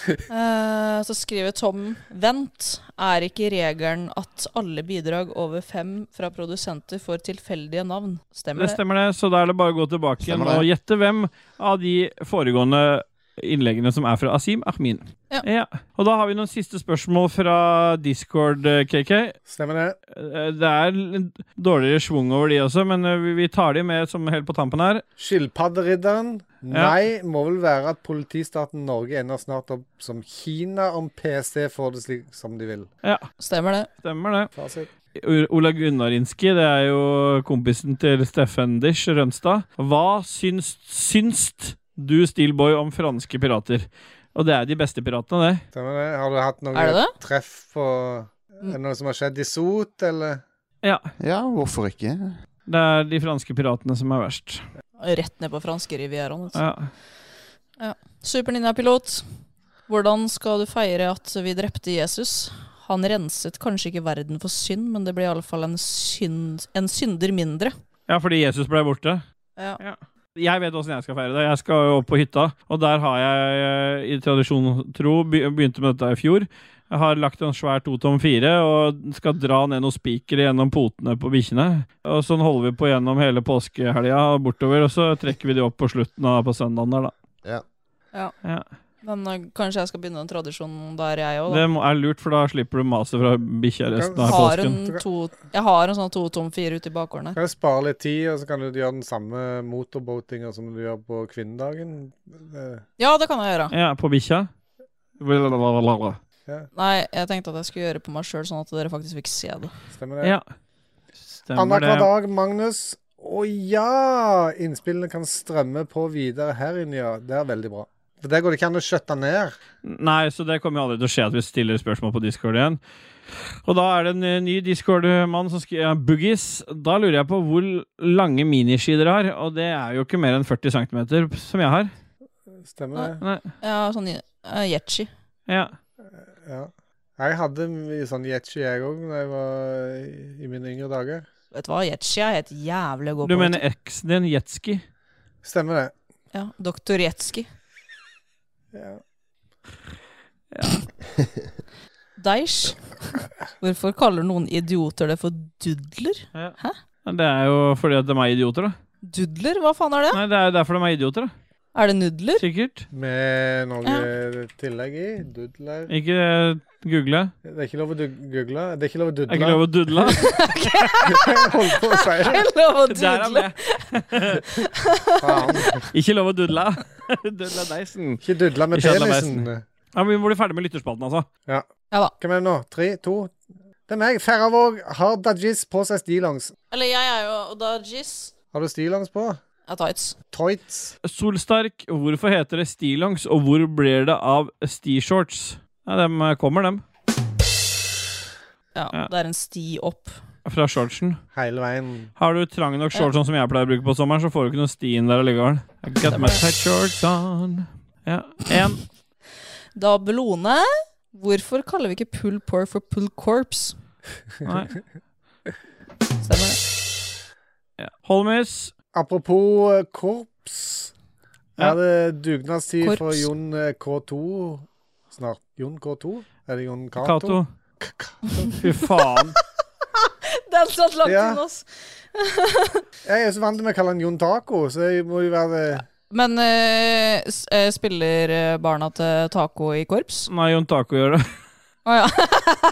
Speaker 3: Eh, så skriver Tom Vent, er ikke regelen at alle bidrag over fem fra produsenter får tilfeldige navn? Stemmer
Speaker 2: Det
Speaker 3: det?
Speaker 2: stemmer det, så da er det bare å gå tilbake igjen
Speaker 3: Stemmer det.
Speaker 2: og gjette hvem av de foregående innleggene som er fra Asim Ahmin.
Speaker 3: Ja.
Speaker 2: Og da har vi noen siste spørsmål fra Discord, eh, KK.
Speaker 4: Stemmer det.
Speaker 2: Det er litt dårligere schwung over de også, men eh, vi- vi tar de med som helt på tampen her.
Speaker 4: Skilpadderidderen?
Speaker 2: Ja.
Speaker 4: Nei, må vel være at politistaten Norge ender snart opp som Kina om PC får det slik som de vil.
Speaker 2: Ja.
Speaker 3: Stemmer det.
Speaker 2: Stemmer det.
Speaker 4: Fasit.
Speaker 2: O- Ola Gunnarinski, det er jo kompisen til Steffen Dish Rønstad. Hva syns, syns du, Steelboy, om franske pirater? Og det er de beste piratene, det.
Speaker 4: Stemmer det. Har du hatt noe
Speaker 2: Er det Mm. det?
Speaker 4: treff på Er det noe som har skjedd i Sot, eller?
Speaker 2: Ja.
Speaker 7: Ja, hvorfor ikke?
Speaker 2: Det er de franske piratene som er verst.
Speaker 3: Rett ned på franske rivieraen. vet du.
Speaker 2: Ja.
Speaker 3: Ja. Super Ninja-pilot. Hvordan skal du feire at vi drepte Jesus? Han renset kanskje ikke verden for synd, men det ble iallfall en, synd, en synder mindre.
Speaker 2: Ja, fordi Jesus ble borte.
Speaker 3: Ja.
Speaker 2: Jeg vet åssen jeg skal feire det. Jeg skal jo opp på hytta, og der har jeg eh, i tradisjon tro be- begynte med dette i fjor. eh, Jeg har lagt en svær totom fire og skal dra ned noen spikere gjennom potene på bikkjene. Og sånn holder vi på gjennom hele påskehelga og bortover, og så trekker vi de opp på slutten av på søndagen der, da.
Speaker 3: Ja.
Speaker 2: Ja.
Speaker 3: Men eh, kanskje jeg skal begynne en tradisjon der, jeg òg.
Speaker 2: Det må- er lurt, for da slipper du maset fra bikkja resten av
Speaker 3: Har
Speaker 2: påsken.
Speaker 3: en to, jeg har en sånn to tom fire ute i bakgården.
Speaker 4: Kan du spare litt tid, og så kan du gjøre den samme motorboatinga som du gjør på kvinnedagen? Eh,
Speaker 3: Ja, det kan jeg gjøre.
Speaker 2: Ja, på bikkja? Blablabla.
Speaker 3: Nei, jeg tenkte at jeg skulle gjøre det på meg sjøl, sånn at dere faktisk fikk se det.
Speaker 4: Stemmer det. Annenhver dag, Magnus. Å ja! Innspillene kan strømme på videre her inne, ja. Det er veldig bra. For Der går det ikke an å skjøtte ned.
Speaker 2: Nei, så det kommer jo aldri til å skje at vi stiller spørsmål på Discord igjen. Og da er det en eh, ny Discord-mann som skriver ja, Boogies. Da lurer jeg på hvor lange miniski dere har, og det er jo ikke mer enn 40 cm som jeg har.
Speaker 4: Stemmer det?
Speaker 2: Nei.
Speaker 3: Ja, sånn uh, yetchi.
Speaker 2: Ja.
Speaker 4: Ja. Jeg hadde mye sånn yetchi, jeg òg, da jeg var i- i mine yngre dager.
Speaker 3: Vet du hva, yetchi er helt jævlig å gå
Speaker 2: Du
Speaker 3: på. vet
Speaker 2: mener eksen din, Jetski?
Speaker 4: Stemmer det.
Speaker 3: Ja, Doktor Jetski.
Speaker 4: Ja.
Speaker 3: Deish. Hvorfor kaller noen idioter det for dudler? Hæ?
Speaker 2: Det er jo fordi at de er idioter, da.
Speaker 3: Dudler? Hva faen er det?
Speaker 2: Nei, det er jo derfor de er idioter, da.
Speaker 3: Er det nudler?
Speaker 2: Sikkert.
Speaker 4: Med noe tillegg i. Dudler.
Speaker 2: Ikke eh, google.
Speaker 4: Det er ikke lov å du- google. Det er ikke lov å dudle.
Speaker 2: Er ikke lov å dudle?
Speaker 4: jeg holdt på å si det.
Speaker 3: Ikke lov å
Speaker 2: Der er
Speaker 3: dudle.
Speaker 4: Faen.
Speaker 2: Ikke lov å dudle. dudle deisen.
Speaker 4: Ikke dudle med
Speaker 2: Ikke dudle
Speaker 4: penisen.
Speaker 2: deisen. Ja, men Vi må bli ferdig med lytterspalten, altså.
Speaker 4: Ja.
Speaker 3: ja da.
Speaker 4: Hvem er det nå? Tre, to Det er meg. Færøvåg har dajis på seg stillongs.
Speaker 3: Eller jeg er jo Odajis.
Speaker 4: Har du stillongs på?
Speaker 3: Ja, tights.
Speaker 4: Tights.
Speaker 2: Solsterk, hvorfor heter det stillongs, og hvor blir det av stishorts? Nei, dem eh, kommer, dem.
Speaker 3: Ja, det er en sti opp.
Speaker 2: Fra shortsen.
Speaker 4: Hele veien.
Speaker 2: Har du trang nok shorts sånn som jeg pleier å bruke på sommeren, så får du ikke noe sti inn der allikevel. I got my tight shorts on. Ja, en.
Speaker 3: Da Belone, hvorfor kaller vi ikke pull pour for pull corps?
Speaker 2: Nei.
Speaker 3: Stemmer det.
Speaker 2: Holmis.
Speaker 4: Apropos eh, korps.
Speaker 2: Ja.
Speaker 4: Er det dugnadstid
Speaker 2: Korps.
Speaker 4: for Jon eh, K2 snart? Jon K2? Er det Jon Cato?
Speaker 2: Cato. Fy faen.
Speaker 3: Den satt langt
Speaker 4: Ja.
Speaker 3: inne, ass.
Speaker 4: Jeg er så vant til å kalle han Jon Taco, så jeg må jo være det.
Speaker 3: Men eh, s- eh, spiller eh, barna til taco i korps?
Speaker 2: Nei, Jon Taco gjør det.
Speaker 3: Å ja.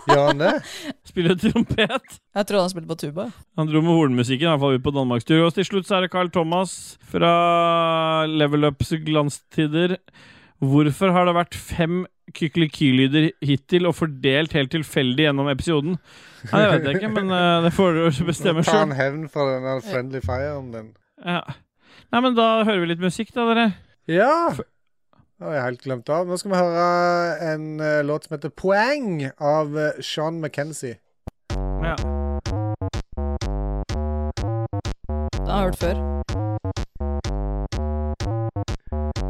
Speaker 4: Gjør han det?
Speaker 2: Spiller trompet.
Speaker 3: Jeg trodde han spilte på tuba.
Speaker 2: Han dro med hornmusikken, i hvert fall ut på danmarkstur. Og til slutt så er det Carl Thomas fra Level Ups glanstider. Hvorfor har det vært fem kykelikky-lyder hittil og fordelt helt tilfeldig gjennom episoden? Nei, Det vet jeg ikke, men eh, det får du bestemme
Speaker 4: Ta en
Speaker 2: sjøl.
Speaker 4: hevn for den der friendly fire-en din.
Speaker 2: Ja. Nei, men da hører vi litt musikk, da, dere.
Speaker 4: Ja! Det har jeg helt glemt av. Nå skal vi høre en eh, låt som heter 'Poeng' av eh, Sean McKenzie.
Speaker 2: Ja.
Speaker 3: Den har jeg hørt før.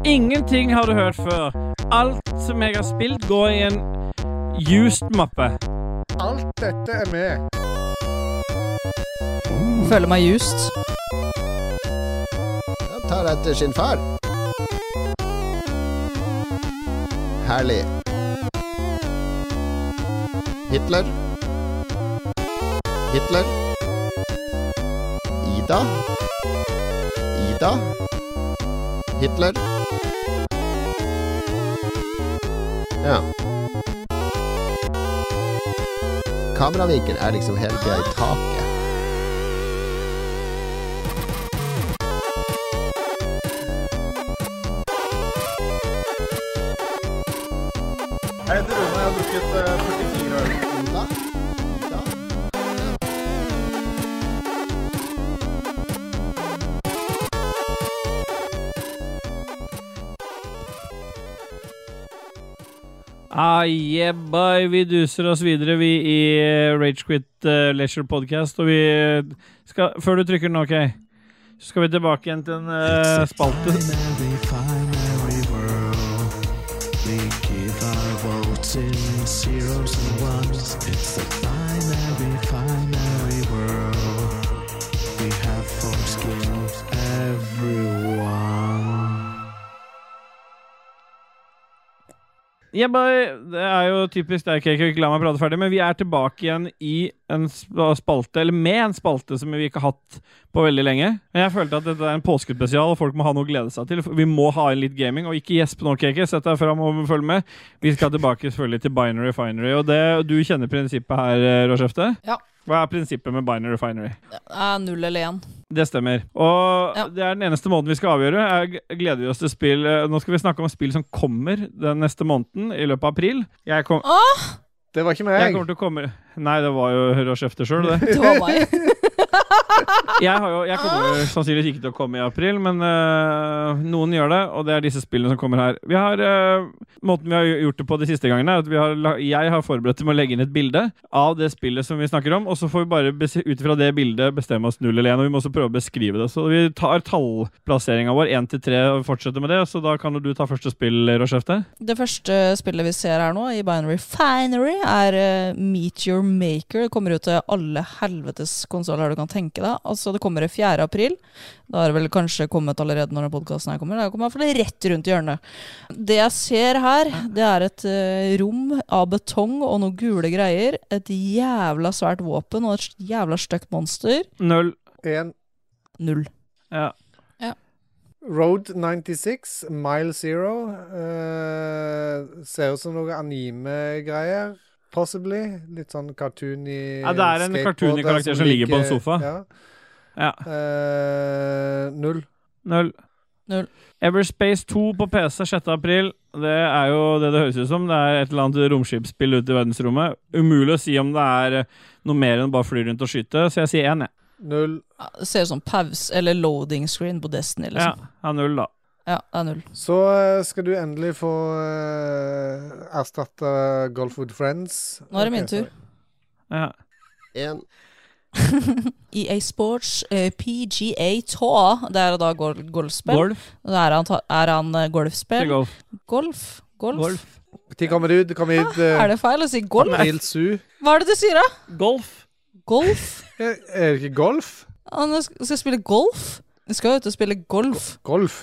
Speaker 2: Ingenting har du hørt før. Alt som jeg har spilt, går i en used mappe.
Speaker 4: Alt dette er med.
Speaker 3: Føler meg just.
Speaker 9: Jeg tar etter sin far. Herlig. Hitler. Hitler. Ida. Ida. Hitler. Ja. Kameravinkel er liksom hele tida i taket.
Speaker 4: Jeg heter Rune, jeg har drukket 44 øl.
Speaker 9: Ida. Ida.
Speaker 2: Ah, yeah, boy. Vi duser oss videre, vi, i eh, Ragequit uh, Leisure Podcast. Og vi eh, skal Før du trykker den, OK, så skal vi tilbake igjen til en eh, spalte.
Speaker 8: We give our votes in zeros and ones. It's the binary, binary world. We have foreskins, everyone.
Speaker 2: Jeg bare, det er jo typisk deg, Kake, å ikke la meg prate ferdig, men vi er tilbake igjen i en sp- spalte, eller med en spalte som vi ikke har hatt på veldig lenge. Men jeg følte at dette er en påskespesial, og folk må ha noe å glede seg til. for Vi må ha inn litt gaming, og ikke gjesp nå, Kake. Sett deg fram og følg med. Vi skal tilbake selvfølgelig til Binary Finery, og det, du kjenner prinsippet her, eh, Råskjefte?
Speaker 3: Ja.
Speaker 2: Hva er prinsippet med Binary Finery?
Speaker 3: Eh, Null eller én.
Speaker 2: Det stemmer. Og det er den eneste måten vi skal avgjøre. Jeg g- gleder vi oss til spill eh, Nå skal vi snakke om spill som kommer den neste måneden, i løpet av april. Jeg kom...
Speaker 4: Det var ikke
Speaker 2: Jeg
Speaker 4: meg.
Speaker 2: kommer til å komme Nei, det var jo Hør og kjefte sjøl, det.
Speaker 4: Det var meg.
Speaker 2: jeg, har jo, jeg kommer jo sannsynligvis ikke til å komme i april, men øh, noen gjør det, og det er disse spillene som kommer her. Vi har, øh, Måten vi har gjort det på de siste gangene, er at vi har, la- jeg har forberedt med å legge inn et bilde av det spillet som vi snakker om, og så får vi bare bes- ut fra det bildet bestemme oss null eller én, og vi må også prøve å beskrive det. Så vi tar tallplasseringa vår én til tre og fortsetter med det, så da kan jo du ta første spill, Rochefte.
Speaker 3: Det første spillet vi ser her nå, i Binary Finery, er eh, Meet Your Maker. Det kommer jo til alle helvetes konsoller du kan tenke deg. Altså, det kommer i 4. april. Da har det vel kanskje kommet allerede når podkasten her kommer. Det kommer i hvert fall rett rundt hjørnet. Det jeg ser her, det er et eh, rom av betong og noen gule greier. Et jævla svært våpen og et jævla stygt monster.
Speaker 2: Null.
Speaker 4: En
Speaker 3: Null.
Speaker 2: Ja.
Speaker 4: Road 96, Mile Zero. eh, ser ut som noe anime-greier. Possibly. Litt sånn cartoon i
Speaker 2: Ja, det er en
Speaker 4: skateboarder
Speaker 2: cartoon i karakter som ligger på en sofa.
Speaker 4: Ja.
Speaker 2: Ja.
Speaker 4: Eh, null.
Speaker 2: Null.
Speaker 3: Null.
Speaker 2: Everspace 2 på PC 6. april. Det er jo det det høres ut som. Det er et eller annet romskipsspill ute i verdensrommet. Umulig å si om det er eh, noe mer enn bare fly rundt og skyte, så jeg sier én, jeg.
Speaker 4: Null.
Speaker 3: Ja, Det ser ut som pause eller loading screen på Destiny,
Speaker 2: Ja,
Speaker 3: liksom.
Speaker 2: ja, null, da.
Speaker 3: Ja, det er null.
Speaker 4: Så eh, skal du endelig få eh, erstatte Golf with Friends.
Speaker 3: Nå er det
Speaker 4: Ok,
Speaker 3: min tur.
Speaker 4: sorry.
Speaker 2: Ja.
Speaker 9: En.
Speaker 3: EA Sports eh, PGA Tour. Det er da gol golfspill.
Speaker 4: Golf.
Speaker 3: Det er han, ta- er han eh, golfspill.
Speaker 4: Til golf.
Speaker 3: Golf. golf.
Speaker 4: Når kommer det ut? Det kommer ut eh,
Speaker 3: Ah, Er det feil å si golf?
Speaker 4: April Su.
Speaker 3: Hva er det du sier, da?
Speaker 2: Golf.
Speaker 3: Golf?
Speaker 4: Er er det ikke golf?
Speaker 3: Han sk- skal spille golf? Du skal jo ut og spille golf.
Speaker 4: Golf?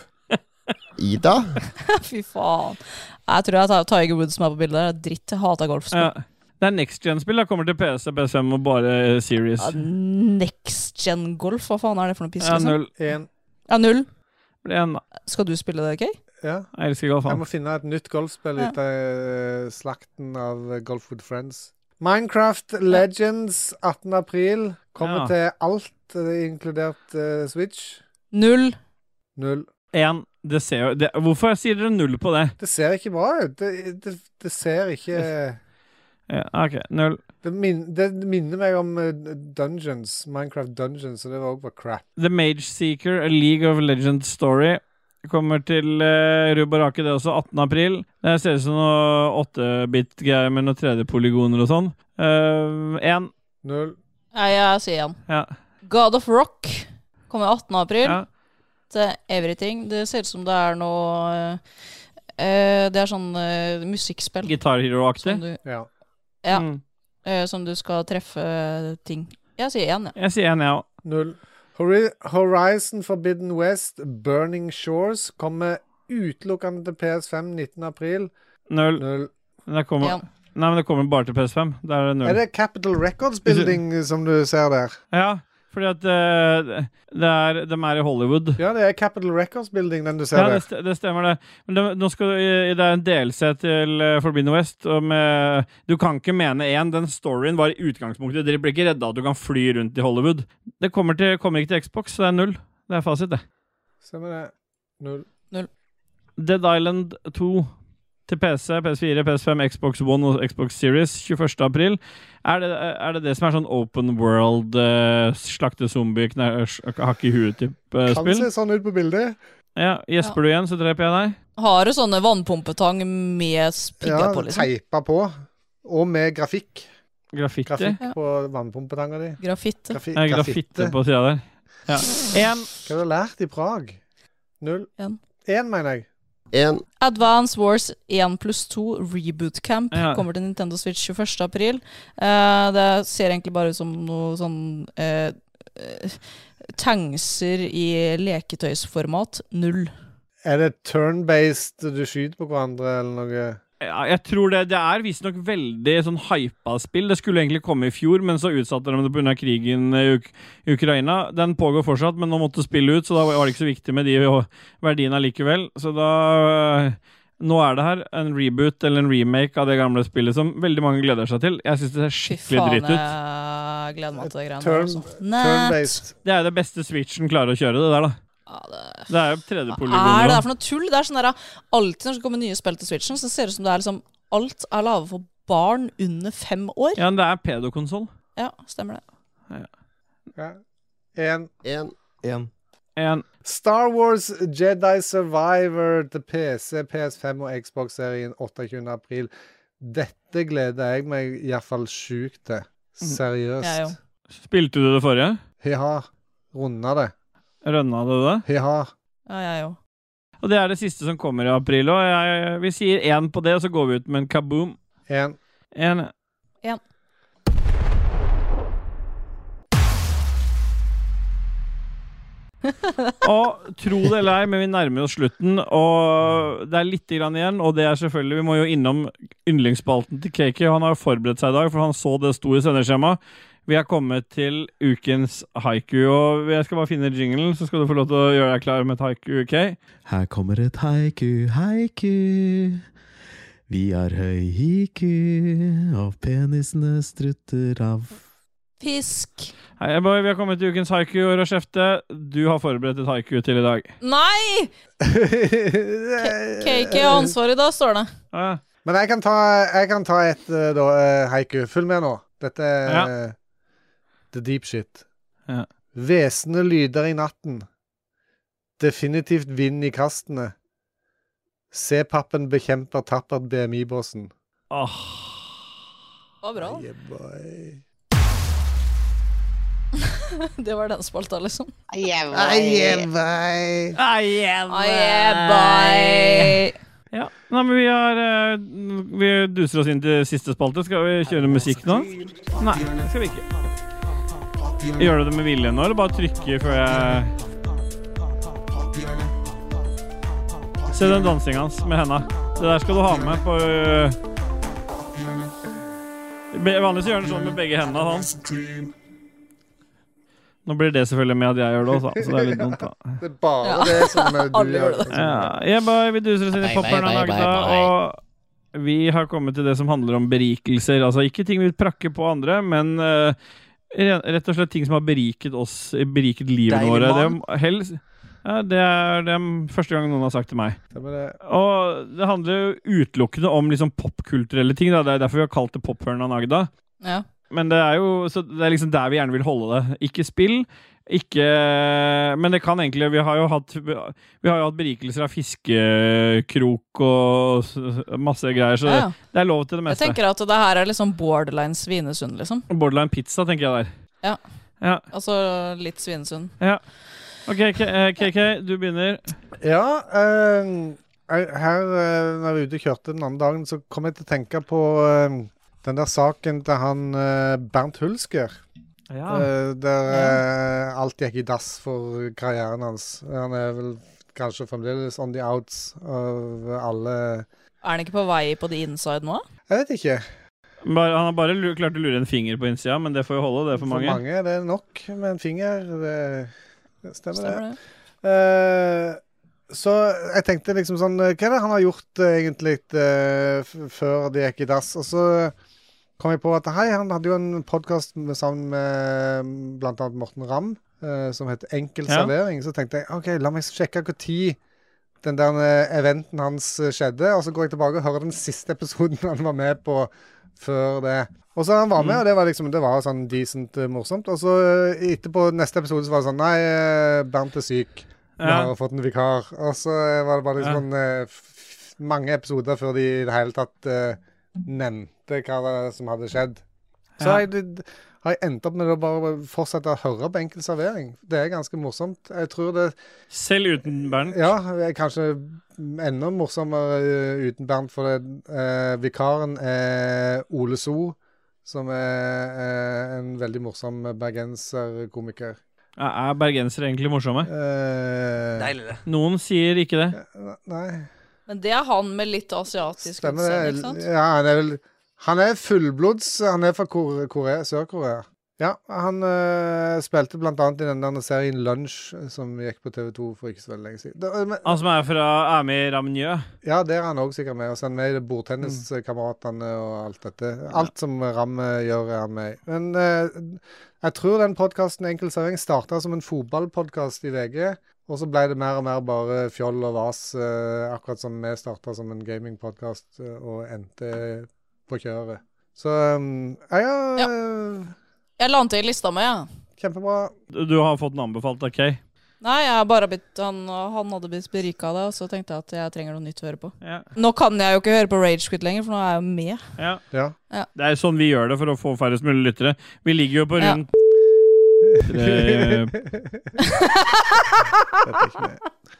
Speaker 9: Ida?
Speaker 3: Fy faen. Jeg tror jeg tar Tiger Woods som er på bildet. her. Dritt. Jeg hater
Speaker 2: Ja.
Speaker 3: golfspill.
Speaker 2: Det er next gen-spill. da. Kommer til PC, PS5 og bare eh, Series.
Speaker 3: Ja, Next gen golf? Hva faen er det for noe piss?
Speaker 2: Ja,
Speaker 3: liksom?
Speaker 2: null.
Speaker 4: En.
Speaker 3: Ja, null.
Speaker 2: Blir en, da.
Speaker 3: Skal du spille det, Kay?
Speaker 4: Ja.
Speaker 2: Jeg elsker golf,
Speaker 4: Jeg
Speaker 2: han.
Speaker 4: må finne et nytt golfspill
Speaker 3: Ja.
Speaker 4: ut av eh, slakten av eh, Golf with Friends. Minecraft Legends 18. april kommer
Speaker 2: Ja.
Speaker 4: til alt, eh, inkludert eh, Switch.
Speaker 3: Null.
Speaker 4: Null.
Speaker 2: Én. Det ser jo det, Hvorfor sier dere null på det?
Speaker 4: Det ser ikke bra ut. Det, det, det ser ikke
Speaker 2: Ja, OK, null.
Speaker 4: det, min, det minner meg om eh, Dungeons, Minecraft Dungeons, og det var også bare crap.
Speaker 2: The Mage Seeker, A League of Legends Story. Kommer til uh, rubb og rake, det også. 18. april. Det ser ut som noe 8-bit-greier med noen 3D-polygoner og sånn. Eh, Én.
Speaker 4: Null.
Speaker 3: Nei, jeg sier igjen.
Speaker 2: ja.
Speaker 3: God of Rock kommer 18. april.
Speaker 2: Ja.
Speaker 3: Til Everything. Det ser ut som det er noe eh, Det er sånn eh, musikkspill.
Speaker 2: Guitar Hero-aktig. Mm.
Speaker 3: Som du-
Speaker 4: Ja.
Speaker 3: Sånn, Ja. Eh, som du skal treffe ting. Jeg sier én, jeg.
Speaker 2: Jeg sier én, jeg òg.
Speaker 4: Null. Hori- Horizon Forbidden West, Burning Shores, kommer utelukkende til PS5 19. april.
Speaker 2: Null. Men det kommer
Speaker 4: En.
Speaker 2: Nei, men det kommer bare til PS5. Da er det null.
Speaker 4: Er det Capital Records Building som du ser der?
Speaker 2: Ja, fordi at eh, det er, de er i Hollywood.
Speaker 4: Ja, det er Capital Records Building den du ser
Speaker 2: Ja, det,
Speaker 4: der.
Speaker 2: st det stemmer, det. Men det, nå skal du, i- det er en delelse til uh, Forbidden West. Og med, du kan ikke mene én. Den storyen var i utgangspunktet Dere blir ikke redda av at du kan fly rundt i Hollywood. Det kommer, til, kommer ikke til Xbox, så det er null. Det er fasit, det.
Speaker 4: Stemmer det. Null.
Speaker 2: Dead Island 2 til PC, PS4, PS5, Xbox One og Xbox Series 21. april. Er det er det, det som er sånn open world, eh, slakte zombie, kne- hakke i
Speaker 4: Kan se
Speaker 2: huet-spill?
Speaker 4: sånn ut på bildet.
Speaker 2: Ja, Gjesper du igjen, så dreper jeg deg.
Speaker 3: Har du sånne vannpumpetang med pigger
Speaker 4: Ja,
Speaker 3: på, liksom?
Speaker 4: teipa på. Og med grafikk.
Speaker 2: Grafitte.
Speaker 4: Grafikk
Speaker 3: Ja.
Speaker 4: på vannpumpetanga di.
Speaker 3: Grafitte.
Speaker 4: Grafi
Speaker 2: Ja, grafitte Eh, på sida der. Ja. En.
Speaker 4: Hva har du lært i Prag? Null.
Speaker 3: En.
Speaker 4: Én, mener jeg.
Speaker 9: En.
Speaker 3: Advance Wars 1 pluss 2 Reboot Camp
Speaker 4: Ja.
Speaker 3: kommer til Nintendo Switch 21. april. Eh, det ser egentlig bare ut som noe sånn eh, eh, Tangser i leketøysformat. Null.
Speaker 4: Er det turn-based du skyter på hverandre, eller noe?
Speaker 2: Ja, jeg tror det, det er visstnok veldig sånn hypa spill. Det skulle egentlig komme i fjor, men så utsatte de det pga. krigen i Uk Ukraina. Den pågår fortsatt, men nå måtte spillet ut, så da var det ikke så viktig med de og verdiene likevel. Så da Nå er det her en reboot eller en remake av det gamle spillet som veldig mange gleder seg til. Jeg syns det ser skikkelig
Speaker 3: Faen, eh.
Speaker 2: dritt ut.
Speaker 3: jeg gleder meg til det greiene der.
Speaker 2: Turn-
Speaker 3: altså.
Speaker 2: turn-based. Det er det beste Switchen klarer å kjøre, det der, da. Det er jo
Speaker 3: Hva er det der
Speaker 2: 3D-polygon.
Speaker 3: for noe tull? Det er sånn der, Alltid når det kommer nye spill til Switchen, så ser det ut som det er liksom Alt er laget for barn under fem år.
Speaker 2: Ja, men det er pedokonsoll.
Speaker 3: Ja, stemmer det.
Speaker 4: En.
Speaker 9: En.
Speaker 2: En.
Speaker 4: Star Wars Jedi Survivor til PC, PS5 og Xbox-serien 28. april. Dette gleder jeg meg iallfall sjukt til.
Speaker 2: Jeg
Speaker 4: Seriøst.
Speaker 2: jo. Spilte du det forrige?
Speaker 4: Ja. Runda det.
Speaker 2: Rønna du det?
Speaker 4: Ja.
Speaker 3: Ja, jeg òg.
Speaker 2: Og det er det siste som kommer i april òg. Vi sier én på det, og så går vi ut med en kaboom.
Speaker 4: Én.
Speaker 2: En.
Speaker 3: En.
Speaker 2: og tro det eller ei, men vi nærmer oss slutten, og det er lite grann igjen. Og det er selvfølgelig Vi må jo innom yndlingsspalten til KK. Han har jo forberedt seg i dag, for han så det sto i sendeskjemaet. Vi er kommet til ukens haiku, og jeg skal bare finne jinglen, så skal du få lov til å gjøre deg klar med et haiku, OK?
Speaker 12: Her kommer et haiku, haiku. Vi har høy hiku, og penisene strutter av.
Speaker 3: Fisk.
Speaker 2: Hei, jeg bare- vi har kommet til ukens haiku, og Rashefte, du har forberedt et haiku til i dag.
Speaker 3: Nei! Cakey har ansvaret i dag, står det.
Speaker 4: Men jeg kan ta, jeg kan ta et eh, da, eh, haiku. Følg med nå. Dette er eh, the deep shit.
Speaker 2: Ja.
Speaker 4: Hvesende lyder i natten. Definitivt vind i kastene. C-pappen bekjemper tappert BMI-bossen.
Speaker 3: Det var bra. da. det var den spalta, liksom.
Speaker 2: Ah,
Speaker 3: Aye, bye.
Speaker 2: Ja. Nei, men vi, har, eh, vi duser oss inn til siste spalte. Skal vi kjøre musikk nå? Nei, det skal vi ikke. Gjør du det med vilje nå, eller bare trykke før jeg Se den dansinga hans med henda. Det der skal du ha med på eh, be- Vanligvis gjør han sånn med begge hendene. Han. Nå blir det selvfølgelig med at jeg gjør det også, så det er litt dumt, da.
Speaker 4: Det er bare
Speaker 3: Ja.
Speaker 4: det som eh, du
Speaker 3: Alle gjør
Speaker 4: gjør.
Speaker 3: det.
Speaker 2: Ja, jeg bare, vi duser oss inn i
Speaker 3: Bye,
Speaker 2: popperen
Speaker 3: bye,
Speaker 2: av
Speaker 3: bye,
Speaker 2: Nagda,
Speaker 3: bye,
Speaker 2: og vi har kommet til det som handler om berikelser. Altså ikke ting vi prakker på andre, men eh, re- rett og slett ting som har beriket oss, beriket livet
Speaker 12: Deilig
Speaker 2: våre. Det,
Speaker 12: mann.
Speaker 2: er hels- ja, det er det er første gang noen har sagt til meg.
Speaker 4: Stemmer det.
Speaker 2: Og det handler jo utelukkende om liksom popkulturelle ting. Da. Det er derfor vi har kalt det Pophørn av Nagda.
Speaker 3: Ja.
Speaker 2: Men det er jo så det er liksom der vi gjerne vil holde det. Ikke spill, ikke Men det kan egentlig Vi har jo hatt, vi har jo hatt berikelser av fiskekrok og s- s- masse greier, så
Speaker 3: Ja, ja.
Speaker 2: det er lov til det
Speaker 3: Jeg
Speaker 2: meste.
Speaker 3: tenker at det her er liksom borderline Svinesund, liksom.
Speaker 2: Borderline pizza, tenker jeg der.
Speaker 3: Ja.
Speaker 2: Ja.
Speaker 3: Altså litt Svinesund.
Speaker 2: Ja. OK, K- eh, KK, du begynner.
Speaker 4: Ja, eh, her eh, når jeg var ute og kjørte den andre dagen, så kom jeg til å tenke på eh, den der saken til han eh, Bernt Hulsker.
Speaker 2: Ja.
Speaker 4: Eh, der eh, alt gikk i dass for karrieren hans. Han er vel kanskje fremdeles on the outs av alle
Speaker 3: Er han ikke på vei på the inside nå?
Speaker 4: Jeg vet ikke.
Speaker 2: Bare, han har bare lu- klart å lure en finger på innsida, men det får jo holde. Det er for mange.
Speaker 4: For mange er det nok med en finger. Det, det stemmer,
Speaker 2: Stemmer
Speaker 4: det. Eh, så jeg tenkte liksom sånn Hva er det han har gjort eh, egentlig eh, f før det gikk i dass? Og så kom jeg på at hei, han hadde jo en podkast sammen med bl.a. Morten Ramm eh, som het Enkel
Speaker 2: Ja.
Speaker 4: servering. Så tenkte jeg OK, la meg sjekke når den der eh, eventen hans eh, skjedde. Og så går jeg tilbake og hører den siste episoden han var med på før det. Og så han var med,
Speaker 11: Mm.
Speaker 4: og det var liksom Det var sånn decent eh, morsomt. Og så eh, etterpå, neste episode, så var det sånn Nei, eh, Bernt er syk. Vi
Speaker 11: Ja.
Speaker 4: har fått en vikar. Og så var det bare liksom sånn eh, f- mange episoder før de i det hele tatt eh, nevnte hva det var som hadde skjedd. Så
Speaker 11: Ja.
Speaker 4: har jeg, d- har jeg endt opp med å bare fortsette å høre på enkel servering. Det er ganske morsomt. Jeg tror det
Speaker 2: Selv uten Bernt?
Speaker 4: Ja, det er kanskje enda morsommere eh, uten Bernt, for det, eh, vikaren er Ole So, som er eh, en veldig morsom bergenserkomiker.
Speaker 2: Er er bergensere egentlig morsomme?
Speaker 4: Deilig,
Speaker 2: Noen sier ikke det.
Speaker 4: Eh, Nei.
Speaker 3: Men det er han med litt asiatisk
Speaker 4: Stemmer
Speaker 3: utseende, ikke
Speaker 4: det?
Speaker 3: sant?
Speaker 4: Ja, han er vel Han er fullblods Han er fra Kore- Korea, Sør-Korea. Ja, han øh, spilte blant annet i den der serien Lunsj, som gikk på TV2 for ikke så veldig lenge siden. Da, øh, men,
Speaker 2: Han som er fra er med i Ramnjø.
Speaker 4: ja, der er han òg sikkert med. Og så er han med i det bordtenniskameratene og alt dette. Alt som Ram øh, gjør, er han med i. Men øh, jeg tror den podkasten Enkel servering starta som en fotballpodkast i VG. Og så ble det mer og mer bare fjoll og vas, øh, akkurat som vi starta som en gamingpodkast øh, og endte på kjøret. Så øh, jeg har øh,
Speaker 3: Jeg la han til i lista mi, jeg.
Speaker 4: Kjempebra.
Speaker 2: Du du har fått den anbefalt av Kay.
Speaker 3: Nei, jeg har bare blitt, han, han hadde blitt berika av det, og så tenkte jeg at jeg trenger noe nytt å høre på.
Speaker 2: Ja.
Speaker 3: Nå kan jeg jo ikke høre på Ragequit lenger, for nå er jeg jo med.
Speaker 2: Ja.
Speaker 4: Ja.
Speaker 2: Det er sånn vi gjør det for å få færrest mulig lyttere. Vi ligger jo på
Speaker 3: Ja.
Speaker 2: rundt eh, Tre-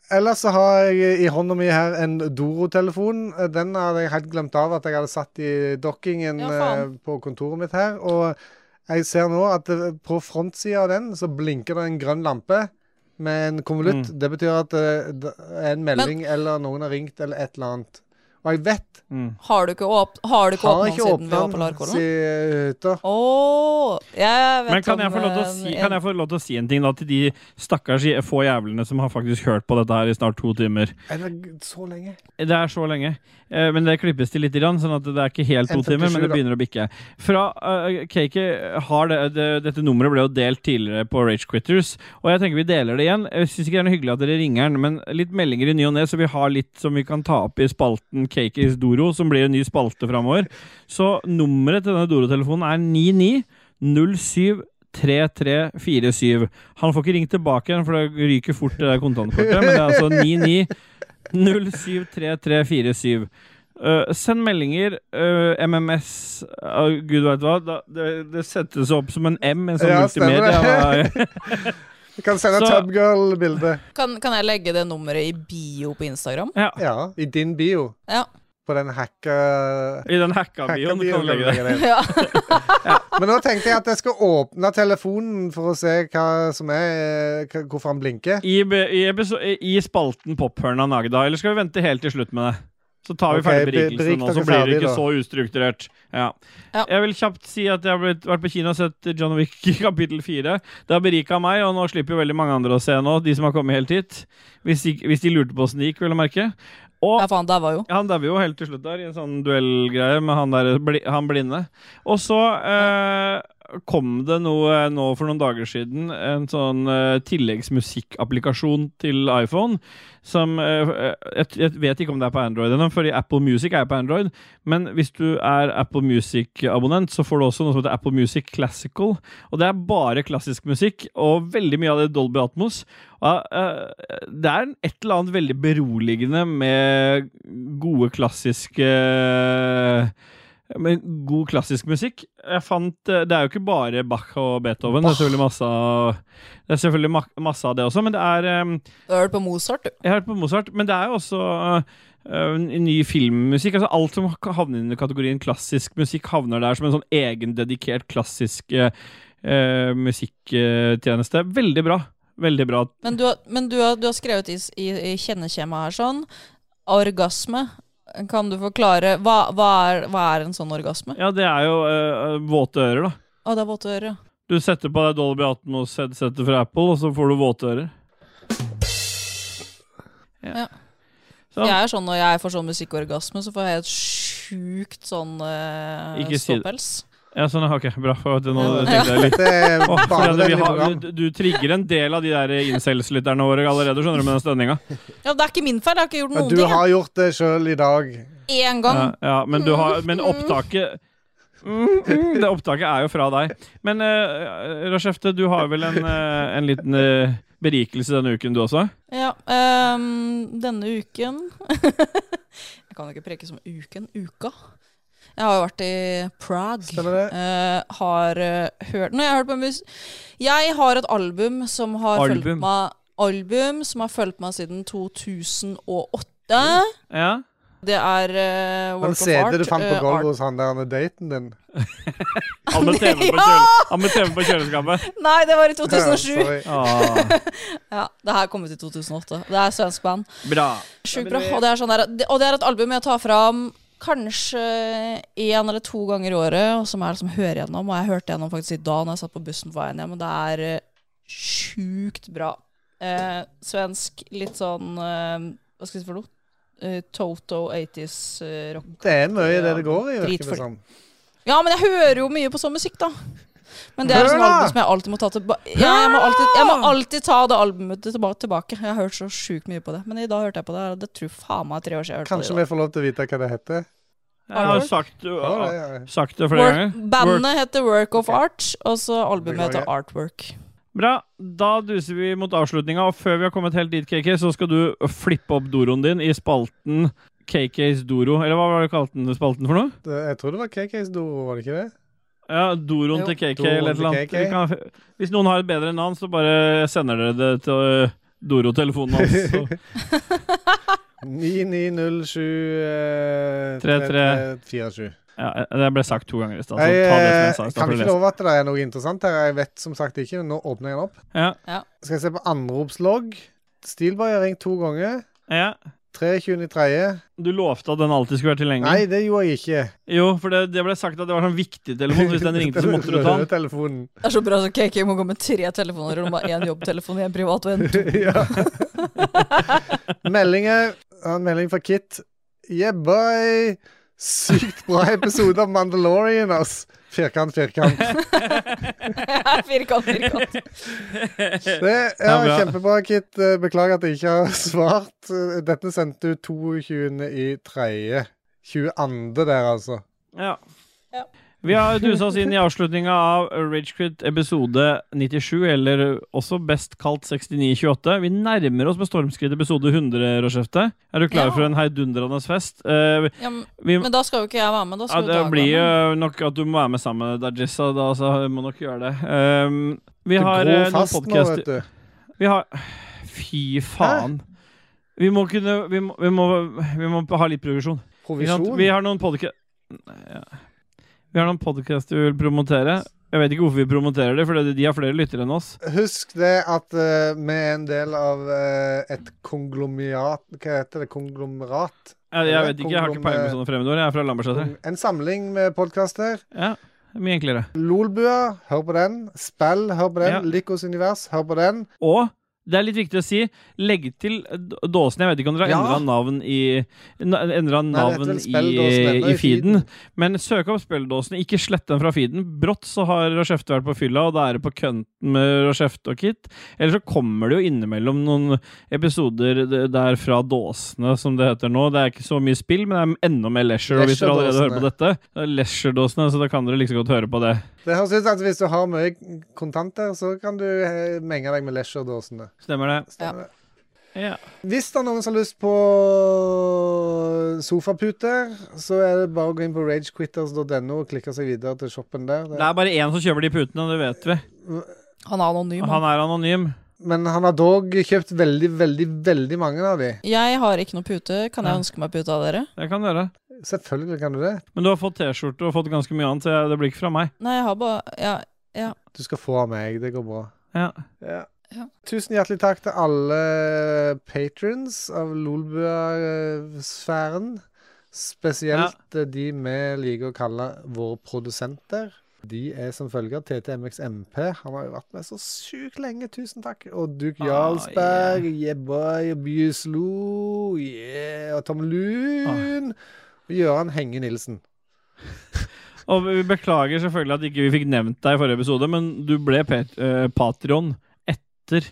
Speaker 4: Ellers så har jeg i hånda mi her en Doro-telefon. Den hadde jeg helt glemt av at jeg hadde satt i dokkingen
Speaker 13: Ja, faen.
Speaker 4: eh, på kontoret mitt her. Og jeg ser nå at eh, på frontsida av den så blinker det en grønn lampe med en konvolutt. Det betyr at eh, det er en melding eller noen har ringt eller et eller annet. Og jeg vet
Speaker 3: Har du ikke åp- har du ikke
Speaker 4: Har
Speaker 3: åpnet den
Speaker 4: ikke
Speaker 3: siden vi var
Speaker 4: åpnet
Speaker 3: på
Speaker 4: den
Speaker 3: Larkollen?
Speaker 4: siden hytta.
Speaker 3: Åh, jeg vet
Speaker 2: Men kan
Speaker 3: om eh,
Speaker 2: jeg, få lov til å
Speaker 3: en-
Speaker 2: si,
Speaker 3: en-
Speaker 2: kan jeg få lov til å si en ting da til de stakkars i- få jævlene som har faktisk hørt på dette her i snart to timer?
Speaker 4: Er det g- så lenge?
Speaker 2: Det er så lenge. Eh, Men det klippes til lite grann, sånn at det er ikke helt to
Speaker 4: 1,57
Speaker 2: timer, men det
Speaker 4: da.
Speaker 2: begynner å bikke. Fra eh, Cake har det, det Dette nummeret ble jo delt tidligere på Rage Quitters, og jeg tenker vi deler det igjen. Jeg syns ikke det er noe hyggelig at dere ringer den, men litt meldinger i ny og ne, så vi har litt som vi kan ta opp i spalten Cake is Doro, som blir en ny spalte framover. Så nummeret til denne Doro-telefonen er 9907. 3347. Han får ikke ringt tilbake igjen, for det ryker fort det der kontantkortet. Men det er altså 99 073347. Eh, send meldinger, eh, MMS ah, Gud veit hva. Da, det, det settes opp som en M, en sånn
Speaker 4: Ja, stemmer
Speaker 2: multimedia.
Speaker 4: det.
Speaker 2: hva-
Speaker 4: Du kan sende
Speaker 2: Så-
Speaker 4: Tubgirl-bilde.
Speaker 3: Kan, kan jeg legge det nummeret i bio på Instagram?
Speaker 2: Ja.
Speaker 4: I din bio.
Speaker 3: Ja.
Speaker 4: På den hacka...
Speaker 2: I den hacka bioen kan du legge det.
Speaker 3: Ja.
Speaker 4: Men nå tenkte jeg at jeg skal åpne telefonen for å se hva som er hva- Hvorfor han blinker.
Speaker 2: I, be- i, episo- I spalten Pophørna Nagda, eller skal vi vente helt til slutt med det? Så tar vi
Speaker 4: Ok,
Speaker 2: ferdig
Speaker 4: be-
Speaker 2: berikelsen,
Speaker 4: berik
Speaker 2: og så blir
Speaker 4: dere
Speaker 2: det
Speaker 4: ferdig,
Speaker 2: ikke
Speaker 4: da.
Speaker 2: så ustrukturert. Ja. Jeg vil kjapt si at jeg har blitt, vært på kino og sett John Wick i kapittel 4. Det har berika meg, og nå slipper jo veldig mange andre å se nå, de som har kommet helt hit. Hvis de, hvis de lurte på åssen det gikk, vil jeg merke. Og,
Speaker 3: ja, for han daua jo.
Speaker 2: Han daua jo helt til slutt der, i en sånn duellgreie med han, der, bli, han blinde. Og så eh, kom det noe eh, nå for noen dager siden, en sånn eh, tilleggsmusikkapplikasjon til iPhone, som eh, jeg, jeg vet ikke om det er på Android ennå, fordi Apple Music er på Android, men hvis du er Apple Music-abonnent, så får du også noe som heter Apple Music Classical, og det er bare klassisk musikk, og veldig mye av det er Dolby Atmos. Og, eh, det er et eller annet veldig beroligende med gode klassiske med god klassisk musikk. Jeg fant eh, Det er jo ikke bare Bach og Beethoven. Det er selvfølgelig masse av, det er selvfølgelig ma- masse av det også, men det er eh,
Speaker 3: Du har hørt på Mozart, du.
Speaker 2: Jeg har hørt på Mozart, men det er jo også eh, eh, ny filmmusikk. Altså alt som havner under kategorien klassisk musikk, havner der som en sånn egendedikert klassisk eh, eh, musikktjeneste. Veldig bra. Veldig bra
Speaker 3: Men du, har- men du, har, du har skrevet i, s- i, i kjenneskjemaet her sånn Orgasme. Kan du forklare Hva, hva, er, hva er en sånn orgasme?
Speaker 2: Ja, det er jo eh, våte ører, da.
Speaker 3: Å, det er våte ører, ja.
Speaker 2: Du setter på deg Dolby Atmos-headsetet fra Apple, og så får du våte ører.
Speaker 3: Ja. Jeg er sånn, Når jeg får sånn musikkorgasme, så får jeg helt sjukt sånn eh,
Speaker 2: Ikke si det.
Speaker 3: ståpels.
Speaker 2: Ja, sånn, ok, bra. For at nå
Speaker 3: Ja.
Speaker 2: tenkte jeg litt.
Speaker 4: Dette er
Speaker 2: Åh, fordi at vi
Speaker 4: barnevennlig
Speaker 2: har,
Speaker 4: program.
Speaker 2: du, du trigger en del av de der incels-lytterne våre allerede, skjønner du, med den stønninga.
Speaker 3: Ja, Det er ikke min feil, jeg har ikke gjort
Speaker 4: Men
Speaker 3: noen
Speaker 4: du
Speaker 3: ting.
Speaker 4: har gjort det sjøl i dag.
Speaker 3: jeg. Én gang.
Speaker 2: Ja, ja, men, du har- men opptaket Mm, mm, Det opptaket er jo fra deg. Men uh, Rashefte, du har vel en, eh, en liten eh, berikelse denne uken, du også?
Speaker 3: Ja, ehm, denne uken Jeg kan jo ikke preke som uken. Uka. Jeg har jo vært i Prague. Eh, har eh, hørt Når jeg har hørt på mus Jeg har et album som har fulgt
Speaker 2: Album.
Speaker 3: meg Album som har fulgt meg siden 2008.
Speaker 2: Ja.
Speaker 3: Det er eh,
Speaker 4: Han
Speaker 3: Work of Art.
Speaker 4: CD du fant på
Speaker 3: eh,
Speaker 4: gulvet
Speaker 3: Art-
Speaker 4: hos han der med daten din.
Speaker 2: Han med TV på,
Speaker 3: Ja!
Speaker 2: kjøle, han med TV på kjøleskapet.
Speaker 3: Nei, det var i 2007.
Speaker 2: Ah,
Speaker 3: ja, det her kom ut i 2008. Det er svensk band.
Speaker 2: bra.
Speaker 3: Sjukt bra. Og det, er sånn der, det- og det er et album jeg tar fram kanskje én eller to ganger i året, og som jeg liksom hører gjennom. Og jeg hørte gjennom faktisk i dag når jeg satt på bussen på veien hjem, og det er eh, sjukt bra. Eh, svensk, litt sånn eh, Hva skal jeg si for noe? Eh, Toto 80s eh, rock.
Speaker 4: Det er mye i det det går i, virker det
Speaker 3: Dritful-
Speaker 4: som.
Speaker 3: Ja, men jeg hører jo mye på sånn musikk, da. Men det er et
Speaker 4: Hør
Speaker 3: sånt
Speaker 4: da!
Speaker 3: album som jeg alltid må ta tilbake. Ja, jeg, må alltid, jeg må alltid ta det albumet tilba- tilbake. Jeg har hørt så sjukt mye på det. Men i dag hørte jeg på det, og det tror faen meg er tre år siden jeg hørte
Speaker 4: Kanskje
Speaker 3: på det.
Speaker 4: vi får lov til å vite hva det heter?
Speaker 2: Jeg har sagt, sagt det flere ganger.
Speaker 3: Bandet heter Work of Art, og så albumet heter
Speaker 2: Beklager.
Speaker 3: Artwork.
Speaker 2: Bra. Da duser vi mot avslutninga, og før vi har kommet helt dit, KK, så skal du flippe opp doroen din i spalten KKs Doro. Eller hva var det du kalte den spalten for noe?
Speaker 4: Det- Jeg tror det var KKs Doro, var det ikke det?
Speaker 2: Ja, Doroen
Speaker 4: Jo.
Speaker 2: til KK
Speaker 4: Doroen
Speaker 2: eller et eller
Speaker 4: til
Speaker 2: annet.
Speaker 4: KK.
Speaker 2: Vi kan, hvis noen har et bedre navn, så bare sender dere det til øh, Doro-telefonen hans. så-
Speaker 4: 9907
Speaker 2: 3347. Ja, det ble sagt to ganger i stad, så Altså, ta
Speaker 4: Jeg
Speaker 2: det som
Speaker 4: eh,
Speaker 2: jeg sa. i stad,
Speaker 4: kan
Speaker 2: for
Speaker 4: ikke
Speaker 2: det
Speaker 4: love at det er noe interessant her. Jeg vet som sagt ikke. Nå åpner jeg den opp.
Speaker 2: Ja.
Speaker 4: Skal jeg se på anropslogg. Steelboy har ringt to ganger.
Speaker 2: Ja.
Speaker 4: 23.3.
Speaker 2: Du lovte at den alltid skulle være tilgjengelig.
Speaker 4: Nei, det gjorde jeg ikke.
Speaker 2: Jo, for det, det ble sagt at det var sånn viktig telefon, så hvis den ringte, så måtte du ta den.
Speaker 4: Telefonen.
Speaker 3: Det er så bra at KK må gå med tre telefoner, og de har én jobbtelefon, én privat og en to.
Speaker 4: Meldinger. Jeg har En melding fra Kit. Yeah, boy! Sykt bra episode av Mandalorian, ass. Firkant, firkant.
Speaker 3: firkant, firkant.
Speaker 4: Det ja,
Speaker 2: Ja, bra.
Speaker 4: kjempebra, Kit. Eh, Beklager at jeg ikke har svart. Eh, Dette sendte du 22. i 3. 22. der, altså.
Speaker 2: Ja. Vi har dusa oss inn i avslutninga av Ragequit episode 97, eller også best kalt 6928. Vi nærmer oss med stormskritt episode 100, Rochefte. Er du klar
Speaker 3: Ja.
Speaker 2: for en heidundrende fest? Eh,
Speaker 3: Ja, men,
Speaker 2: vi-
Speaker 3: men da skal jo ikke jeg være med. Da
Speaker 2: ja,
Speaker 3: skal jo
Speaker 2: det
Speaker 3: Dag
Speaker 2: blir
Speaker 3: være med.
Speaker 2: jo nok at du må være med sammen med Dajissa, da, så jeg må nok gjøre det. Ehm, vi
Speaker 4: Det
Speaker 2: har
Speaker 4: gror
Speaker 2: eh, noen
Speaker 4: fast nå, vet
Speaker 2: podcaster
Speaker 4: du.
Speaker 2: Vi har Fy faen. Vi må kunne vi må, vi, må, vi må ha litt progresjon. Ikke sant?
Speaker 4: Provisjon?
Speaker 2: Vi har noen podkast... Ja. Vi har noen podkast vi vil promotere. Jeg vet ikke hvorfor vi promoterer det, for det- de har flere lyttere enn oss.
Speaker 4: Husk det at eh, vi er en del av eh, et konglomeriat Hva heter det? Konglomerat?
Speaker 2: Jeg, jeg
Speaker 4: Eller
Speaker 2: vet ikke, jeg har ikke
Speaker 4: konglome-
Speaker 2: peiling på sånne fremmedord. Jeg er fra Lambertseter.
Speaker 4: En samling med podkaster.
Speaker 2: Ja, mye enklere.
Speaker 4: Lolbua, hør på den. Spill, hør på den.
Speaker 2: Ja.
Speaker 4: Likos univers, hør på den.
Speaker 2: Og det er litt viktig å si, legg til d- dåsen. Jeg vet ikke om dere har
Speaker 4: Ja.
Speaker 2: endra navn i na- endret
Speaker 4: Nei, det heter
Speaker 2: navn
Speaker 4: vel
Speaker 2: i,
Speaker 4: Spelldåsen ennå
Speaker 2: i
Speaker 4: i
Speaker 2: feeden. Men søk opp spelldåsen, ikke slett den fra feeden. Brått så har Rochefte vært på fylla, og da er det på kønten med Rochefte og Kit. Eller så kommer det jo innimellom noen episoder d- der fra dåsene, som det heter nå. Det er ikke så mye spill, men det er enda mer leisure. Og hvis dere allerede hører på dette, det er leisure-dåsene, så da kan dere like så godt høre på det.
Speaker 4: Det høres ut som at hvis du har mye kontanter, så kan du eh, menge deg med leisure-dåsene.
Speaker 2: Stemmer det?
Speaker 4: Stemmer
Speaker 2: det. Ja.
Speaker 4: Hvis det er noen som har lyst på sofaputer, så er det bare å gå inn på ragequitters.no og klikke seg videre til shoppen der.
Speaker 2: Det er bare én som kjøper de putene, det vet vi.
Speaker 3: Han er anonym.
Speaker 2: Han er anonym.
Speaker 4: Men han har dog kjøpt veldig, veldig, veldig mange av de.
Speaker 3: Jeg har ikke noe pute. Kan jeg
Speaker 2: Ja.
Speaker 3: ønske meg pute av dere?
Speaker 2: Det kan dere.
Speaker 4: Selvfølgelig kan du det.
Speaker 2: Men du har fått T-skjorte og fått ganske mye annet, så jeg- det blir ikke fra meg.
Speaker 3: Nei, jeg har bare Ja. ja.
Speaker 4: Du skal få av meg, det går bra.
Speaker 2: Ja.
Speaker 4: Ja. Tusen hjertelig takk til alle patrons av Lolbua-sfæren. Spesielt eh, de vi liker å kalle våre produsenter. De er som følger TTMXMP. Han har jo vært med så sykt lenge. Tusen takk. Og
Speaker 2: Ah,
Speaker 4: Duke Jarlsberg, yeah boy, Bjuslo, yeah, og Tom
Speaker 2: Ah.
Speaker 4: Lun. Og Gøran Henge Nilsen.
Speaker 2: Og vi beklager selvfølgelig at ikke vi fikk nevnt deg i forrige episode, men du ble pet eh, Patreon etter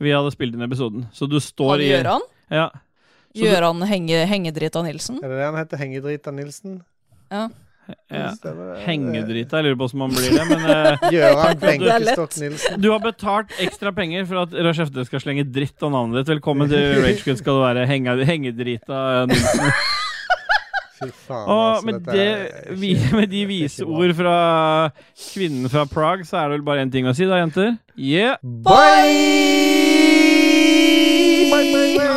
Speaker 2: vi hadde spilt inn episoden. Så du står
Speaker 3: Han
Speaker 2: i
Speaker 3: Gøran?
Speaker 2: Ja. Så du-
Speaker 3: Gjøran henge, Hengedrita Nilsen?
Speaker 4: Er det det han heter? Hengedrita Nilsen?
Speaker 3: Ja.
Speaker 2: Ja.
Speaker 4: Stemmer det.
Speaker 2: Hengedrita, jeg lurer på hvordan man blir det, men eh,
Speaker 4: Gøran
Speaker 2: du-
Speaker 4: Benkestokk Nilsen.
Speaker 2: Du har betalt ekstra penger for at Rashefte skal slenge dritt om navnet ditt. Velkommen til Ragegood skal du være. Henge, hengedrita eh, Nilsen.
Speaker 4: Fy faen,
Speaker 2: Og
Speaker 4: altså.
Speaker 2: med,
Speaker 4: dette er
Speaker 2: det, vi, med de vise ord fra kvinnen fra Prague, så er det vel bare én ting å si da, jenter. Yeah!
Speaker 4: Bye!
Speaker 2: Bye, bye, bye.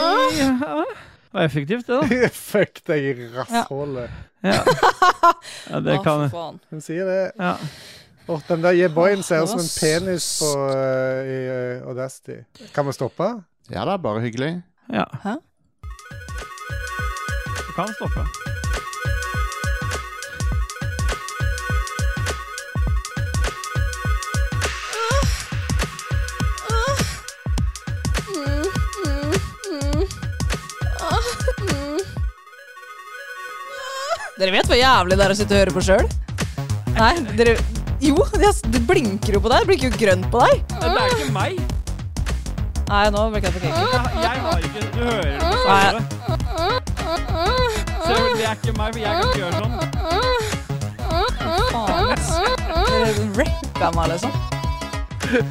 Speaker 2: Det var effektivt, det, da.
Speaker 4: Fuck deg i rasshålet.
Speaker 2: Ja. Ja, det Å, kan- for faen.
Speaker 4: Hun sier det. Og den der Yeboyen ser ut som en
Speaker 2: det var
Speaker 4: penis på, eh, i eh, Audacity. Kan vi stoppe?
Speaker 7: Ja da, bare hyggelig.
Speaker 2: Ja. Du kan stoppe.
Speaker 3: Dere vet hvor jævlig det er å sitte og høre på sjøl? Nei, dere Jo, det det blinker jo på deg. Det blinker jo grønt på deg.
Speaker 2: Det er ikke meg.
Speaker 3: Nei, nå blinker det på
Speaker 2: Jeg
Speaker 3: cake.
Speaker 2: jeg har ikke Du hører det på
Speaker 3: Nei.
Speaker 2: samme. Ser du, det er ikke meg, for jeg kan ikke gjøre sånn.
Speaker 3: Faen, ass. Dere rappa meg, liksom.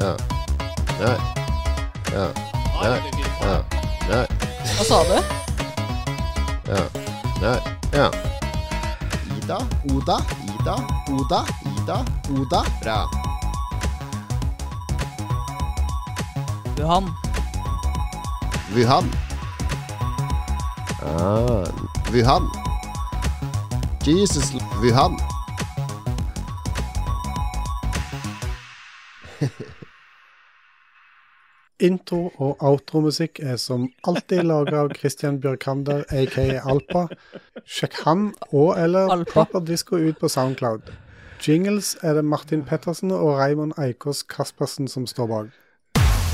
Speaker 9: Ja. Nei. Ja. Nei. Ja. Nei.
Speaker 3: Hva sa du?
Speaker 9: Ja. Nei. Ja.
Speaker 8: Ida, Oda, Ida, Oda, Ida, Oda. Bra.
Speaker 3: Wuhan.
Speaker 8: Wuhan.
Speaker 9: Ah.
Speaker 8: Wuhan. Jesus, Wuhan.
Speaker 4: Intro- og outromusikk er som alltid laga av Christian Bjørkander, aka Alpa. Sjekk han og eller Proper Disco ut på Soundcloud. Jingles er det Martin Pettersen og Raymond Eikås Kaspersen som står bak.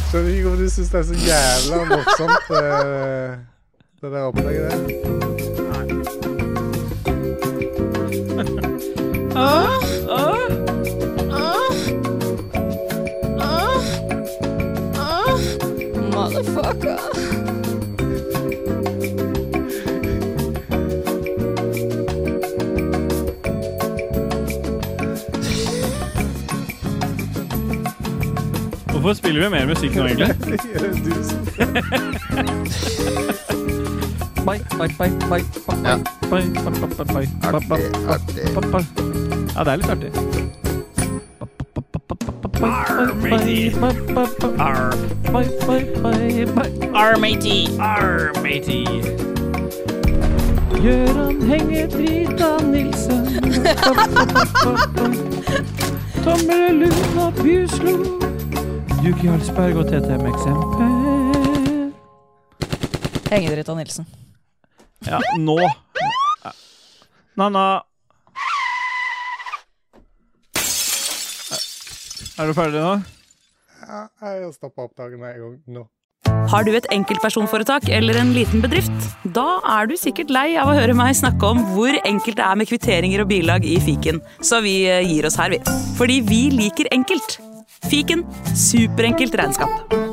Speaker 4: Skjønner ikke hvorfor du syns det er så jævla morsomt, eh, det der opplegget der.
Speaker 2: Ah, ah,
Speaker 3: Motherfucker.
Speaker 2: Hvorfor spiller vi mer musikk nå, egentlig? Bye, bye, bye, bye, bye, bye, bye, bye, bye, bye, bye, bye, bye, bye, bye. Ja, det er litt artig.
Speaker 3: Arr, matey.
Speaker 2: Arr, matey. Gøran henger drita Nilsen. Tommelund og Bjuslo. Duki Halsberg og TTM-eksempel.
Speaker 3: Hengedritt av Nilsen.
Speaker 2: Ja, nå. Nanna. Er du ferdig nå?
Speaker 4: Ja, jeg stoppa opptaket med en gang nå.
Speaker 13: Har du et enkeltpersonforetak eller en liten bedrift? Da er du sikkert lei av å høre meg snakke om hvor enkelt det er med kvitteringer og bilag i fiken, så vi eh, gir oss her, vi. Fordi vi liker enkelt. Fiken superenkelt regnskap.